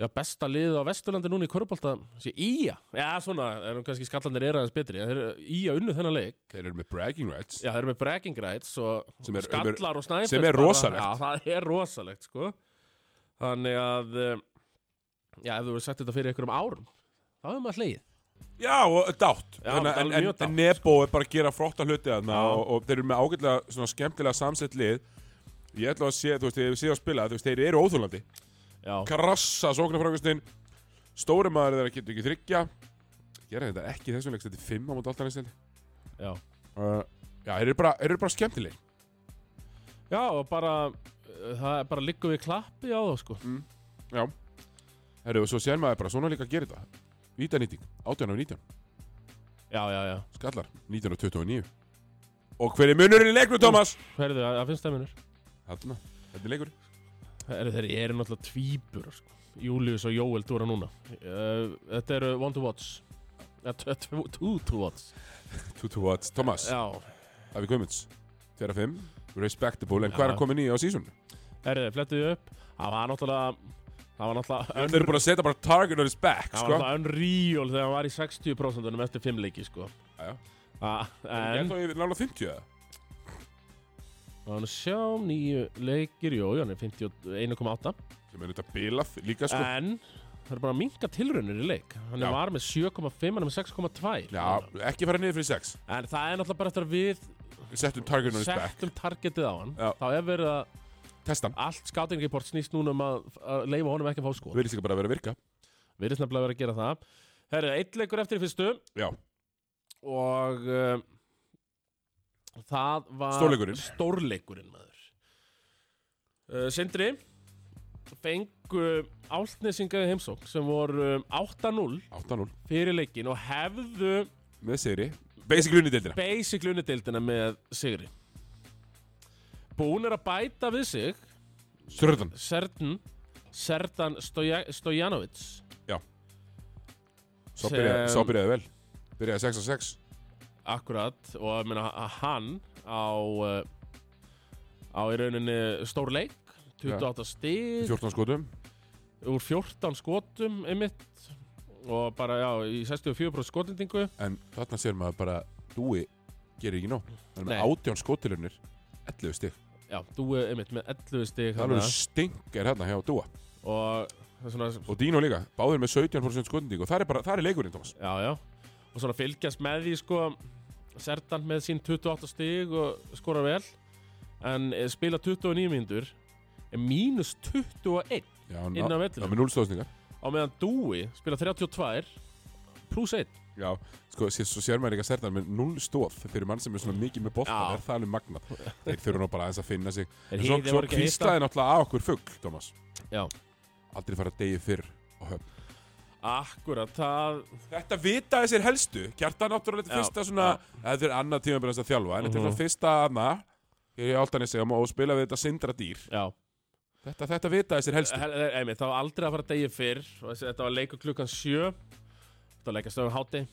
Speaker 2: Já, besta liðið á Vesturlandi núna í Körbólta sé Ía Já, svona, en kannski skallandir er aðeins betri en þeir eru Ía unnu þennan leik
Speaker 1: þeir eru með bragging rights
Speaker 2: Já, þeir eru með bragging rights og
Speaker 1: Sem er-
Speaker 2: skallar og snæfest
Speaker 1: sem er rosalegt.
Speaker 2: Já, það er rosalegt, sko Þannig að eh, Já, ef þú verður sett þetta fyrir einhverjum árum þá hefur maður hlegið
Speaker 1: já og dátt Þannig,
Speaker 2: Já, þetta er
Speaker 1: en,
Speaker 2: alveg
Speaker 1: en,
Speaker 2: mjög dátt, sko.
Speaker 1: en Nebo er bara að gera frotta hluti þarna
Speaker 2: Já.
Speaker 1: og, og þeir eru með ágætlega svona skemmtilega samsett lið ég ætla að sé, þú veist, þegar við séu að spila þú veist, þeir eru óþúlandi
Speaker 2: Já,
Speaker 1: krassa sóknarfrákustin stóri maður þeirra getur ekki þryggja gera þetta ekki í þessum leikst þetta er 5 á móti alltaf næstil
Speaker 2: já
Speaker 1: uh, já, þeir eru bara, þeir eru bara skemmtileg
Speaker 2: Já, og bara eh, það er bara liggur við klappi á þá, sko
Speaker 1: Já Herru, og svo sér maður bara svona líka að gera þetta Vítanýting, 18 af 19
Speaker 2: Já, já, já
Speaker 1: Skallar, 19 af 29 Og hver er munurinn í leiknum, Thomas?
Speaker 2: Hverðu, það finnst það minnur
Speaker 1: Þarna, þetta er leikur
Speaker 2: Eru þeir eru náttúrulega tvíbur sko. Július og Jóel dúra núna uh, Þetta eru one to watch Ja, t- t- Two to watch
Speaker 1: 2-2 watts, Thomas,
Speaker 2: Já,
Speaker 1: Daví Guðmunds 2 af 5 respectable, en hvað er
Speaker 2: Já.
Speaker 1: að koma nýja á sísunum?
Speaker 2: Erðu, flettuðu upp Það var náttúrulega Það var náttúrulega
Speaker 1: Þeir eru búin að setja bara target on his back,
Speaker 2: Það var
Speaker 1: sko.
Speaker 2: náttúrulega unreal þegar hann var í 60% eftir fimm leiki sko
Speaker 1: Já, já.
Speaker 2: Ah,
Speaker 1: En
Speaker 2: En
Speaker 1: þá er nála 50 eða?
Speaker 2: hann sjá nýju leikir, jú, jú, hann er 51,8
Speaker 1: sem er auðvitað bilað líka, sko.
Speaker 2: En það er bara að minka tilraunir í leik Hann
Speaker 1: Já.
Speaker 2: var með 7,5, hann er með 6,2
Speaker 1: Já, ekki fara niður fyrir 6.
Speaker 2: En það er náttúrulega bara eftir að við
Speaker 1: Settum target on his back.
Speaker 2: settum targetið á hann
Speaker 1: Já.
Speaker 2: Þá er verið að
Speaker 1: Testa hann.
Speaker 2: allt scouting report snýst núna um að, að leifa honum ekki að fá sko
Speaker 1: Við erum líka bara að vera að virka.
Speaker 2: Við erum nefnilega verið að gera það Herru, eitt leikur eftir í fyrstu
Speaker 1: Já.
Speaker 2: Og uh, það var
Speaker 1: Stórleikurinn.
Speaker 2: Stórleikurinn, maður uh, Sindri Fengu áltnesingaði heimsókn Sem voru um, 8-0
Speaker 1: 8-0.
Speaker 2: fyrir leikin Og hefðu
Speaker 1: Með sigri. Basic unni deildina.
Speaker 2: basic lunadeildina með Sigri Búin er að bæta við sig
Speaker 1: Sörðan.
Speaker 2: Sertan Sertan Stoja, Stojanovic
Speaker 1: Svo
Speaker 2: Sem-
Speaker 1: byrjaði, svo byrjaði vel. Byrjaði 6 og 6.
Speaker 2: Akkurat og ég meina að hann á uh, á í rauninni stór leik 28 stig
Speaker 1: 14 skotum.
Speaker 2: úr 14 skotum einmitt og bara já í 64% skotendingu
Speaker 1: En þarna sér maður bara, Dúi gerir ekki nóg. Hann er með
Speaker 2: Nei.
Speaker 1: 18 skotilunir. 11 stig.
Speaker 2: já, þú er einmitt með 11 stig
Speaker 1: Það er
Speaker 2: þarna.
Speaker 1: alveg stinkar hérna hjá Dúa.
Speaker 2: og það er svona
Speaker 1: Og Dino líka. Báðir með 17% skotindík. Og það er bara, það er leikurinn, Thomas.
Speaker 2: Já, já Og svona fylgjast með því sko Sertan með sín 28 stig og skora vel En eh, spila 29 mínútur er Mínus 21
Speaker 1: Já, hann-
Speaker 2: Inn á vellinum.
Speaker 1: Já, með 0 stóðsningar.
Speaker 2: Á meðan Dúi spila 32 Plus 1
Speaker 1: Já, sko, sér, svo sér maður ekki að serðan með null stóð fyrir mann sem er svona mikið með boltan,
Speaker 2: Já.
Speaker 1: er það alveg magnað. Þeir þurfa nú bara aðeins að finna sig.
Speaker 2: Þeir
Speaker 1: En svo,
Speaker 2: hitt- þeir
Speaker 1: svo
Speaker 2: voru ekki að hitta.
Speaker 1: kvíslaði náttúrulega að okkur fugg, Thomas.
Speaker 2: Já,
Speaker 1: Aldrei fara degi fyrr á höfn.
Speaker 2: akkurat það
Speaker 1: Þetta vita þessir helstu. Kjartan náttúrulega
Speaker 2: Já,
Speaker 1: þetta fyrsta svona, þetta er annað tíma að byrja að þjálfa, en þetta er
Speaker 2: Mhm.
Speaker 1: svona fyrsta aðna, ég er áltan í sig og spila við þetta sindra dýr.
Speaker 2: Já,
Speaker 1: Þetta, þetta vita þessir helstu.
Speaker 2: Hel- eh, einmitt, það var aldrei að fara degi fyrr og þessi- Þetta var leikur klukkan 7 Þetta var leikast öfum háti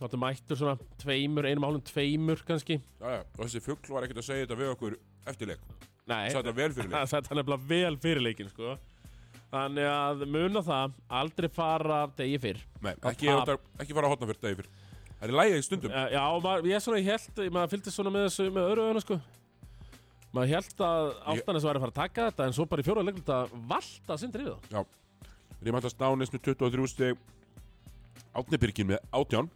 Speaker 2: Það var mættur svona tveimur, einum álum tveimur kannski
Speaker 1: Já, já, og þessi fugg var ekkert að segja þetta við okkur eftirleik.
Speaker 2: Nei,
Speaker 1: Sá þetta vel fyrir leik.
Speaker 2: (laughs) Það sætti hann nefnilega vel fyrir leikin sko. Þannig að muna það aldrei fara degi fyrr
Speaker 1: Nei,
Speaker 2: Það
Speaker 1: ekki,
Speaker 2: tap.
Speaker 1: ekki fara að hotna fyrir degi fyrr. Það er lægið stundum.
Speaker 2: uh, Já, maður, ég svona held maður fylgdi svona með þessu með öðru öðuna sko. maður held að Áltanes væri að fara að taka þetta en svo bara í fjóra leiklut að valta sindri við þá
Speaker 1: Rímandast Nánes með 23 stig Átni Birgir með 18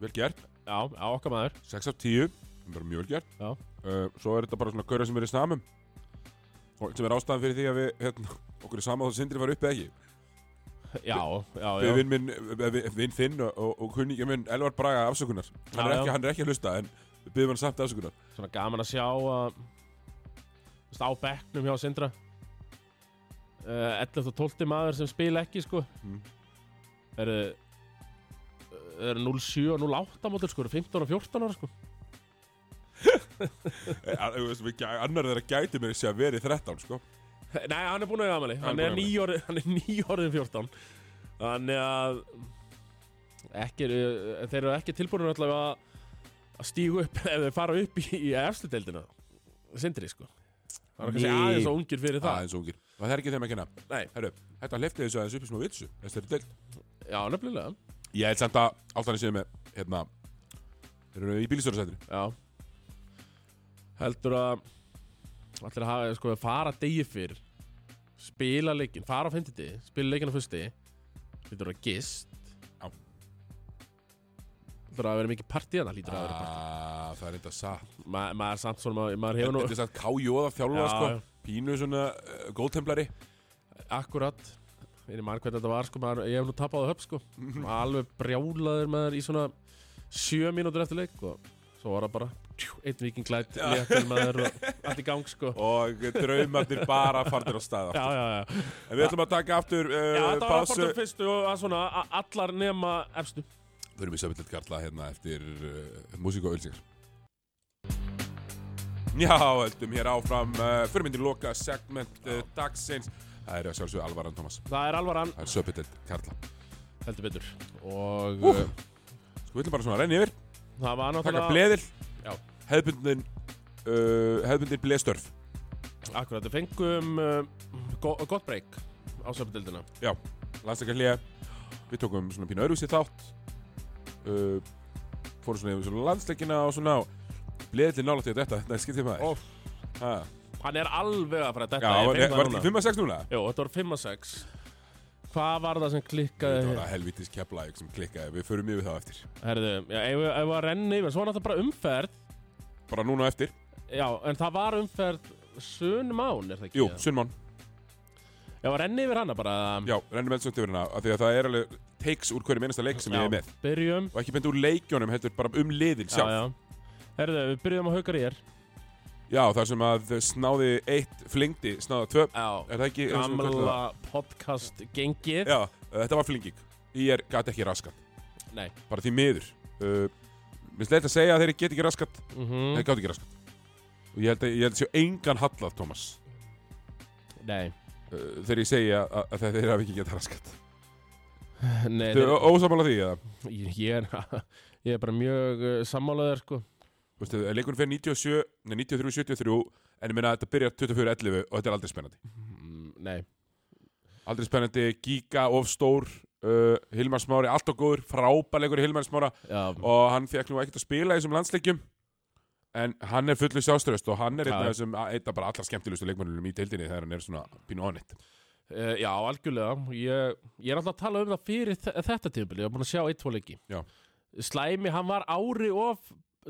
Speaker 1: Vel gert,
Speaker 2: Já, á okkar maður
Speaker 1: 6 af 10 Bara mjög vel gert
Speaker 2: Já.
Speaker 1: uh, Svo er þetta bara svona gauðra sem er í samum Og sem er ástæðan fyrir því að við hérna, Okkur er sama þá Sindri var upp eða ekki
Speaker 2: Já, já, já
Speaker 1: Við vinn minn, eh, vi- vin þinn og, og, og kunningja minn Elvar Braga afsökunar hann er,
Speaker 2: Já, já.
Speaker 1: ekki, hann er ekki að hlusta en við byggum hann samt afsökunar
Speaker 2: Svona gaman að sjá að þú veist, á bekknum hjá sindra uh, 11 og 12 maður sem spila ekki sko.
Speaker 1: Mm.
Speaker 2: eru eru 07 og 08 mótil sko, eru 15 og 14 ára sko.
Speaker 1: Eh, að- þú veist, við gæ- Annar þeirra gæti mér að vera í 13 sko.
Speaker 2: Nei, hann er búin að gamali
Speaker 1: Hann
Speaker 2: Hann
Speaker 1: er
Speaker 2: er
Speaker 1: búinn að eiga
Speaker 2: nýjórðin (laughs) hann er nýorðin 14 Þannig að ekki, eru- þeir eru ekki tilbúin allavega að- að stígu upp (laughs) ef þeir fara upp í, í efstu deildina Sindri sko Það er kannski
Speaker 1: Nei.
Speaker 2: aðeins og ungir fyrir það
Speaker 1: aðeins ungir og það er ekki þeim að kenna
Speaker 2: Nei.
Speaker 1: Herru, Þetta hleyfti þessu aðeins upp í smá vitsu Þessi er deild
Speaker 2: Já, nefnilega
Speaker 1: Ég held samt að Altan séu með hérna Þeir eru í bílistjórasætri
Speaker 2: Já Heldur að Allir að hafa, sko, fara degi fyrr Spila leikin, fara á fymtiti Spila leikin á fyrsti Lítur að gist
Speaker 1: Já.
Speaker 2: Lítur að vera mikið partí að það lítur að vera partí
Speaker 1: Ah, Það er þetta satt
Speaker 2: Ma, Maður er samt svona, maður, maður hefur
Speaker 1: Þetta
Speaker 2: nú
Speaker 1: er satt kájóða þjálfa
Speaker 2: Já,
Speaker 1: sko
Speaker 2: já.
Speaker 1: Pínu svona uh, góldtemplari
Speaker 2: Akkurat Ég man hvernig þetta var, sko, maður, ég hef nú tapað á höf, (laughs) sko Maður Alveg brjálaður maður í svona Sjö mínútur eftir leik og Svo var það bara, tjú, einn viking glætt Léttil maður og allt í gang, sko
Speaker 1: Og draumarnir bara farnir á staða
Speaker 2: Já, já, já
Speaker 1: En við ætlum að taka aftur
Speaker 2: Já,
Speaker 1: uh,
Speaker 2: þetta var
Speaker 1: pásu
Speaker 2: rapportum fyrstu og að svona a- allar nema efstu.
Speaker 1: Við erum í samvitlet karla hérna eftir uh, músík og ölsingar Já, heldum hér áfram uh, Fyrirmyndir loka segment uh, dagsins Það er að sjálfsögðu Alvaran Thomas
Speaker 2: Það er alvaran,
Speaker 1: Það er söpillet karla Eh,
Speaker 2: heldur betur. Og
Speaker 1: Úff.
Speaker 2: uh,
Speaker 1: Sko, við ætlum bara svona að renni yfir
Speaker 2: það var
Speaker 1: taka
Speaker 2: náttúrulega...
Speaker 1: bleðil
Speaker 2: Já.
Speaker 1: hefðbundin uh, hefðbundir blestörf
Speaker 2: Akkurat, við fengum uh, go gott breyk á söpdildina.
Speaker 1: Já, landsleikarlíða Við tókum svona pínu öðruvísi þátt uh, Fórum svona yfir svona landsleikina og svona Bleðli nála til þetta, þetta er skiptið maður
Speaker 2: Óf,
Speaker 1: Ha.
Speaker 2: hann er alveg að fara að
Speaker 1: Já,
Speaker 2: detta.
Speaker 1: var
Speaker 2: ég finn það
Speaker 1: þetta
Speaker 2: núna.
Speaker 1: 5-6 núna?
Speaker 2: Jú, þetta var 5 að 6. Hvað var það sem klikkaði?
Speaker 1: Þetta var það helvitis keflæk sem klikkaði, við förum yfir það eftir
Speaker 2: Herðu, já, ef við ef við að renna yfir, svo var náttúrulega bara umferð.
Speaker 1: Bara núna á eftir,
Speaker 2: Já, en það var umferð sunnmán, er það ekki?
Speaker 1: jú, Sunnmán
Speaker 2: Já, að renna yfir hana bara.
Speaker 1: Já, rennum eldsum til hérna af Því að það er alveg takes úr hverju minnasta leik sem ég er með
Speaker 2: Byrjum.
Speaker 1: Og ekki beint úr leikjónum, heldur bara um liðin sjálf Já,
Speaker 2: já. Herðu, við byrjum á haukar ég er.
Speaker 1: þar sem að snáði eitt flingdi, snáði tvö
Speaker 2: Já.
Speaker 1: Er það ekki? er það sem við köllum
Speaker 2: Gamla
Speaker 1: það?
Speaker 2: podcast gengið.
Speaker 1: Já, uh, þetta var flinging Ég er gæti ekki raskat
Speaker 2: Nei.
Speaker 1: bara því miður uh, minnst leitt að segja að þeir get ekki raskat
Speaker 2: Mm
Speaker 1: þeir gátt ekki raskat og ég held að, ég held að séu engan hallað Thomas
Speaker 2: Nei.
Speaker 1: uh, þegar ég segja að, að þeir- þeir hafi ekki getað raskat
Speaker 2: Nei,
Speaker 1: þeir eru ósamála því eða
Speaker 2: Ég, ég, er, (laughs) ég er bara mjög uh, sammálaður sko.
Speaker 1: Vistu, leikunum fyrir 97, nei, 93-73 en ég meina að þetta byrjar 24-11 og þetta er aldrei spennandi
Speaker 2: Mm, Nei,
Speaker 1: aldrei spennandi, Giga, of stór uh, Hilmar Smári, allt og góður frábæleikur Hilmar Smára
Speaker 2: já,
Speaker 1: og hann fekk nú ekkert að spila í þessum landsleikjum en hann er fullu sjásturöst og hann er einn
Speaker 2: Já.
Speaker 1: af þessum einn af bara allra skemmtilegustu leikmennunum í deildinni þegar hann er svona pínu onnit
Speaker 2: uh, já algjörlega ég, ég er alltaf að tala um það fyrir þe- þetta tíðbili, ég var búin að sjá eitt tvo leiki
Speaker 1: Já.
Speaker 2: Slæmi, hann var ári of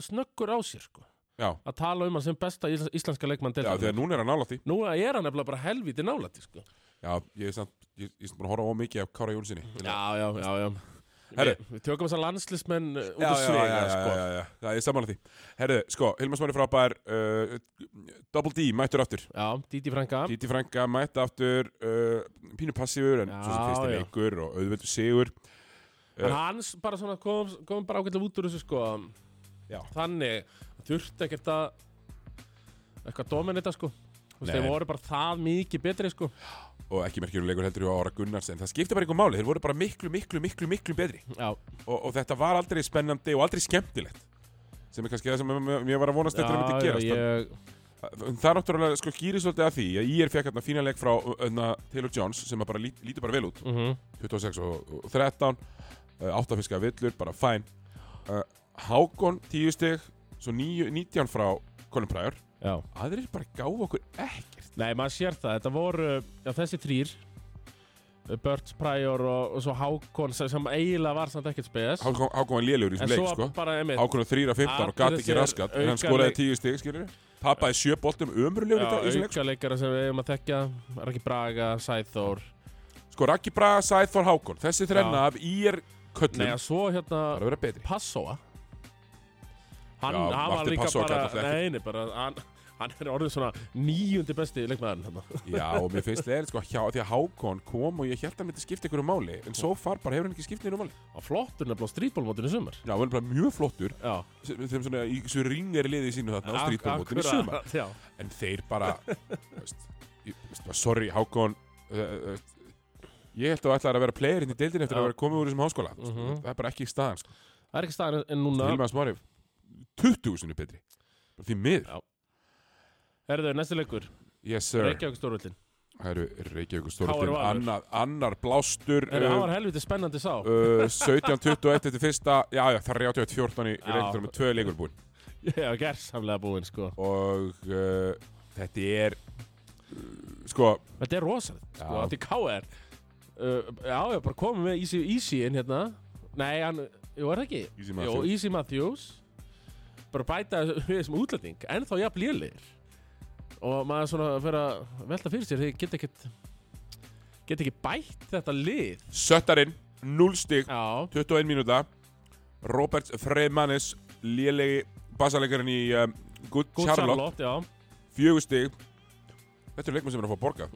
Speaker 2: snöggur á sér sko.
Speaker 1: Já,
Speaker 2: að tala um hann sem besta ís- íslenska leikmann
Speaker 1: já þegar núna er hann nála því
Speaker 2: Nú er hann nefnilega bara helviti nálætti sko.
Speaker 1: Já, ég er samt, ég, ég er samt búin að horfa á mikið af Kára Jónssoni
Speaker 2: Já, já, já, já
Speaker 1: Herru.
Speaker 2: Við, við tökum þessar landslismenn uh, út
Speaker 1: já,
Speaker 2: af
Speaker 1: já, já,
Speaker 2: svega
Speaker 1: já,
Speaker 2: sko.
Speaker 1: já, já, já, ég er sammála því Herðu, sko, Hilmar Smári frábær uh, Double D, mættur aftur
Speaker 2: já, Díti Franka
Speaker 1: Díti Franka, mætt aftur uh, Pínu passífur, en
Speaker 2: Já,
Speaker 1: svo sem fyrst er
Speaker 2: já.
Speaker 1: leikur og auðvöldu sigur
Speaker 2: En hans bara svona kom, kom bara ágætlega út úr þessu sko
Speaker 1: Já.
Speaker 2: Þannig þurfti ekkert að eitthvað dominita sko Þú veist,
Speaker 1: Nei.
Speaker 2: þeir voru bara það mikið betri sko
Speaker 1: og ekki merkjur leikur heldur í ára Gunnars en það skipta bara einhver máli, þeir voru bara miklu, miklu, miklu, miklu betri
Speaker 2: Já,
Speaker 1: og, og þetta var aldrei spennandi og aldrei skemmtilegt sem er kannski það sem ég var að vonast eftir að myndi gerast
Speaker 2: ég,
Speaker 1: En það er náttúrulega sko gýri svolítið að því að ég er fekk hérna fína leik frá öðna, Taylor Jones sem að bara lít, lítur bara vel út
Speaker 2: mm
Speaker 1: 26 og, og 13 uh, áttafiska villur, bara fæn uh, Hákon 10 stig svo 9, 19 frá Colin Pryor
Speaker 2: já
Speaker 1: aðrir bara gáðu okkur ekkert
Speaker 2: Nei, maður sér það, þetta voru já, þessi þrýr Börts, Pryor og, og svo Hákon sem, sem eiginlega var samt ekkert spes
Speaker 1: Hákon, Hákon var lélegur í
Speaker 2: En
Speaker 1: þessum leik
Speaker 2: svo
Speaker 1: sko
Speaker 2: bara, einmitt
Speaker 1: Hákon er 3 af 15 og gati
Speaker 2: Allir
Speaker 1: ekki
Speaker 2: þessir
Speaker 1: raskat en hann
Speaker 2: auka
Speaker 1: skoraði
Speaker 2: leik-
Speaker 1: 10 stig skilur Pappaði sjö boltum ömurlegur í dag- í þessum leik sko.
Speaker 2: auka leikara sem við eigum að þekja Raki Braga, Sæþór
Speaker 1: Sko Raki Braga, Sæþór Hákon Þessi þrenna
Speaker 2: Já.
Speaker 1: af ír köllum
Speaker 2: Nei, að svo hérna
Speaker 1: Það er að vera betri
Speaker 2: Passoa Hann,
Speaker 1: Já,
Speaker 2: hann var
Speaker 1: Martin
Speaker 2: líka
Speaker 1: Passoa
Speaker 2: bara
Speaker 1: kallar það ekki.
Speaker 2: Nei, nei, bara hann, hann er orðið svona níundi besti leikmaðurinn þarna.
Speaker 1: Já, og mér finnst leiðilegt sko hjá, Því að Hákon kom og ég held að hann myndi skipta einhverju máli En so far bara hefur hann ekki skipt einhverju máli
Speaker 2: Á flottur nefnilega á strítbólmótinu sumar
Speaker 1: Já, hann er bara mjög flottur
Speaker 2: Já
Speaker 1: sem, sem svona, í, Svo ringir liðið sínu þarna á strítbólmótinu í
Speaker 2: Akkurat,
Speaker 1: sumar
Speaker 2: Já,
Speaker 1: En þeir bara veist, ég, veist, bara, Sorry, Hákon uh, uh, Ég held að ætlaði að vera playerinn í deildin eftir
Speaker 2: Já.
Speaker 1: að vera komið úr þessum háskóla
Speaker 2: Mhm.
Speaker 1: Það er bara ekki í staðan sko.
Speaker 2: það er ekki staðan en núna
Speaker 1: Hilma Smári 20 sinni betri Bara Því miður
Speaker 2: Já. Herðu, næsti leikur
Speaker 1: Yes sir
Speaker 2: Reykjavík stórvöldin
Speaker 1: Það eru Reykjavík og
Speaker 2: K.R.
Speaker 1: Stórhaldin
Speaker 2: Valur.
Speaker 1: annar, annar blástur
Speaker 2: Herðu,
Speaker 1: um,
Speaker 2: hann var helviti spennandi sá
Speaker 1: uh, 17-21 þetta er fyrsta já, já, 31-14 í
Speaker 2: Já.
Speaker 1: reyndur með tvö leikur búin
Speaker 2: Já, gersamlega búinn, sko
Speaker 1: og uh, þetta er uh, sko
Speaker 2: Þetta er rosalegt, sko,
Speaker 1: Já.
Speaker 2: þetta er K.R. Uh, já, ég bara komum við Easy, Easy inn hérna Nei, hann, jú, er það ekki?
Speaker 1: Easy
Speaker 2: Jó,
Speaker 1: Matthews.
Speaker 2: Easy Matthews Bara bæta (laughs) við þessum útlending En þá jafn lélir Og maður svona fyrir að velta fyrir sér Þeir geta ekkert Geta ekki bætt þetta lið
Speaker 1: Söttarinn 0 stig
Speaker 2: Já,
Speaker 1: 21 mínúta Robert Freymanis lélegi basaleikarinn í um, Good,
Speaker 2: góð
Speaker 1: Charlotte
Speaker 2: Charlotte, já
Speaker 1: 4 stig Þetta er leikmenn sem er að fá borga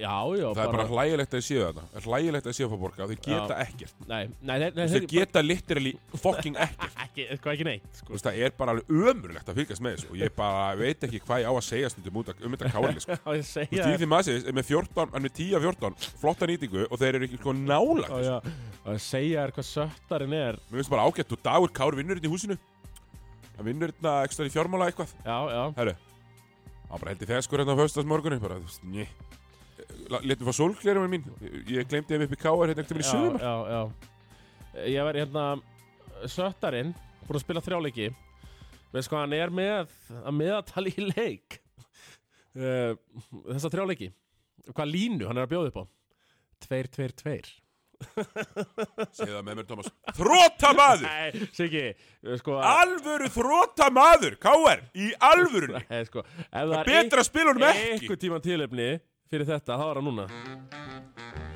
Speaker 2: Já, já,
Speaker 1: Það er bara hlægilegt að þið séu þetta Það er hlægilegt að þið séu að fá borga Þeir geta ekkert
Speaker 2: Nei, nei, nei, nei
Speaker 1: Þeir geta (laughs) literally fucking ekkert
Speaker 2: ekki, eitthvað ekki neitt
Speaker 1: Þú
Speaker 2: sko.
Speaker 1: veist, það er bara alveg ömurlegt að fylgjast með þessu og ég bara veit ekki hvað ég á að segja stundum út að- um (laughs) þetta káli sko.
Speaker 2: Á ég að
Speaker 1: Þú
Speaker 2: segja
Speaker 1: veist, Íþið Masis er með 14, hann er með 10 af 14 flotta nýtingu og þeir eru ekki sko nála
Speaker 2: Á ég að- á ég að segja þér hvað söttarinn er
Speaker 1: Mér finnst bara ágætt og Dagur Kár vinnur hérna í húsinu Hann vinnur hérna ekstra í fjármála eitthvað
Speaker 2: Já, já
Speaker 1: Herru, hann bara heldur feskur hérna á höstasmorgunni bara, þú veist, njö letum fá sólglerum mín Ég- ég glemdi ef upp í káar hérna ekkert um í sumar
Speaker 2: Já, já, já. Ég var hérna Söttarinn, búinn að spila þrjáleiki Veist hvað hann er með að meðatali í leik (laughs) uh, Þessa þrjáleiki Hvað línu hann er að bjóða upp á Tveir, tveir, tveir
Speaker 1: segðu það með mér Thomas þrótamaður,
Speaker 2: Nei, Siggi eh, sko,
Speaker 1: alvöru þrótamaður káar, í alvörunni
Speaker 2: Nei, sko, ef það er
Speaker 1: betra að spila honum ekki
Speaker 2: Eitthvað tíma tilefni fyrir þetta, þá er hann núna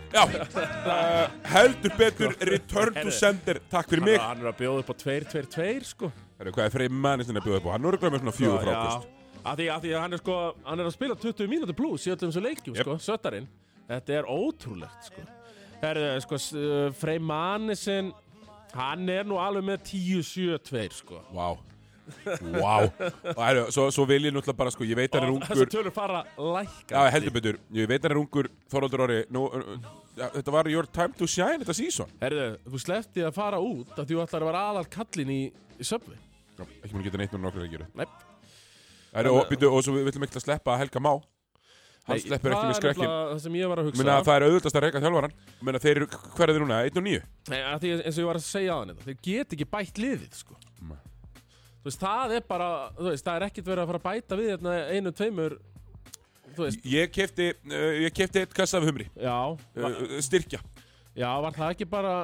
Speaker 1: Já, uh, heldur betur Return to Sender, takk fyrir mig
Speaker 2: Hann er að bjóða upp á tveir, tveir, tveir sko
Speaker 1: Heru, Hvað er Frey Mannistin að bjóða upp á? Hann voru glæmið svona fjögur frákust
Speaker 2: að því, að því að hann er sko hann er að spila 20 mínútur pluss í öllum þessu leikjum
Speaker 1: Jep.
Speaker 2: sko, söttarinn, þetta er ótrúlegt sko, Herðu, sko s- uh, Frey Mannesson hann er nú alveg með 10-7-2 sko,
Speaker 1: Vá Vá Og heru, svo, svo vil ég náttúrulega bara sko, ég veit hann er
Speaker 2: og þessu
Speaker 1: ungur
Speaker 2: tölur fara lækka
Speaker 1: Já, heldur betur, ég veit hann er ungur Þorvaldur Orri, nú, uh, ja, þetta var your time to shine þetta season
Speaker 2: Herðu, þú sleppti að fara út að þú ætlar að vera aðal kallin í, í söpvi
Speaker 1: Já, Ekki mér geta neitt núna nokkur að gera
Speaker 2: Nei,
Speaker 1: Heru, og, byrju, og svo við viljum ekki að sleppa Helga Má Hann sleppur ekki
Speaker 2: það
Speaker 1: með
Speaker 2: er
Speaker 1: skrekkin
Speaker 2: nefnilega það sem ég var að hugsa
Speaker 1: Minna, það er auðvitað að reyka þjálfaran Minna, þeir eru, hver er þið núna? 1 og 9?
Speaker 2: Nei, að því, eins og ég var að segja á hann þetta, þeir get ekki bætt liðið sko.
Speaker 1: Nei.
Speaker 2: þú veist, það er bara þú veist, það er ekkert verið að fara að bæta við hérna einu, tveimur þú veist,
Speaker 1: Ég kefti, uh, ég kefti eitt kassa af humri
Speaker 2: já
Speaker 1: uh, uh, (laughs) Styrkja
Speaker 2: já, var það ekki bara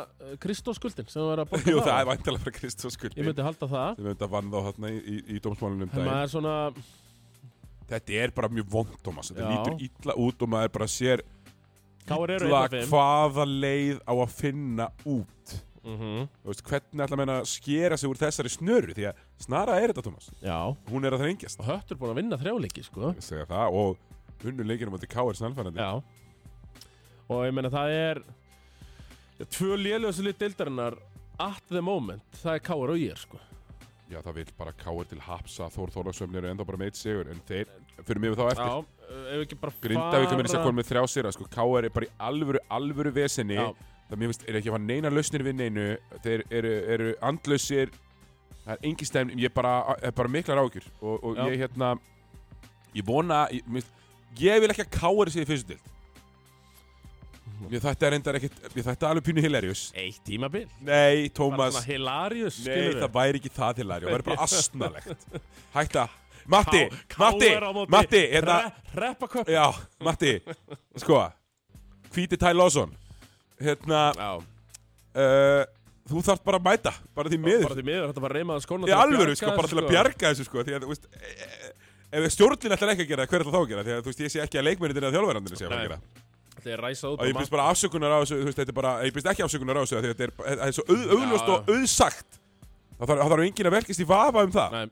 Speaker 2: Kristóskuldin sem var að borga
Speaker 1: Jú, það er
Speaker 2: var
Speaker 1: væntalega frá Kristofs skuldi
Speaker 2: ég
Speaker 1: Ég myndi
Speaker 2: myndi halda það
Speaker 1: að vann þá hérna í, í, í dómsmálunum
Speaker 2: en
Speaker 1: daginn
Speaker 2: maður er svona,
Speaker 1: Þetta er bara mjög vond, Thomas Þetta
Speaker 2: Já.
Speaker 1: lítur illa út og maður bara sér
Speaker 2: káir eru
Speaker 1: illa
Speaker 2: einn af fimm
Speaker 1: hvaða leið á að finna út
Speaker 2: mm -hmm.
Speaker 1: Þú veist, Hvernig ætla menna að skera sig úr þessari snöru Því að snara er þetta, Thomas
Speaker 2: já,
Speaker 1: Hún er að þrengjast
Speaker 2: og höttur búin að vinna þrjáleiki sko.
Speaker 1: Ég segja það og unnu leikinu mútið K.R. Snælfærandi
Speaker 2: já og ég meina það er já, tvö lélugustu lið deildarinnar at the moment, það er káir og ég sko.
Speaker 1: Já, það vil bara K.R. til hapsa Þór Þórlagsöfnir er enda bara meitt sigur En þeir, fyrir mig við þá eftir
Speaker 2: já, ef ekki bara
Speaker 1: Grindavík er mér að segja
Speaker 2: fara-
Speaker 1: komið með þrjá sér sko, K.R. er bara í alvöru, alvöru vesenni
Speaker 2: Já.
Speaker 1: það mér finnst, er ekki að fara neina lausnir við neinu þeir eru, eru andlausir það er engi stefn, ég bara, er bara miklar ágjur og, og
Speaker 2: Já.
Speaker 1: ég hérna ég vona, ég, mér finnst, ég vil ekki að K.R. sé í fyrstu dild ég þetta er endar ekkit ég þetta er alveg pínu hilarious
Speaker 2: Eitt tímabil
Speaker 1: nei,
Speaker 2: Bara
Speaker 1: Tómas,
Speaker 2: svona hilarious
Speaker 1: nei,
Speaker 2: skilurðu.
Speaker 1: það væri ekki það hilarious það væri
Speaker 2: (laughs)
Speaker 1: bara asnalegt hætta, Matti,
Speaker 2: Ká-
Speaker 1: Matti,
Speaker 2: KR á móti
Speaker 1: Matti hérna,
Speaker 2: Re- Reppaköpp
Speaker 1: Já, Matti, sko Hvíti Tæ Lawson Hérna,
Speaker 2: Já
Speaker 1: uh, þú þarft bara að mæta Bara því
Speaker 2: Bara
Speaker 1: miður
Speaker 2: því miður, þetta var reymaða skóna
Speaker 1: Í alvöru, sko, bara til að bjarga þessu, sko Því að, þú veist e- e- Ef stjórnlinn ætlar ekki að gera það, hver ætlar þá að gera? Því að, þú veist, ég sé ekki að leikmennir að þjálfverðandir sé að fara að
Speaker 2: Nei.
Speaker 1: gera
Speaker 2: Þetta er ræsað út
Speaker 1: Og ég byrst bara afsökunar á þessu, þú veist, þetta er bara Ég byrst ekki afsökunar á þessu, af því að þetta er, þetta er svo auð, auðljóst
Speaker 2: Já.
Speaker 1: og auðsagt Það þarf, það þarf enginn að velkist í vafa um það
Speaker 2: Nei,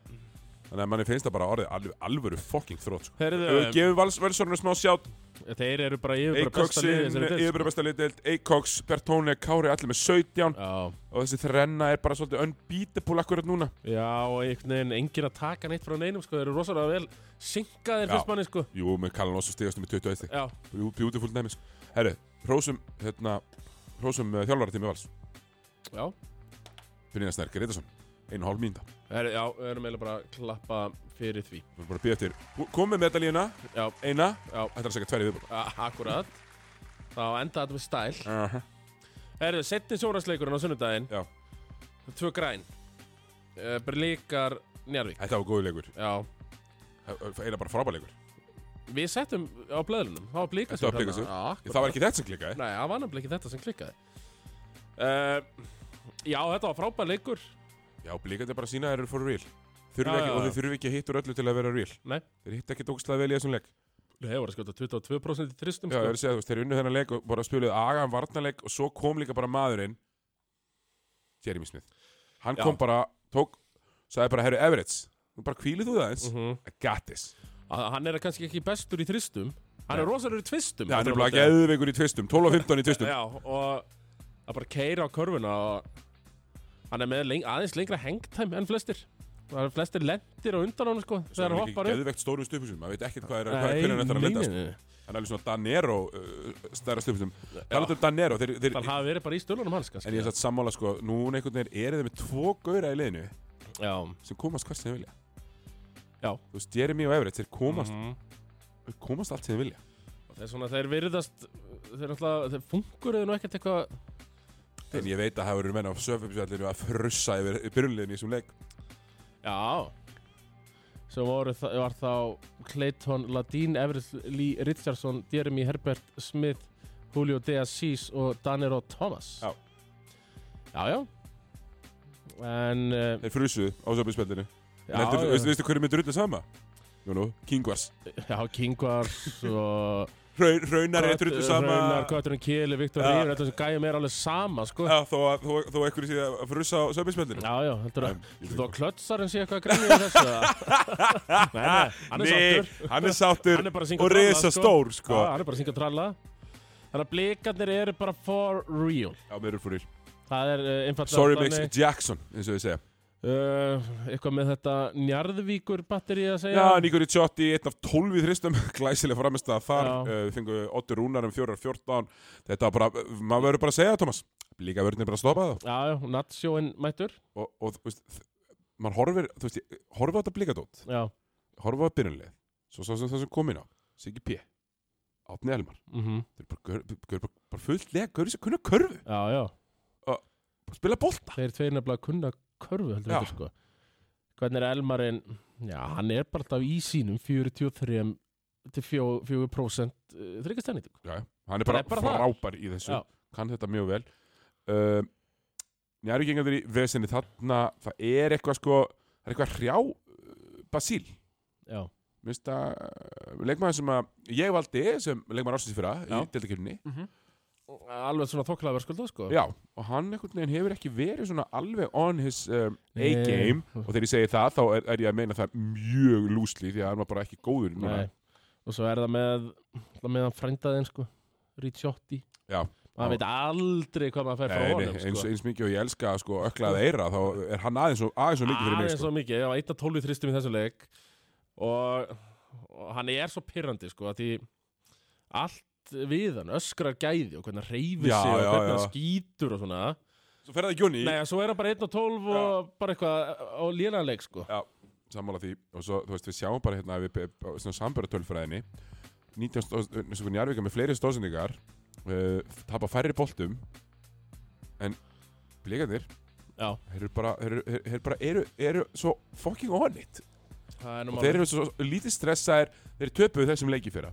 Speaker 1: Þannig að manni finnst það bara orðið alveg, alvöru fucking þrótt, sko
Speaker 2: Heyrðu,
Speaker 1: Ef við Gefum Vals- Valsarunum smá sjátt
Speaker 2: þeir eru bara yfir bara besta liðið
Speaker 1: Eikoksin,
Speaker 2: þessari deild, sko.
Speaker 1: yfirbæra besta liðdelt, Eikoks, Bertone, Kári, allir með 17
Speaker 2: sko. Já,
Speaker 1: og þessi þrenna er bara svolítið unbeatable akkurat núna.
Speaker 2: já, og einhvern veginn engin að taka neitt frá neinum, sko, þeir eru rosalega vel synkaðir
Speaker 1: Já.
Speaker 2: fyrst manni, sko
Speaker 1: Jú, með Kallan Ós og stigastum í 21 stík.
Speaker 2: Já,
Speaker 1: Jú, beautiful dæmis. Herru, hrósum, hérna, hrósum uh, þjálfara tími vals.
Speaker 2: já,
Speaker 1: Brynja Snær Gretarsson, einu og hálf mínda.
Speaker 2: Heyrðu, já, við erum eiginlega bara að klappa fyrir því
Speaker 1: Við erum bara að býja eftir. Komið með þetta lína,
Speaker 2: Já,
Speaker 1: eina,
Speaker 2: já,
Speaker 1: þetta er að segja tverri viðbúr.
Speaker 2: a- akkurat Þá enda þetta með stæl
Speaker 1: Uh -huh.
Speaker 2: Herðu, setni sjónasleikurinn á sunnudaginn
Speaker 1: Já.
Speaker 2: Tvö græn uh, Bríkar Njarvík
Speaker 1: Þetta var góðu leikur,
Speaker 2: Já
Speaker 1: eina bara frábær leikur.
Speaker 2: Við settum á blöðlunum Það var blíkast
Speaker 1: Þetta var Blikasur. Það var ekki þetta sem klikkaði.
Speaker 2: Nei, það var nefnilega ekki þetta sem klikkaði uh, Já, þetta var frábær leikur
Speaker 1: Já, blíkandi bara sína þeir eru for real. Þurfi
Speaker 2: Já,
Speaker 1: ekki,
Speaker 2: já,
Speaker 1: og
Speaker 2: já.
Speaker 1: þeir þurfi ekki að hitta úr öllu til að vera real.
Speaker 2: Nei
Speaker 1: Þeir hitta ekki dókslega vel í þessum leik.
Speaker 2: Nei, það var að skjóta 22% í sko. tristum
Speaker 1: Já, ég er að segja, þú veist, þeir unnu þennan leik og bara spiluðu agaðan varnarleik og svo kom líka bara maðurinn Jeremy Smith Hann
Speaker 2: Já.
Speaker 1: kom bara, tók, sagði bara, herru, Everett Nú bara kvílið þú það eins mm
Speaker 2: Mhm.
Speaker 1: I got this
Speaker 2: Hann er kannski ekki bestur í tristum Hann er rosalur í tvistum
Speaker 1: Það er bara geðveikur í tvistum, 12 og 15 í tvistum
Speaker 2: Já, og að bara keira á körfuna og Hann er með leng, aðeins lengra hengtæm enn flestir Það er flestir lendir og undan hann sko
Speaker 1: Svo
Speaker 2: Þegar
Speaker 1: er
Speaker 2: hann
Speaker 1: hann ekki
Speaker 2: hoppar upp
Speaker 1: geðveikt stórum stupusum maður veit ekkert hvað er, hvað er hvernig hann ætlar að lenda sko.
Speaker 2: nei, nei.
Speaker 1: Hann er alveg svona Danero uh, stærra stupusum Talandi um Danero, þeir, þeir
Speaker 2: Það hafi verið bara í stölunum hans kannski
Speaker 1: En ég er satt sammála sko, núna einhvern veginn eru þeir með tvo gauðra í liðinu
Speaker 2: Já,
Speaker 1: sem komast hvert sem þeir vilja
Speaker 2: Já.
Speaker 1: Þú veist, Jeremy og Everett, þeir komast,
Speaker 2: Mhm.
Speaker 1: þeir komast allt sem þeir vilja.
Speaker 2: Og Það er svona, þeir virðast, þeir náttúrulega, þeir fungur eða nú ekkert eitthvað,
Speaker 1: En ég veit að það eru menn á söfupisvallinu að frussa yfir byrjuleginni í þessum leik.
Speaker 2: já, sem voru, þa- var þá Clayton Ladín, Everett Lee Richardson, Jeremy Herbert Smith, Julio De Assis og Danero Thomas.
Speaker 1: Já.
Speaker 2: Já, já. En, uh,
Speaker 1: Þeir frussuðu á söfupisvallinu.
Speaker 2: já,
Speaker 1: En eftir,
Speaker 2: já.
Speaker 1: veistu, veistu hverju myndir rulla sama? Jú, nú, Kingvars.
Speaker 2: já, Kingvars
Speaker 1: (laughs)
Speaker 2: og...
Speaker 1: Raun, raunar er rullu sama.
Speaker 2: Raunar, Köturinn Kili, Viktor
Speaker 1: Já.
Speaker 2: Rífur, þetta sem gæjum er alveg sama, sko.
Speaker 1: Já, þó að, þó, þó ekkur sé að frussa á söfupisvallinu.
Speaker 2: Já, já, heldur
Speaker 1: Æ,
Speaker 2: að
Speaker 1: ég
Speaker 2: Þú að klötsarinn sé eitthvað að grænja þessu eða? Nei, nei, hann er sáttur
Speaker 1: hann er sáttur
Speaker 2: Hann er bara að syngja
Speaker 1: og
Speaker 2: tralla,
Speaker 1: risa stór, sko.
Speaker 2: Já, hann er bara að syngja og tralla Þannig að blikarnir eru bara for real
Speaker 1: Já, mér er fyrir.
Speaker 2: Það er uh, einfallega
Speaker 1: Sorry, Mix Jackson, eins og ég segja.
Speaker 2: uh, Eitthvað með þetta njarðvíkur batteri að segja
Speaker 1: Já, Nikori Ciotti, einn af 12 í þristum, (laughs) glæsileg framistað þar,
Speaker 2: Já.
Speaker 1: uh, við fengu 8 rúnar um 4-14, þetta var bara, maður verður bara að segja það, Thomas, líka verður bara að stoppa það
Speaker 2: Já, já, natsjóin mættur
Speaker 1: og, og þú veist, þ- maður horfir, þú veist, ég- horfir á þetta blíkadót,
Speaker 2: Já,
Speaker 1: horfir á byrjunlið, svo sá sem það sem kom inn á, Siggi P, Átni Elmar,
Speaker 2: mm
Speaker 1: þeir eru bara, gör, gör, bara, bara fullt lega, görur sér kunna körfu,
Speaker 2: já, já
Speaker 1: bara spila bolta.
Speaker 2: Þeir tveir nefnilega að kunna körfu heldur
Speaker 1: Já.
Speaker 2: þetta sko Hvernig er Elmarinn Já, hann er bara alltaf í sínum 43 til eh, 4% þryggastæðnýting
Speaker 1: Já, já, hann er
Speaker 2: Bara-
Speaker 1: bara,
Speaker 2: bara það.
Speaker 1: frábær í þessu,
Speaker 2: Já.
Speaker 1: kann þetta mjög vel. Uh, Njárvíkingandur í vesinni þarna, það er eitthvað sko, það er eitthvað hrjá uh, Basíl.
Speaker 2: Já,
Speaker 1: Mér finnst það uh, leikmaður sem að ég valdi sem leikmaður ásins fyrra í
Speaker 2: Já.
Speaker 1: deltakefninni.
Speaker 2: alveg svona þokkilega verðskulda sko
Speaker 1: Mhm. Já, og hann einhvern veginn hefur ekki verið svona alveg on his um,
Speaker 2: Nei.
Speaker 1: A-game og þegar ég segi það þá er, er ég að meina það mjög lúsli því að hann var bara ekki góður. núna.
Speaker 2: Nei. og svo er það með það með hann frændaðinn sko Ricciotti
Speaker 1: Já.
Speaker 2: maður veit aldrei hvað maður fær frá
Speaker 1: Nei,
Speaker 2: honum
Speaker 1: nei, eins,
Speaker 2: sko.
Speaker 1: eins mikið og ég elska sko, öklaða eira þá er hann aðeins og, aðeins og mikið fyrir mig
Speaker 2: aðeins
Speaker 1: sko.
Speaker 2: svo mikið, ég var 1 að 12 þristum í þessu leik og, og hann er svo pyrrandi sko að því allt við hann öskrar gæði og hvernig hann reyfir
Speaker 1: Já,
Speaker 2: sig og
Speaker 1: já,
Speaker 2: hvernig hann
Speaker 1: já.
Speaker 2: skýtur og svona
Speaker 1: Svo fer það Jóni
Speaker 2: nei, svo er hann bara 1 að 12 og bara eitthvað á lénanleik sko
Speaker 1: sammála því og svo, þú veist, við sjáum bara hérna við, á svona sambörutölfræðinni 19 stóð, eh, eins og hvernig Jarvíka með fleiri stóðsendingar uh, tapa færri boltum en blíkandir
Speaker 2: já,
Speaker 1: þeir eru bara, þeir, eru- þeir, þeir bara eru, eru svo fucking on it
Speaker 2: það er nú
Speaker 1: og
Speaker 2: málið.
Speaker 1: þeir eru svo, svo lítið stressaðir þeir töpuðu þessum leiki fyrra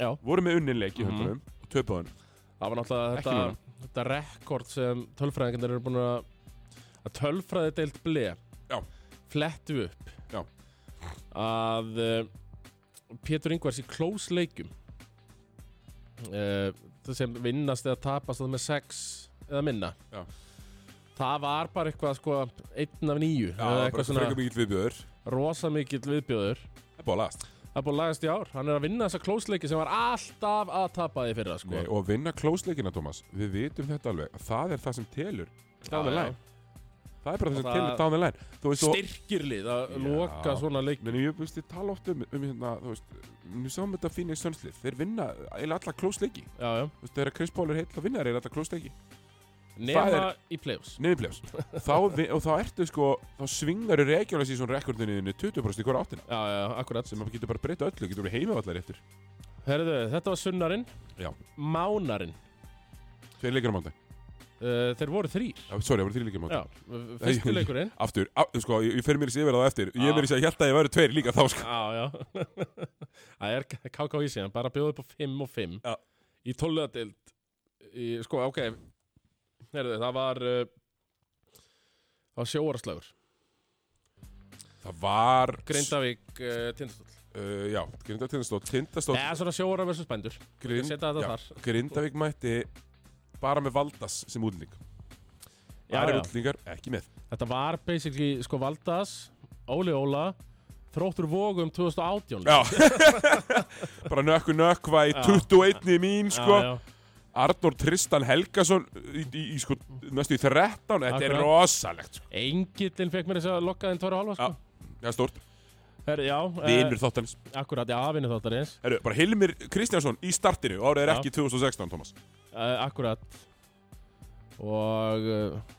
Speaker 2: Já.
Speaker 1: voru með unnin leiki
Speaker 2: Mhm.
Speaker 1: mm -hmm. og töpuðu hann
Speaker 2: Það var náttúrulega
Speaker 1: Ekki
Speaker 2: þetta, þetta rekord sem tölfræðingarnir eru búin að að tölfræði deilt ble
Speaker 1: Já.
Speaker 2: flettu upp
Speaker 1: Já.
Speaker 2: að uh, Pétur Ingvars í close leikum uh, það sem vinnast eða tapast það með sex eða minna
Speaker 1: Já.
Speaker 2: það var bara eitthvað sko einn af nýju
Speaker 1: Já,
Speaker 2: eða
Speaker 1: bara
Speaker 2: eitthvað svona
Speaker 1: frekar mikill viðbjöður
Speaker 2: rosa mikill viðbjóður
Speaker 1: Það er búið að lagast
Speaker 2: það er búin að lagast í ár hann er að vinna þessa close leiki sem var alltaf að tapa því fyrra sko
Speaker 1: Nei, og að vinna klósleikina, Thomas Við vitum þetta alveg að Það er það sem telur
Speaker 2: Já,
Speaker 1: down the
Speaker 2: já.
Speaker 1: line. Það er bara það sem
Speaker 2: Og það-
Speaker 1: telur down the line Þú veist, og-
Speaker 2: styrkirlið að loka svona leik
Speaker 1: Menni, ég veist, ég tala oft um, um hérna, þú veist, nú sáum þetta fín eitt sönslið, þeir vinna eða alla klósleiki,
Speaker 2: já, já.
Speaker 1: þú veist, þegar Chris Paul er heill þá vinna þeir eða alla klósleiki,
Speaker 2: nema
Speaker 1: Það er-
Speaker 2: í play-offs
Speaker 1: nefnir
Speaker 2: (laughs)
Speaker 1: plefs, þá, vi- og þá ertu sko, þá svingar þú regjálega síðan rekordinu þínu 20% í hverja áttina,
Speaker 2: já, já, akkurat
Speaker 1: sem maður getur bara breyta öllu, getur við heimavallar eftir,
Speaker 2: Herðu, þetta var sunnarinn
Speaker 1: Já.
Speaker 2: mánarinn
Speaker 1: tveir leikir á mándag,
Speaker 2: uh, þeir voru þrýr
Speaker 1: ah, sorry, það voru þrjir leikir á mándag,
Speaker 2: já, fyrstu leikurinn
Speaker 1: aftur, á, sko, ég, ég fer mér í sýverða á eftir, ég
Speaker 2: Já.
Speaker 1: er mér í sig að hjarta að ég væri tveir líka þá, sko,
Speaker 2: já, já (laughs) það er KK í síðan bara bjóðu upp á 5 og 5
Speaker 1: Já.
Speaker 2: í tóluðadild í, sko, ok Herðu, það var uh, það var sjóarslagur
Speaker 1: það var,
Speaker 2: Grindavík uh, Tindastóll
Speaker 1: uh, já, grinda tindastótt, tindastótt,
Speaker 2: eða svona sjóarar versus bændur
Speaker 1: Grind-
Speaker 2: setja þetta
Speaker 1: já,
Speaker 2: þar.
Speaker 1: Grindavík mætti bara með Valdas sem útlending Það
Speaker 2: Já, já.
Speaker 1: eru útlendingar ekki með
Speaker 2: Þetta var basically sko Valdas, Óli Óla, Þróttur Vógum 2018.
Speaker 1: Já (laughs) Bara nökku nökkva í
Speaker 2: Já.
Speaker 1: 21 mín sko
Speaker 2: já,
Speaker 1: Arnór Tristan Helgason í, í, í sko næstu í 13 Þetta er
Speaker 2: Akkurat.
Speaker 1: rosalegt sko
Speaker 2: Engillin fekk mér þess að lokka þinn tóra halva sko.
Speaker 1: Já, Það er stórt
Speaker 2: Her, já
Speaker 1: Vinur þáttanins
Speaker 2: Eh, akkurat, já, vinur þáttarins.
Speaker 1: Herru, bara Hilmir Kristjánsson í startinu Árið er
Speaker 2: Já.
Speaker 1: ekki 2016, Thomas
Speaker 2: Eh, akkurat. Og uh,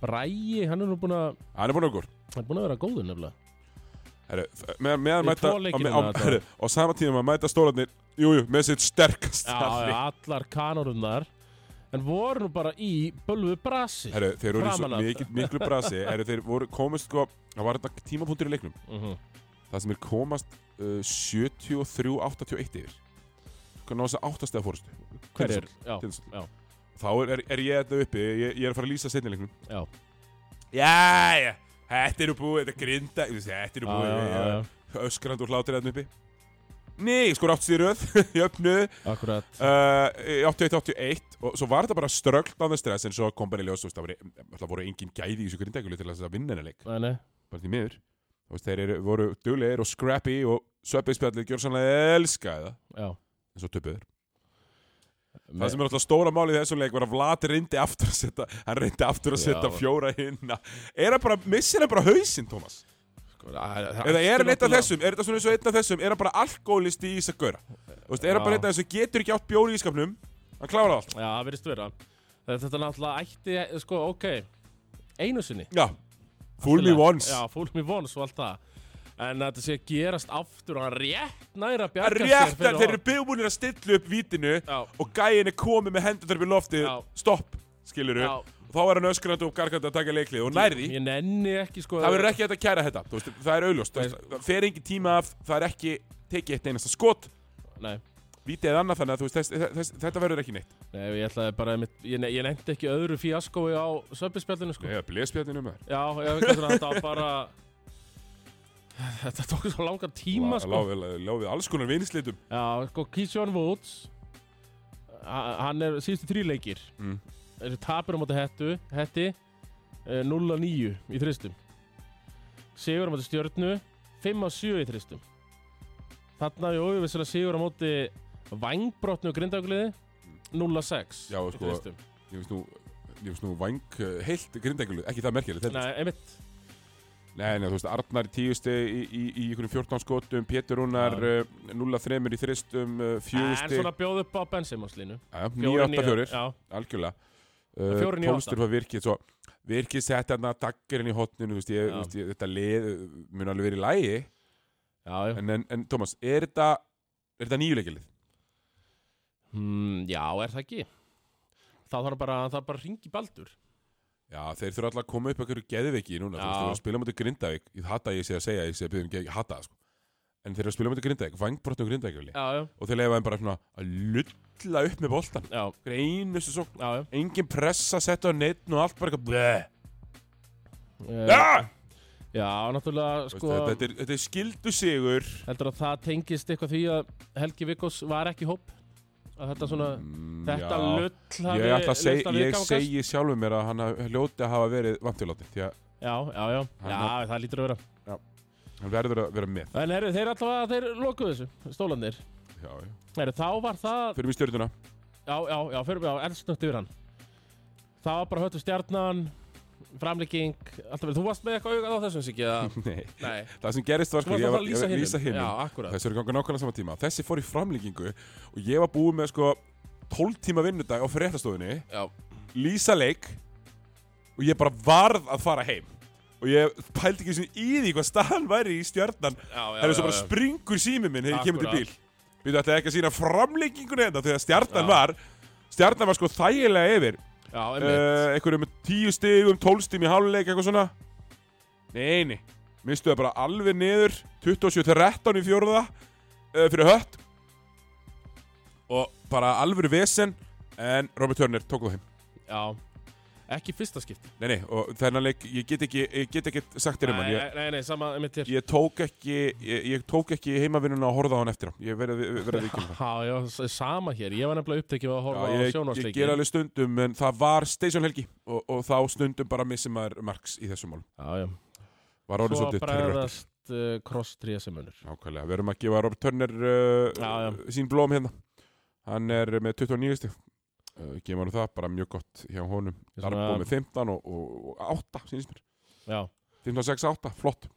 Speaker 2: Bræi, hann er nú búin að,
Speaker 1: Hann er búin okkur
Speaker 2: hann er búin að vera góður nefnilega.
Speaker 1: Herru, f- meðan meðan
Speaker 2: Í
Speaker 1: mæta
Speaker 2: tvo leikina
Speaker 1: á, á,
Speaker 2: þetta.
Speaker 1: herru, á sama tíma mæta stólarnir Jújú, með sitt sterkast
Speaker 2: Já, já, allar kanorunar En voru nú bara í bölvu brasi
Speaker 1: Herru, þeir voru í svo
Speaker 2: Framan af.
Speaker 1: mikil, miklu brasi Herru, þeir voru komast sko Það var þetta tímapunktur í leiknum
Speaker 2: Mhm.
Speaker 1: Það sem er komast uh, 73-81 yfir Hvað náðu þess að áttastega fórustu
Speaker 2: Hver er? Já,
Speaker 1: Tindsson.
Speaker 2: já,
Speaker 1: Þá er, er, er ég þetta uppi Ég, ég er að fara að lýsa setni leiknum
Speaker 2: já
Speaker 1: Jæja, þetta eru búið, þetta er grinda þú veist, Þetta eru
Speaker 2: Já,
Speaker 1: búið
Speaker 2: já,
Speaker 1: ég-
Speaker 2: já, já.
Speaker 1: Öskrandi og hlátir þetta uppi Nei, sko áttast í röð (laughs) Jöfnu
Speaker 2: Akkurat
Speaker 1: Uh, 81-81 og svo var þetta bara strögl á þeim stress en svo kom bara í ljós þú veist, það voru, það voru engin gæði í þessu grindækulu til þess að vinna hennar leik
Speaker 2: Nei, nei
Speaker 1: bara því miður Þú veist, þeir eru, voru duglegir og scrappy og sveppiðspjallið gjör sannlega elskaði það
Speaker 2: Já
Speaker 1: en svo töpuður það sem er alltaf stóra mál í þessum leik var að Vlad reyndi aftur að setja hann reyndi aftur að
Speaker 2: Já.
Speaker 1: setja fjóra hinna er það bara missir hann bara hausinn Thomas
Speaker 2: sko,
Speaker 1: eða er hann eitt af þessum er þetta svona eins og einn af þessum er hann bara alkoholisti í þess að göra Þú veist, er hann bara
Speaker 2: Já.
Speaker 1: einn af þessum getur ekki átt bjóri í skapnum hann klára allt
Speaker 2: Já, það verðist vera Þetta þetta náttúrulega ætti, sko, ok Einu sinni
Speaker 1: já fool me
Speaker 2: Allt í lagi.
Speaker 1: once
Speaker 2: Já, fool me once og allt það En að þetta sé að gerast aftur og hann rétt
Speaker 1: Það
Speaker 2: næra
Speaker 1: er
Speaker 2: bjarga
Speaker 1: rétt að þeir eru byggbúinir að stilla upp vítinu
Speaker 2: Já.
Speaker 1: og gæin er komið með hendur upp í loftið
Speaker 2: Já.
Speaker 1: stopp, skilur
Speaker 2: Já.
Speaker 1: þá er hann öskrandi og gargandi að taka leiklið og nærði,
Speaker 2: Ég nenni ekki, sko
Speaker 1: það verður ekki hægt að kæra þetta Þú veist, það er augljóst, Þú veist, það fer engin tíma af það er ekki tekið eitt einasta skot
Speaker 2: Nei
Speaker 1: vítið eða annað þannig að þú veist, þess, þess, þetta verður ekki neitt
Speaker 2: Nei, ég ætlaði bara, einmitt- ég, ne- ég nefndi ekki öðru fíaskói á söpinspjallinu, sko.
Speaker 1: Nei, blespjörninu með
Speaker 2: Já, ég veit hvað svona, þetta var bara, (laughs) þetta tók svo langan tíma, sko.
Speaker 1: Láfið alls konar vinslitum
Speaker 2: Já, sko, Keyshawn Woods, ha- hann er síðustu þrýleikir.
Speaker 1: Mm.
Speaker 2: Það eru tapir á móti hettu, hetti, eh, 0-9 í þristum. Sigur á móti stjörnu, 5-7 í þristum. Þarna, jú, við sérlega sigur á móti vangbrotnu grindagliði, 0-6
Speaker 1: Já,
Speaker 2: í
Speaker 1: sko,
Speaker 2: þristum.
Speaker 1: ég veist nú, ég veist nú væng uh, heilt grindengulu, ekki það merkilegt heldur.
Speaker 2: Nei, einmitt.
Speaker 1: Nei, nei, þú veist, Arnar í tíusti í, í, í ykkurum 14 skotum, Pétur Rúnar
Speaker 2: Já.
Speaker 1: uh, 0-3 í þristum, uh,
Speaker 2: En
Speaker 1: fjögusti,
Speaker 2: svona bjóð upp á bensinmáslínu
Speaker 1: 9-8-4,
Speaker 2: Já,
Speaker 1: algjörlega.
Speaker 2: Fjórir, níu, átta.
Speaker 1: Tólstur hvað virkið, svo virkið sett hann að daggirinn í hotninu, þú veist, ég,
Speaker 2: Já.
Speaker 1: þú veist, ég, þetta lið uh, mun alveg verið í lægi,
Speaker 2: já, já.
Speaker 1: en, en, en Tómas, er þetta, er þetta nýjuleikilið?
Speaker 2: Hmm, já, er það ekki Þá þarf bara, það bara ringi baldur
Speaker 1: Já, þeir þurfa alltaf að koma upp einhverju geðveiki núna, þú veist,
Speaker 2: Já.
Speaker 1: þú veist, spila mútið Grindavík, ég hata að ég sé að segja, ég sé að byrja um geðveiki, ég hata það, sko. En þeir eru að spila mútið Grindavík, vangbrotum Grindavík,
Speaker 2: Já, já,
Speaker 1: og þeir leifa þeim bara svona að lulla upp með boltan.
Speaker 2: já,
Speaker 1: Hver einustu sókn
Speaker 2: já, já.
Speaker 1: engin pressa sett á neitt og allt bara eitthvað bleh.
Speaker 2: Eh,
Speaker 1: Ah!
Speaker 2: já náttúrulega
Speaker 1: Sko,
Speaker 2: sko,
Speaker 1: þetta, þetta, er, þetta er skildu sigur
Speaker 2: Heldur að það tengist eitthvað því að Helgi Vikkos var ekki í hóp að þetta svona,
Speaker 1: Mm,
Speaker 2: þetta
Speaker 1: já.
Speaker 2: lull
Speaker 1: ég, ætla að seg,
Speaker 2: að
Speaker 1: ég segi sjálfur mér að hann hafi- hljóti að hafa verið vantiláttinn því að
Speaker 2: Já, já, já,
Speaker 1: Hann
Speaker 2: já, það lítur að vera
Speaker 1: hann verður að vera með
Speaker 2: En herru, þeir allavega, þeir lokuðu þessu, stólandir
Speaker 1: já, já.
Speaker 2: Herru, þá var það
Speaker 1: fyrir mig (laughs) stjórnuna
Speaker 2: Já, já, já, fyrir mig á eldsnögt yfir hann Það var bara höttu stjarnan Framlíking, alltaf vel Þú varst með eitthvað augað á þessum sikið
Speaker 1: (laughs)
Speaker 2: að... Nei,
Speaker 1: það sem gerist var
Speaker 2: þú
Speaker 1: sko
Speaker 2: varst
Speaker 1: ég
Speaker 2: alltaf
Speaker 1: var ég var
Speaker 2: að lýsa
Speaker 1: að
Speaker 2: hinum
Speaker 1: lýsa hinn
Speaker 2: Já, akkurat
Speaker 1: þessi eru ganga nákvæmlega sama tíma þessi fór í framlíkingu og ég var búið með sko 12 tíma vinnudag á fréttastofunni
Speaker 2: Já,
Speaker 1: lýsa leik og ég bara varð að fara heim og ég pældi ekki einu sinni í því hvað staðan væri í stjörnan
Speaker 2: já, já
Speaker 1: Það er svo bara
Speaker 2: já, já.
Speaker 1: springur sími minn þegar ég kemur til
Speaker 2: Akkúrat.
Speaker 1: bíl. Við ætlaði ekki að sína framlengingun hérna þegar stjarnan var. Stjarnan var sko þægilega yfir.
Speaker 2: Já, einmitt
Speaker 1: Uh, einhverjum með tíu stigum, tólstum í háluleik, eitthvað svona. Nei, nei. Mistu það bara alveg niður. 27-13 í fjórða uh, fyrir hött. Og bara alvöru vesen. En Robert Turner tók það heim.
Speaker 2: Já Ekki fyrsta skipti
Speaker 1: Nei, nei. Og þennan leik, ég get ekki, ég get ekki sagt þér um hann. Ég,
Speaker 2: nei, nei, nei, sama einmitt hér
Speaker 1: ég tók ekki ég, ég tók ekki heimavinnuna að horfa á hann eftir á ég verði verið að vikið
Speaker 2: Já, já, s- sama hér Ég var nefnilega upptekið við að horfa á
Speaker 1: ég, ég
Speaker 2: sjónvarsleiki
Speaker 1: ger alveg stundum en það var Station Helgi og, og þá stundum bara missi maður marks í þessum málum
Speaker 2: Já, já
Speaker 1: var orðið
Speaker 2: Svo
Speaker 1: svolítið tröttur
Speaker 2: bregðast uh, Cross 3 sem munur
Speaker 1: nákvæmlega, við erum að gefa Robert Turner uh,
Speaker 2: Já, já.
Speaker 1: sín blóm hérna hann er með 29 stig uh, gefum hann það, bara mjög gott hjá honum
Speaker 2: Ég svona-
Speaker 1: Darbo með 15 og, og, og 8 sínist mér,
Speaker 2: Já,
Speaker 1: 15, 6, 8, flott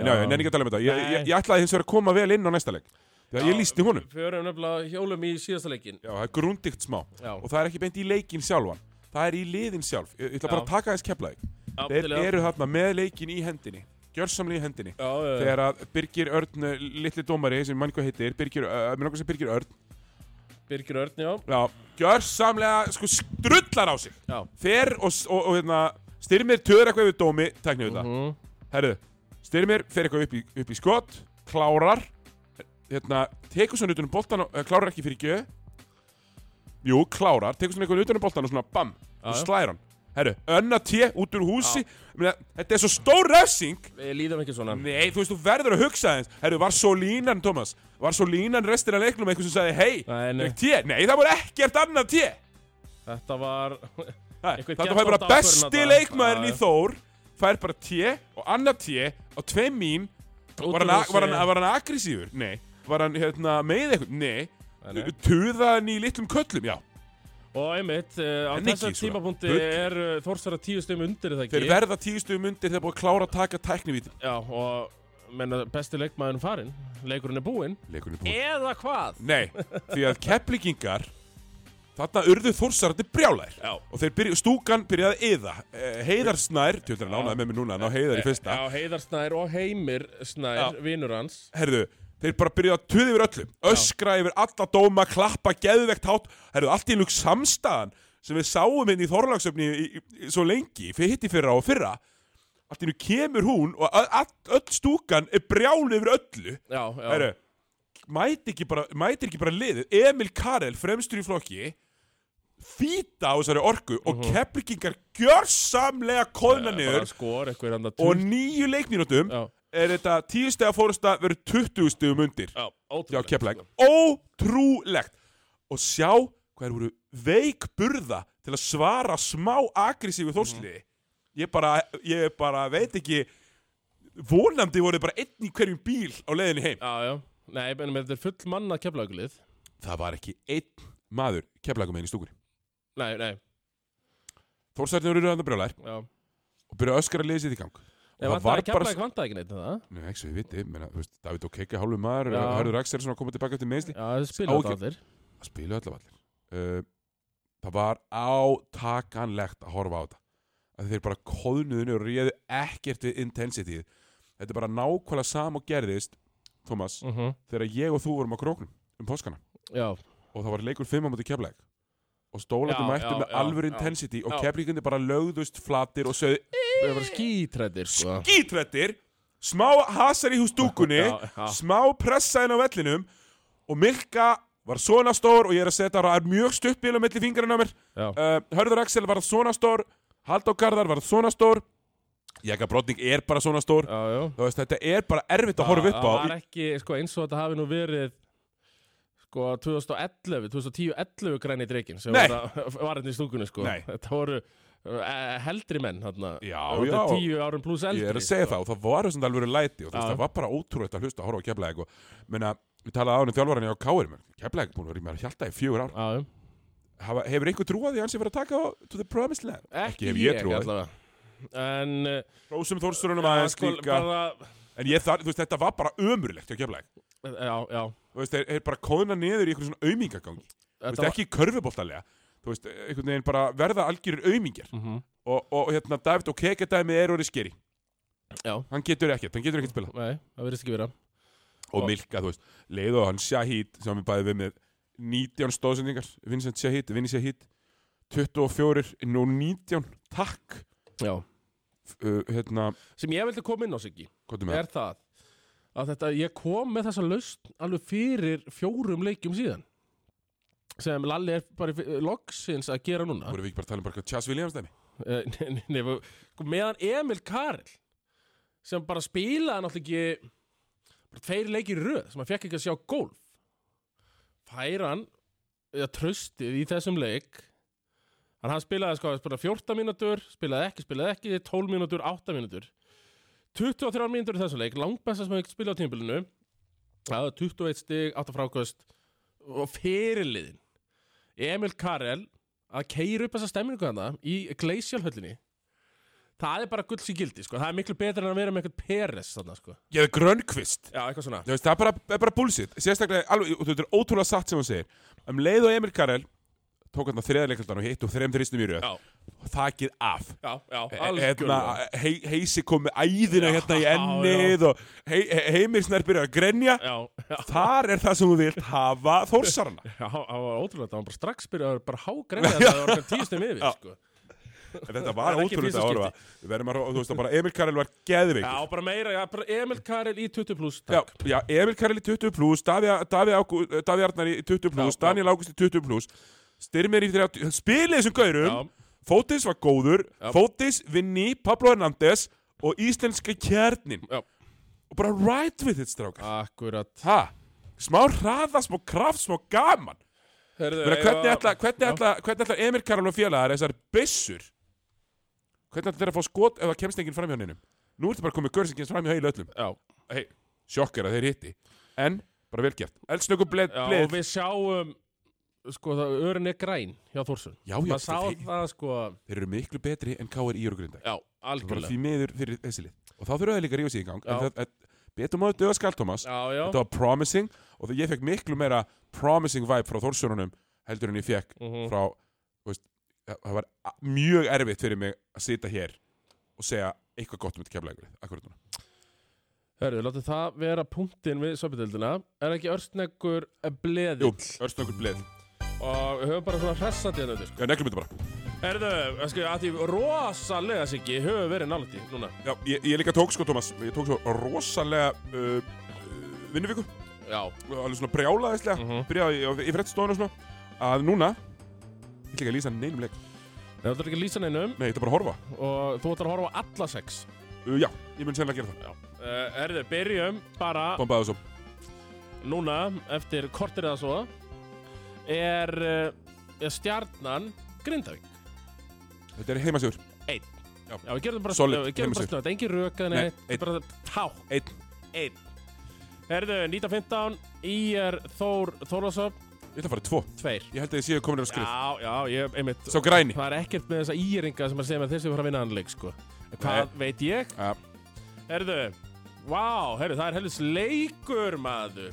Speaker 1: en já,
Speaker 2: Já.
Speaker 1: já en ekki að tala um þetta ég,
Speaker 2: Nei.
Speaker 1: ég, ég ætlaði hins vegar að koma vel inn á næsta leik þegar
Speaker 2: Já,
Speaker 1: ég lísti honum
Speaker 2: Förum nefnilega hjólum í síðasta leikin
Speaker 1: Já, það er grúndikt smá
Speaker 2: Já,
Speaker 1: og það er ekki beint í leikinn sjálfan það er í liðin sjálf, ég, ég ætla bara
Speaker 2: Já.
Speaker 1: að taka þess keflaði þeir
Speaker 2: afnilega.
Speaker 1: eru þarna með leikin í hendinni gjörsamlega í hendinni
Speaker 2: Já, já, já.
Speaker 1: þegar að Birgir Örn, uh, litli dómari sem mann hvað heitir, Birgir, uh, mér langar sem Birgir Örn
Speaker 2: Birgir Örn, já.
Speaker 1: já, gjörsamlega sko strullar á sig
Speaker 2: Já.
Speaker 1: fer og, s- og, og hérna styrmir töður eitthvað yfir dómi, tæknir þetta
Speaker 2: Mhm.
Speaker 1: herru, styrmir fer eitthvað upp í, upp í skot klárar hérna, tekur svona utan um boltan og, eh, klárar ekki fyrir gjöð jú, klárar, tekur svona eitthvað utan um boltan og svona bam,
Speaker 2: Já,
Speaker 1: og
Speaker 2: já.
Speaker 1: slæðir hann herru, önna té út úr húsi Mena, þetta er svo stór refsing
Speaker 2: Við líðum ekki svona.
Speaker 1: Nei, þú veist, þú verður að hugsa aðeins Herru, var svo línan, Thomas Var svo línan restin af leiknum eitthvað sem sagði Hei,
Speaker 2: Nei, nei.
Speaker 1: fekk té Nei, það voru ekkert annað té
Speaker 2: Þetta var... (laughs) Einhver
Speaker 1: Þetta
Speaker 2: geðþótta
Speaker 1: var bara
Speaker 2: ákvörðun
Speaker 1: besti
Speaker 2: þarna.
Speaker 1: leikmaðurinn
Speaker 2: Já,
Speaker 1: í Þór Fær bara té og annað té Á tveim mín Var hann, var hann, var hann aggressífur? Nei Var hann hérna, með eitthvað? Nei,
Speaker 2: nei.
Speaker 1: Tuðaðan í litlum köllum, já
Speaker 2: Og einmitt, uh, á
Speaker 1: En
Speaker 2: þessum
Speaker 1: ekki svona.
Speaker 2: tímapunkti
Speaker 1: Bull.
Speaker 2: er uh, Þórsara tíu stum undir er það
Speaker 1: Þeir
Speaker 2: ekki.
Speaker 1: verða tíðustu mundir þegar búið að klára að taka tæknivítin
Speaker 2: Já, og menna, besti leikmaðurinn farinn, leikurinn er búinn.
Speaker 1: Leikunni búið
Speaker 2: Eða hvað?
Speaker 1: Nei, því að keplikingar Þarna urðu þórsarandi brjálæðir
Speaker 2: Já.
Speaker 1: Og þeir byrju, stúkan byrjaði að eða Eh, Heiðar Snær, tjóttur að lánaði með mér núna Ná heiðar í fyrsta
Speaker 2: Já, Heiðar Snær og Heimir
Speaker 1: Já.
Speaker 2: Snær, vinnur hans.
Speaker 1: Herðu, þeir bara byrjuðu að tuði yfir öllum Öskra yfir alla dóma, klappa, geðvegt hátt Herðu, allt í lúk samstaðan Sem við sáum hérna í Þorlagsöfni í, í, í, Svo lengi, fyrir hitti fyrra og fyrra Allt í nú kemur hún Og ö- all- öll stúkan er brjálu yfir öllu
Speaker 2: Já, já.
Speaker 1: Herru, mætir ekki bara, mætir ekki bara liðið Emil Karel, fremstur í flokki Fýta á þessari orku Og keplikingar gjörsamlega kóðna
Speaker 2: Mhm. Bara
Speaker 1: niður
Speaker 2: skor, eitthvað er hann að
Speaker 1: Og nýju leikmínútum
Speaker 2: Já.
Speaker 1: Er þetta tíu stega fórusta Verður 20 stegum undir
Speaker 2: Já,
Speaker 1: Já,
Speaker 2: ótrúlega.
Speaker 1: keplæk Ótrúlegt Og sjá hvað er voru veik burða Til að svara smá agressífu
Speaker 2: Mhm.
Speaker 1: þórsliði Ég bara, ég bara veit ekki Vonandi voru bara einn í hverjum bíl Á leiðinni heim
Speaker 2: Já, já. Nei, menn, þetta er full manna keflaugulið.
Speaker 1: það var ekki einn maður keflækum einn í stúkunni.
Speaker 2: Nei, nei,
Speaker 1: Þórsættin eru röðan að brjólaðir
Speaker 2: já.
Speaker 1: og byrja að öskra að liða sér í gang. Og
Speaker 2: Ég
Speaker 1: það var
Speaker 2: vantaði
Speaker 1: bara...
Speaker 2: keflaug, vantaði ekki neitt um það.
Speaker 1: Nei, ekki svo ég viti, menna, veist, David O'Keika, hálfu maður,
Speaker 2: Já.
Speaker 1: Hörður Axelsson að koma tilbaka eftir meðsli.
Speaker 2: Já, það spila
Speaker 1: Ágjör-
Speaker 2: þetta allir.
Speaker 1: Það spilu allavega allir. Uh, það var átakanlegt að horfa á þetta. Að þeir bara kóðnuðinu og réðu ekkert við intensityð. Þetta er bara nákvæmlega sam og gerðist, Thomas,
Speaker 2: Uh -huh.
Speaker 1: þegar ég og þú vorum á króknum um páskana.
Speaker 2: Já,
Speaker 1: og það var leikur 5 á móti keflæk og stólarnir
Speaker 2: Já,
Speaker 1: mættu
Speaker 2: já,
Speaker 1: með
Speaker 2: já,
Speaker 1: alvöru
Speaker 2: já.
Speaker 1: intensity og
Speaker 2: Já.
Speaker 1: keflíkundi bara lögðust flatir og sögðu
Speaker 2: það var skítrættir, sko.
Speaker 1: skítrættir smá hasar í hústúkunni
Speaker 2: (laughs) Já, já.
Speaker 1: smá pressa inn á vellinum og Milka var svona stór og ég er að segja þetta er mjög stutt bíl á milli fingrarinn á mér
Speaker 2: Já.
Speaker 1: uh, Hörður Axel var svona stór Haldó Garðar var svona stór Jæga Brotning er bara svona stór
Speaker 2: Já, já.
Speaker 1: þú veist þetta er bara erfitt að horfa upp á
Speaker 2: Það var ekki, sko, eins og þetta hafi nú verið sko 2011, 2010-11 græni dreikin sem
Speaker 1: Nei.
Speaker 2: var (laughs) að- var hérna í stúkunni, sko.
Speaker 1: Nei.
Speaker 2: Þetta voru uh, heldri menn, hérna.
Speaker 1: Já,
Speaker 2: Þetta
Speaker 1: já.
Speaker 2: er tíu árum pluss eldri.
Speaker 1: Ég er að segja það og það var þessum alveg læti og þú veist,
Speaker 2: sko. Já.
Speaker 1: það var bara ótrúlegt að hlusta að horfa á keflæk og menna, við talaði á hann um þjálfaran hjá Káir keflæk búin að vera í mér að hjalta í fjögur ár
Speaker 2: Já, já.
Speaker 1: Hafa, Hefur einhver trúað því hans sem verið að taka á to the promised land?
Speaker 2: Ekki,
Speaker 1: hef
Speaker 2: ég,
Speaker 1: ég trúað
Speaker 2: allavega. En, uh,
Speaker 1: Rósum Þórstörunum aðeins
Speaker 2: sko,
Speaker 1: líka
Speaker 2: bara,
Speaker 1: En ég þar, þú veist, þetta var bara ömurlegt hjá keflæk
Speaker 2: já, já.
Speaker 1: Þú veist, þeir, þeir bara kóðna niður í einhvern svona aumingagangi Þú veist,
Speaker 2: var-
Speaker 1: ekki körfuboltalega Þú veist, einhvern veginn bara verða algjörir aumingjar
Speaker 2: Mhm.
Speaker 1: og, og hérna, David og Keke dæmi er orðið skeri
Speaker 2: Já.
Speaker 1: Hann getur ekkert, hann getur ekkert spila
Speaker 2: Nei, það verðist ekki vera.
Speaker 1: og
Speaker 2: Og-
Speaker 1: Milka, þú veist, leið og hann Shahid sem við bæði við með 19 stóðsendingar Vincent Shahid, Vinny Shahid 24, nú 19 takk,
Speaker 2: Já.
Speaker 1: uh, hérna
Speaker 2: Sem ég vildi koma inn á sig í.
Speaker 1: hvað er með,
Speaker 2: er það að þetta, ég kom með þessa lausn alveg fyrir fjórum leikjum síðan sem Lalli er bara í fyr- loksins að gera núna
Speaker 1: voru við ekki bara að tala um bara hvað Chas Williams dæmi
Speaker 2: Eh, (laughs) nei, nei, nei, við- sko, meðan Emil Karel sem bara spilaði náttúrulega ekki bara tveir leikir í röð sem hann fekk ekki að sjá golf fær hann eða tröstið í þessum leik hann, hann spilaði sko bara 14 mínútur spilaði ekki, spilaði ekki, 12 mínútur 8 mínútur 23 mínútur í þessum leik, langbæsta sem hann ekki spilaði á tímabilinu það var 21 stig 8 frákvöst og fyrirliðin Emil Karel að keira upp þessa stemningu hana í Glacialhöllinni það er bara gulls í gildi sko. það er miklu betra en að vera með eitthvað Peres þarna, sko.
Speaker 1: ég hefði Grönkvist
Speaker 2: já, eitthvað svona
Speaker 1: Þú veist, það er bara, er bara bullshit sérstaklega, alveg, og þetta er ótrúlega satt sem hún segir um leið og Emil Karel tók hann að þriðarleikaldan og hitt og þrem þristum í röð
Speaker 3: Já,
Speaker 1: þakið af
Speaker 3: já, já,
Speaker 2: E-
Speaker 1: hérna,
Speaker 3: algjörlega
Speaker 1: hei, heisi kom með
Speaker 3: Já,
Speaker 1: æðina hérna í
Speaker 3: já.
Speaker 1: ennið og hei, he- heimir snær byrjar að grenja
Speaker 3: Já, já,
Speaker 1: þar er það sem þú vilt hafa þórsarana
Speaker 2: Já, það var ótrúlega, það var bara strax byrjaður bara hágræðið að það var bara tíðstum yfir,
Speaker 1: Já.
Speaker 2: sko.
Speaker 1: en þetta var
Speaker 2: Það er ekki
Speaker 1: ótrúlega
Speaker 2: fyrsta
Speaker 1: að orfa við verðum að, þú veist að bara Emil Karel var geðveik
Speaker 2: Já, bara meira, já, bara Emil Karel í 20 pluss,
Speaker 1: Já,
Speaker 2: takk.
Speaker 1: já, Emil Karel í 20 pluss, Daví Daví Ágú- Daví Arnar í 20 pluss,
Speaker 2: Já, já.
Speaker 1: Daniel Ágúst í 20 pluss, Styrmir í 30, spilið þessum gaurum, Fótis var góður,
Speaker 2: Já.
Speaker 1: Fótis, Vinni, Pablo Hernández og íslenska kjarnin.
Speaker 2: Já.
Speaker 1: Og bara right with it, strákar.
Speaker 2: Akkurat.
Speaker 1: Ha? Smá hraða, smá kraft, smá gaman.
Speaker 2: Herðu,
Speaker 1: Meina, hvernig,
Speaker 2: eigum
Speaker 1: ætla, hvernig,
Speaker 2: Já.
Speaker 1: ætla, hvernig ætla Emil Karel og félagar þessar byssur? Hvernig ætla þeir að fá skot ef það kemst enginn fram hjá neinum? Nú ertu bara komið gaur sem kemst fram hjá heil öllum.
Speaker 2: Já,
Speaker 1: Hey, sjokk er að þeir hitti. En, bara velgjart. Eldsnöku bleið.
Speaker 2: já
Speaker 1: bleið.
Speaker 2: og við sjáum, sko, það örin er græn hjá Þórsson.
Speaker 1: Já, já,
Speaker 2: Maður sá
Speaker 1: þeir,
Speaker 2: það, sko,
Speaker 1: þeir eru miklu betri en K.R. í og grinda.
Speaker 2: já,
Speaker 1: bara
Speaker 2: algjörlega.
Speaker 1: því miður fyrir þessi lið og þá þurfa það líka að rífa sig í gang en
Speaker 2: Já.
Speaker 1: það, en, betur maður döða skall Thomas
Speaker 2: Já, já,
Speaker 1: þetta var promising og það, ég fekk miklu meira promising vibe frá Þórsjörunum heldur en ég fekk
Speaker 2: Mhm.
Speaker 1: frá þú veist, það það var a- mjög erfitt fyrir mig að sita hér og segja eitthvað gott um þetta keflaðið akkurat núna
Speaker 2: Herðu, láttu það vera punktin við söpudildina. Er ekki örstneggur bleðið?
Speaker 1: Jú, örst nokkur bleið
Speaker 2: Og við höfum bara svona hressandi hérna, sko.
Speaker 1: Já, neglum þetta bara
Speaker 2: Herðu, það sko, að því rosalega sikki höfum verið nálætti núna.
Speaker 1: Já, ég, ég líka tók sko Thomas ég tók svo rosalega uh, vinnuvíku
Speaker 2: Já.
Speaker 1: alveg svona brjálaðislega mm
Speaker 2: Mhm.
Speaker 1: byrjaði ég, ég frétt stóðan og svona að núna ég ætla ekki að lýsa neinum leik
Speaker 2: Það er ekki að lýsa neinum
Speaker 1: Nei, þetta er bara að horfa.
Speaker 2: og þú ætlar að horfa á alla sex.
Speaker 1: Uh, já, ég mun sennilega gera það.
Speaker 2: Já. Uh, herðu, byrjum bara
Speaker 1: Bombaði þessu.
Speaker 2: núna eftir kortir eða svo er, uh, er stjarnan Grindavík.
Speaker 1: Þetta er heimasjúr.
Speaker 2: Já, við gerum bara
Speaker 1: Solid,
Speaker 2: við gerum bara
Speaker 1: heimasigur.
Speaker 2: snöð, engin rökaði
Speaker 1: Nei,
Speaker 2: neitt,
Speaker 1: einn.
Speaker 2: bara tá.
Speaker 1: Einn.
Speaker 2: Einn. Herðu, 1915, IR Þór Þórlásöf,
Speaker 1: Ég ætla að fara í tvo.
Speaker 2: tveir.
Speaker 1: Ég held að ég séu komin að skrið.
Speaker 2: Já, já, ég, einmitt,
Speaker 1: Sá græni.
Speaker 2: það er ekkert með þessa íringa sem að segja með þessi fara að vinna hann leik, sko. En Hvað veit ég?
Speaker 1: Ja.
Speaker 2: Herðu, vá, herðu, það er helvis leikur, maður.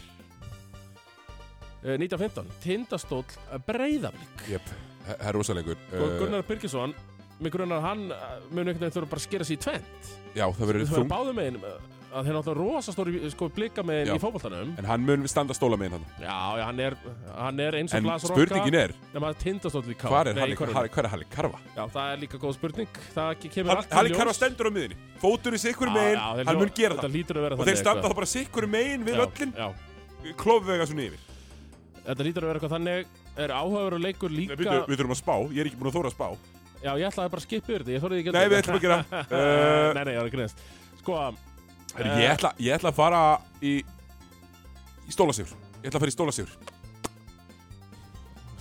Speaker 2: Eh, 1915, tindastóll breyðaflik.
Speaker 1: Jep, Uh, það er rosalegur.
Speaker 2: Og Gunnar Birgisson, mig grunar að hann eh, mun einhvern veginn þurfa bara að skera sig í tvent.
Speaker 1: já, það verður
Speaker 2: Við þurfum
Speaker 1: þung.
Speaker 2: báðum meginn eh, að þeir eru alltaf rosastóri sko, blika meginn
Speaker 1: Já.
Speaker 2: í fótboltanum.
Speaker 1: En hann mun standa stóla með hann.
Speaker 2: Já, já, hann er, hann er eins og
Speaker 1: En
Speaker 2: glas
Speaker 1: spurningin er,
Speaker 2: Nefn að tindastóll í ká.
Speaker 1: hvað er
Speaker 2: Nei, í
Speaker 1: Halli,
Speaker 2: körfunni.
Speaker 1: Halli, hvað er Halli Karfa?
Speaker 2: Já, það er líka góð spurning. Það ke- kemur
Speaker 1: Halli,
Speaker 2: allt í
Speaker 1: Halli
Speaker 2: ljós.
Speaker 1: Karfa stendur á miðinni. Fótur í sikkur
Speaker 2: Já,
Speaker 1: megin,
Speaker 2: já,
Speaker 1: hann
Speaker 2: þeir hljóta-
Speaker 1: mun gera
Speaker 2: Þetta
Speaker 1: það.
Speaker 2: lítur að vera
Speaker 1: Og
Speaker 2: þannig
Speaker 1: þeir standa
Speaker 2: eitthvað.
Speaker 1: þá bara sikkur megin við
Speaker 2: Já,
Speaker 1: öllin.
Speaker 2: já.
Speaker 1: sko. Klofvega svona yfir.
Speaker 2: Þetta lítur að vera eitthvað þannig Er áhugaveru leikur
Speaker 1: Nei,
Speaker 2: líka
Speaker 1: byrju, Við þurfum að spá, ég er ekki búin að þóra að spá.
Speaker 2: Já, ég ætlaði bara að skipa yfir þetta Ég þorði ekki
Speaker 1: Nei, við ætlum að
Speaker 2: (laughs)
Speaker 1: gera. (laughs)
Speaker 2: uh,
Speaker 1: Uh,
Speaker 2: Nei, nei, ég var að grínast Sko
Speaker 1: herri, ég, ætla, ég ætla að fara í, í stólasjúr. Ég ætla að fara í stólasjúr.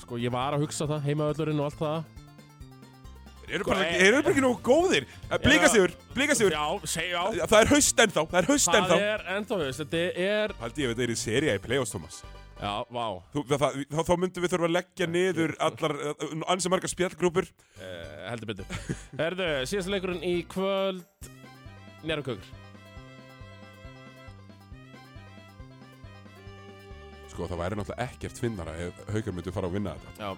Speaker 2: Sko, ég var að hugsa það Heimaöllurinn og allt það
Speaker 1: Þeir eru bara,
Speaker 2: Nei.
Speaker 1: þeir eru bara ekki nógu góðir Blíkasigur, blíkasigur
Speaker 2: Já, segja á
Speaker 1: Eh, Það er haust ennþá, það er haust
Speaker 2: Það
Speaker 1: ennþá
Speaker 2: er ennþá haust Þetta er
Speaker 1: Haldi ég að þetta er í seria í Playoffs, Thomas
Speaker 2: Já, vá
Speaker 1: Þú, það, það, þá, þá myndum við þurfa að leggja niður allar, uh, ansi margar spjallgrúpur
Speaker 2: uh, Heldur betur Herðu, síðast leikurinn í kvöld Njárumkökur
Speaker 1: Sko, það væri náttúrulega ekkert vinnara ef haukar myndu fara að vinna þetta
Speaker 2: Já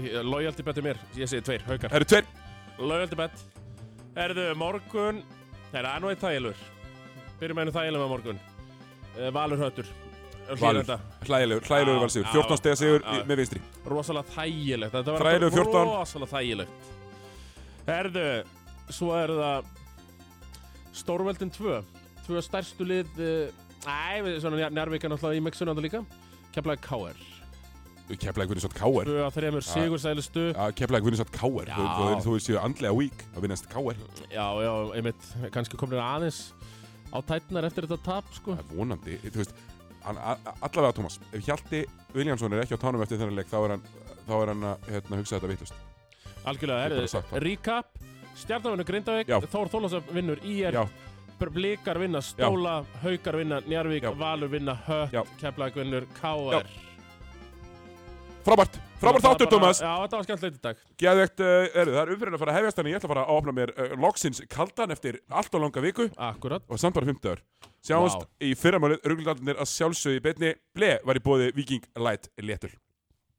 Speaker 2: eh, Loyalty betur mér Ég segi tveir, haukar
Speaker 1: Það eru tveir
Speaker 2: Laugaldi bett Herðu, morgun Nei, það er nú eitt þægilegur Byrjum með einu þægilegum á morgun uh, Valur Höttur
Speaker 1: Valur,
Speaker 2: Hlýrenda.
Speaker 1: hlægilegur, hlægilegur
Speaker 2: Já,
Speaker 1: valsigur
Speaker 2: já,
Speaker 1: 14 stega sigur
Speaker 2: já,
Speaker 1: í-
Speaker 2: já.
Speaker 1: með vinstri
Speaker 2: Rosalega þægilegt Þetta var
Speaker 1: Þrælu 14.
Speaker 2: rosalega þægilegt Herðu, svo er það Stórveldin 2 Tvö stærstu lið uh, Æ, við- svona njárvika náttúrulega í Mexunanda líka Keflaði KR
Speaker 1: Keflæk vinnur satt káer
Speaker 2: Tvö að þremur sigursælustu
Speaker 1: Keflæk vinnur satt káer
Speaker 2: Já.
Speaker 1: Þú þú- þú séu andlega vík að vinnast káer
Speaker 2: Já, já, einmitt Kannski komnir aðeins á tætnar eftir þetta tap, sko
Speaker 1: Það er vonandi, þú veist hann, a- a- allavega Thomas, ef Hjalti Viljánsson er ekki á tánum eftir þennan leik þá er hann, þá er hann að hérna, hugsa þetta vittlust Ég
Speaker 2: Algjörlega,
Speaker 1: bara sagt
Speaker 2: er,
Speaker 1: það.
Speaker 2: recap Stjarnavinnur Grindavík,
Speaker 1: Já.
Speaker 2: Þór Þólasöf vinnur IR,
Speaker 1: Já,
Speaker 2: Blikar vinna Stóla, Haukar vinna Njarvík,
Speaker 1: Já.
Speaker 2: Valur vinna Hött,
Speaker 1: Já.
Speaker 2: Keflag vinnur KR
Speaker 1: frábært, frábært
Speaker 2: Það var
Speaker 1: þáttur
Speaker 2: bara-
Speaker 1: Thomas
Speaker 2: Já, þetta var skemmtilegt í dag
Speaker 1: Geðvegt, uh, er, það er umfyrir að fara að hefjast hann ég ætla að fara að opna mér uh, loksins kaldan eftir allt og langa viku
Speaker 2: Akkurat,
Speaker 1: og samt bara 50 ár Sjáumst
Speaker 2: Vá.
Speaker 1: í fyrramálið, rugglindarnir að sjálfsögði betni Ble var í bóði Viking Light Léttur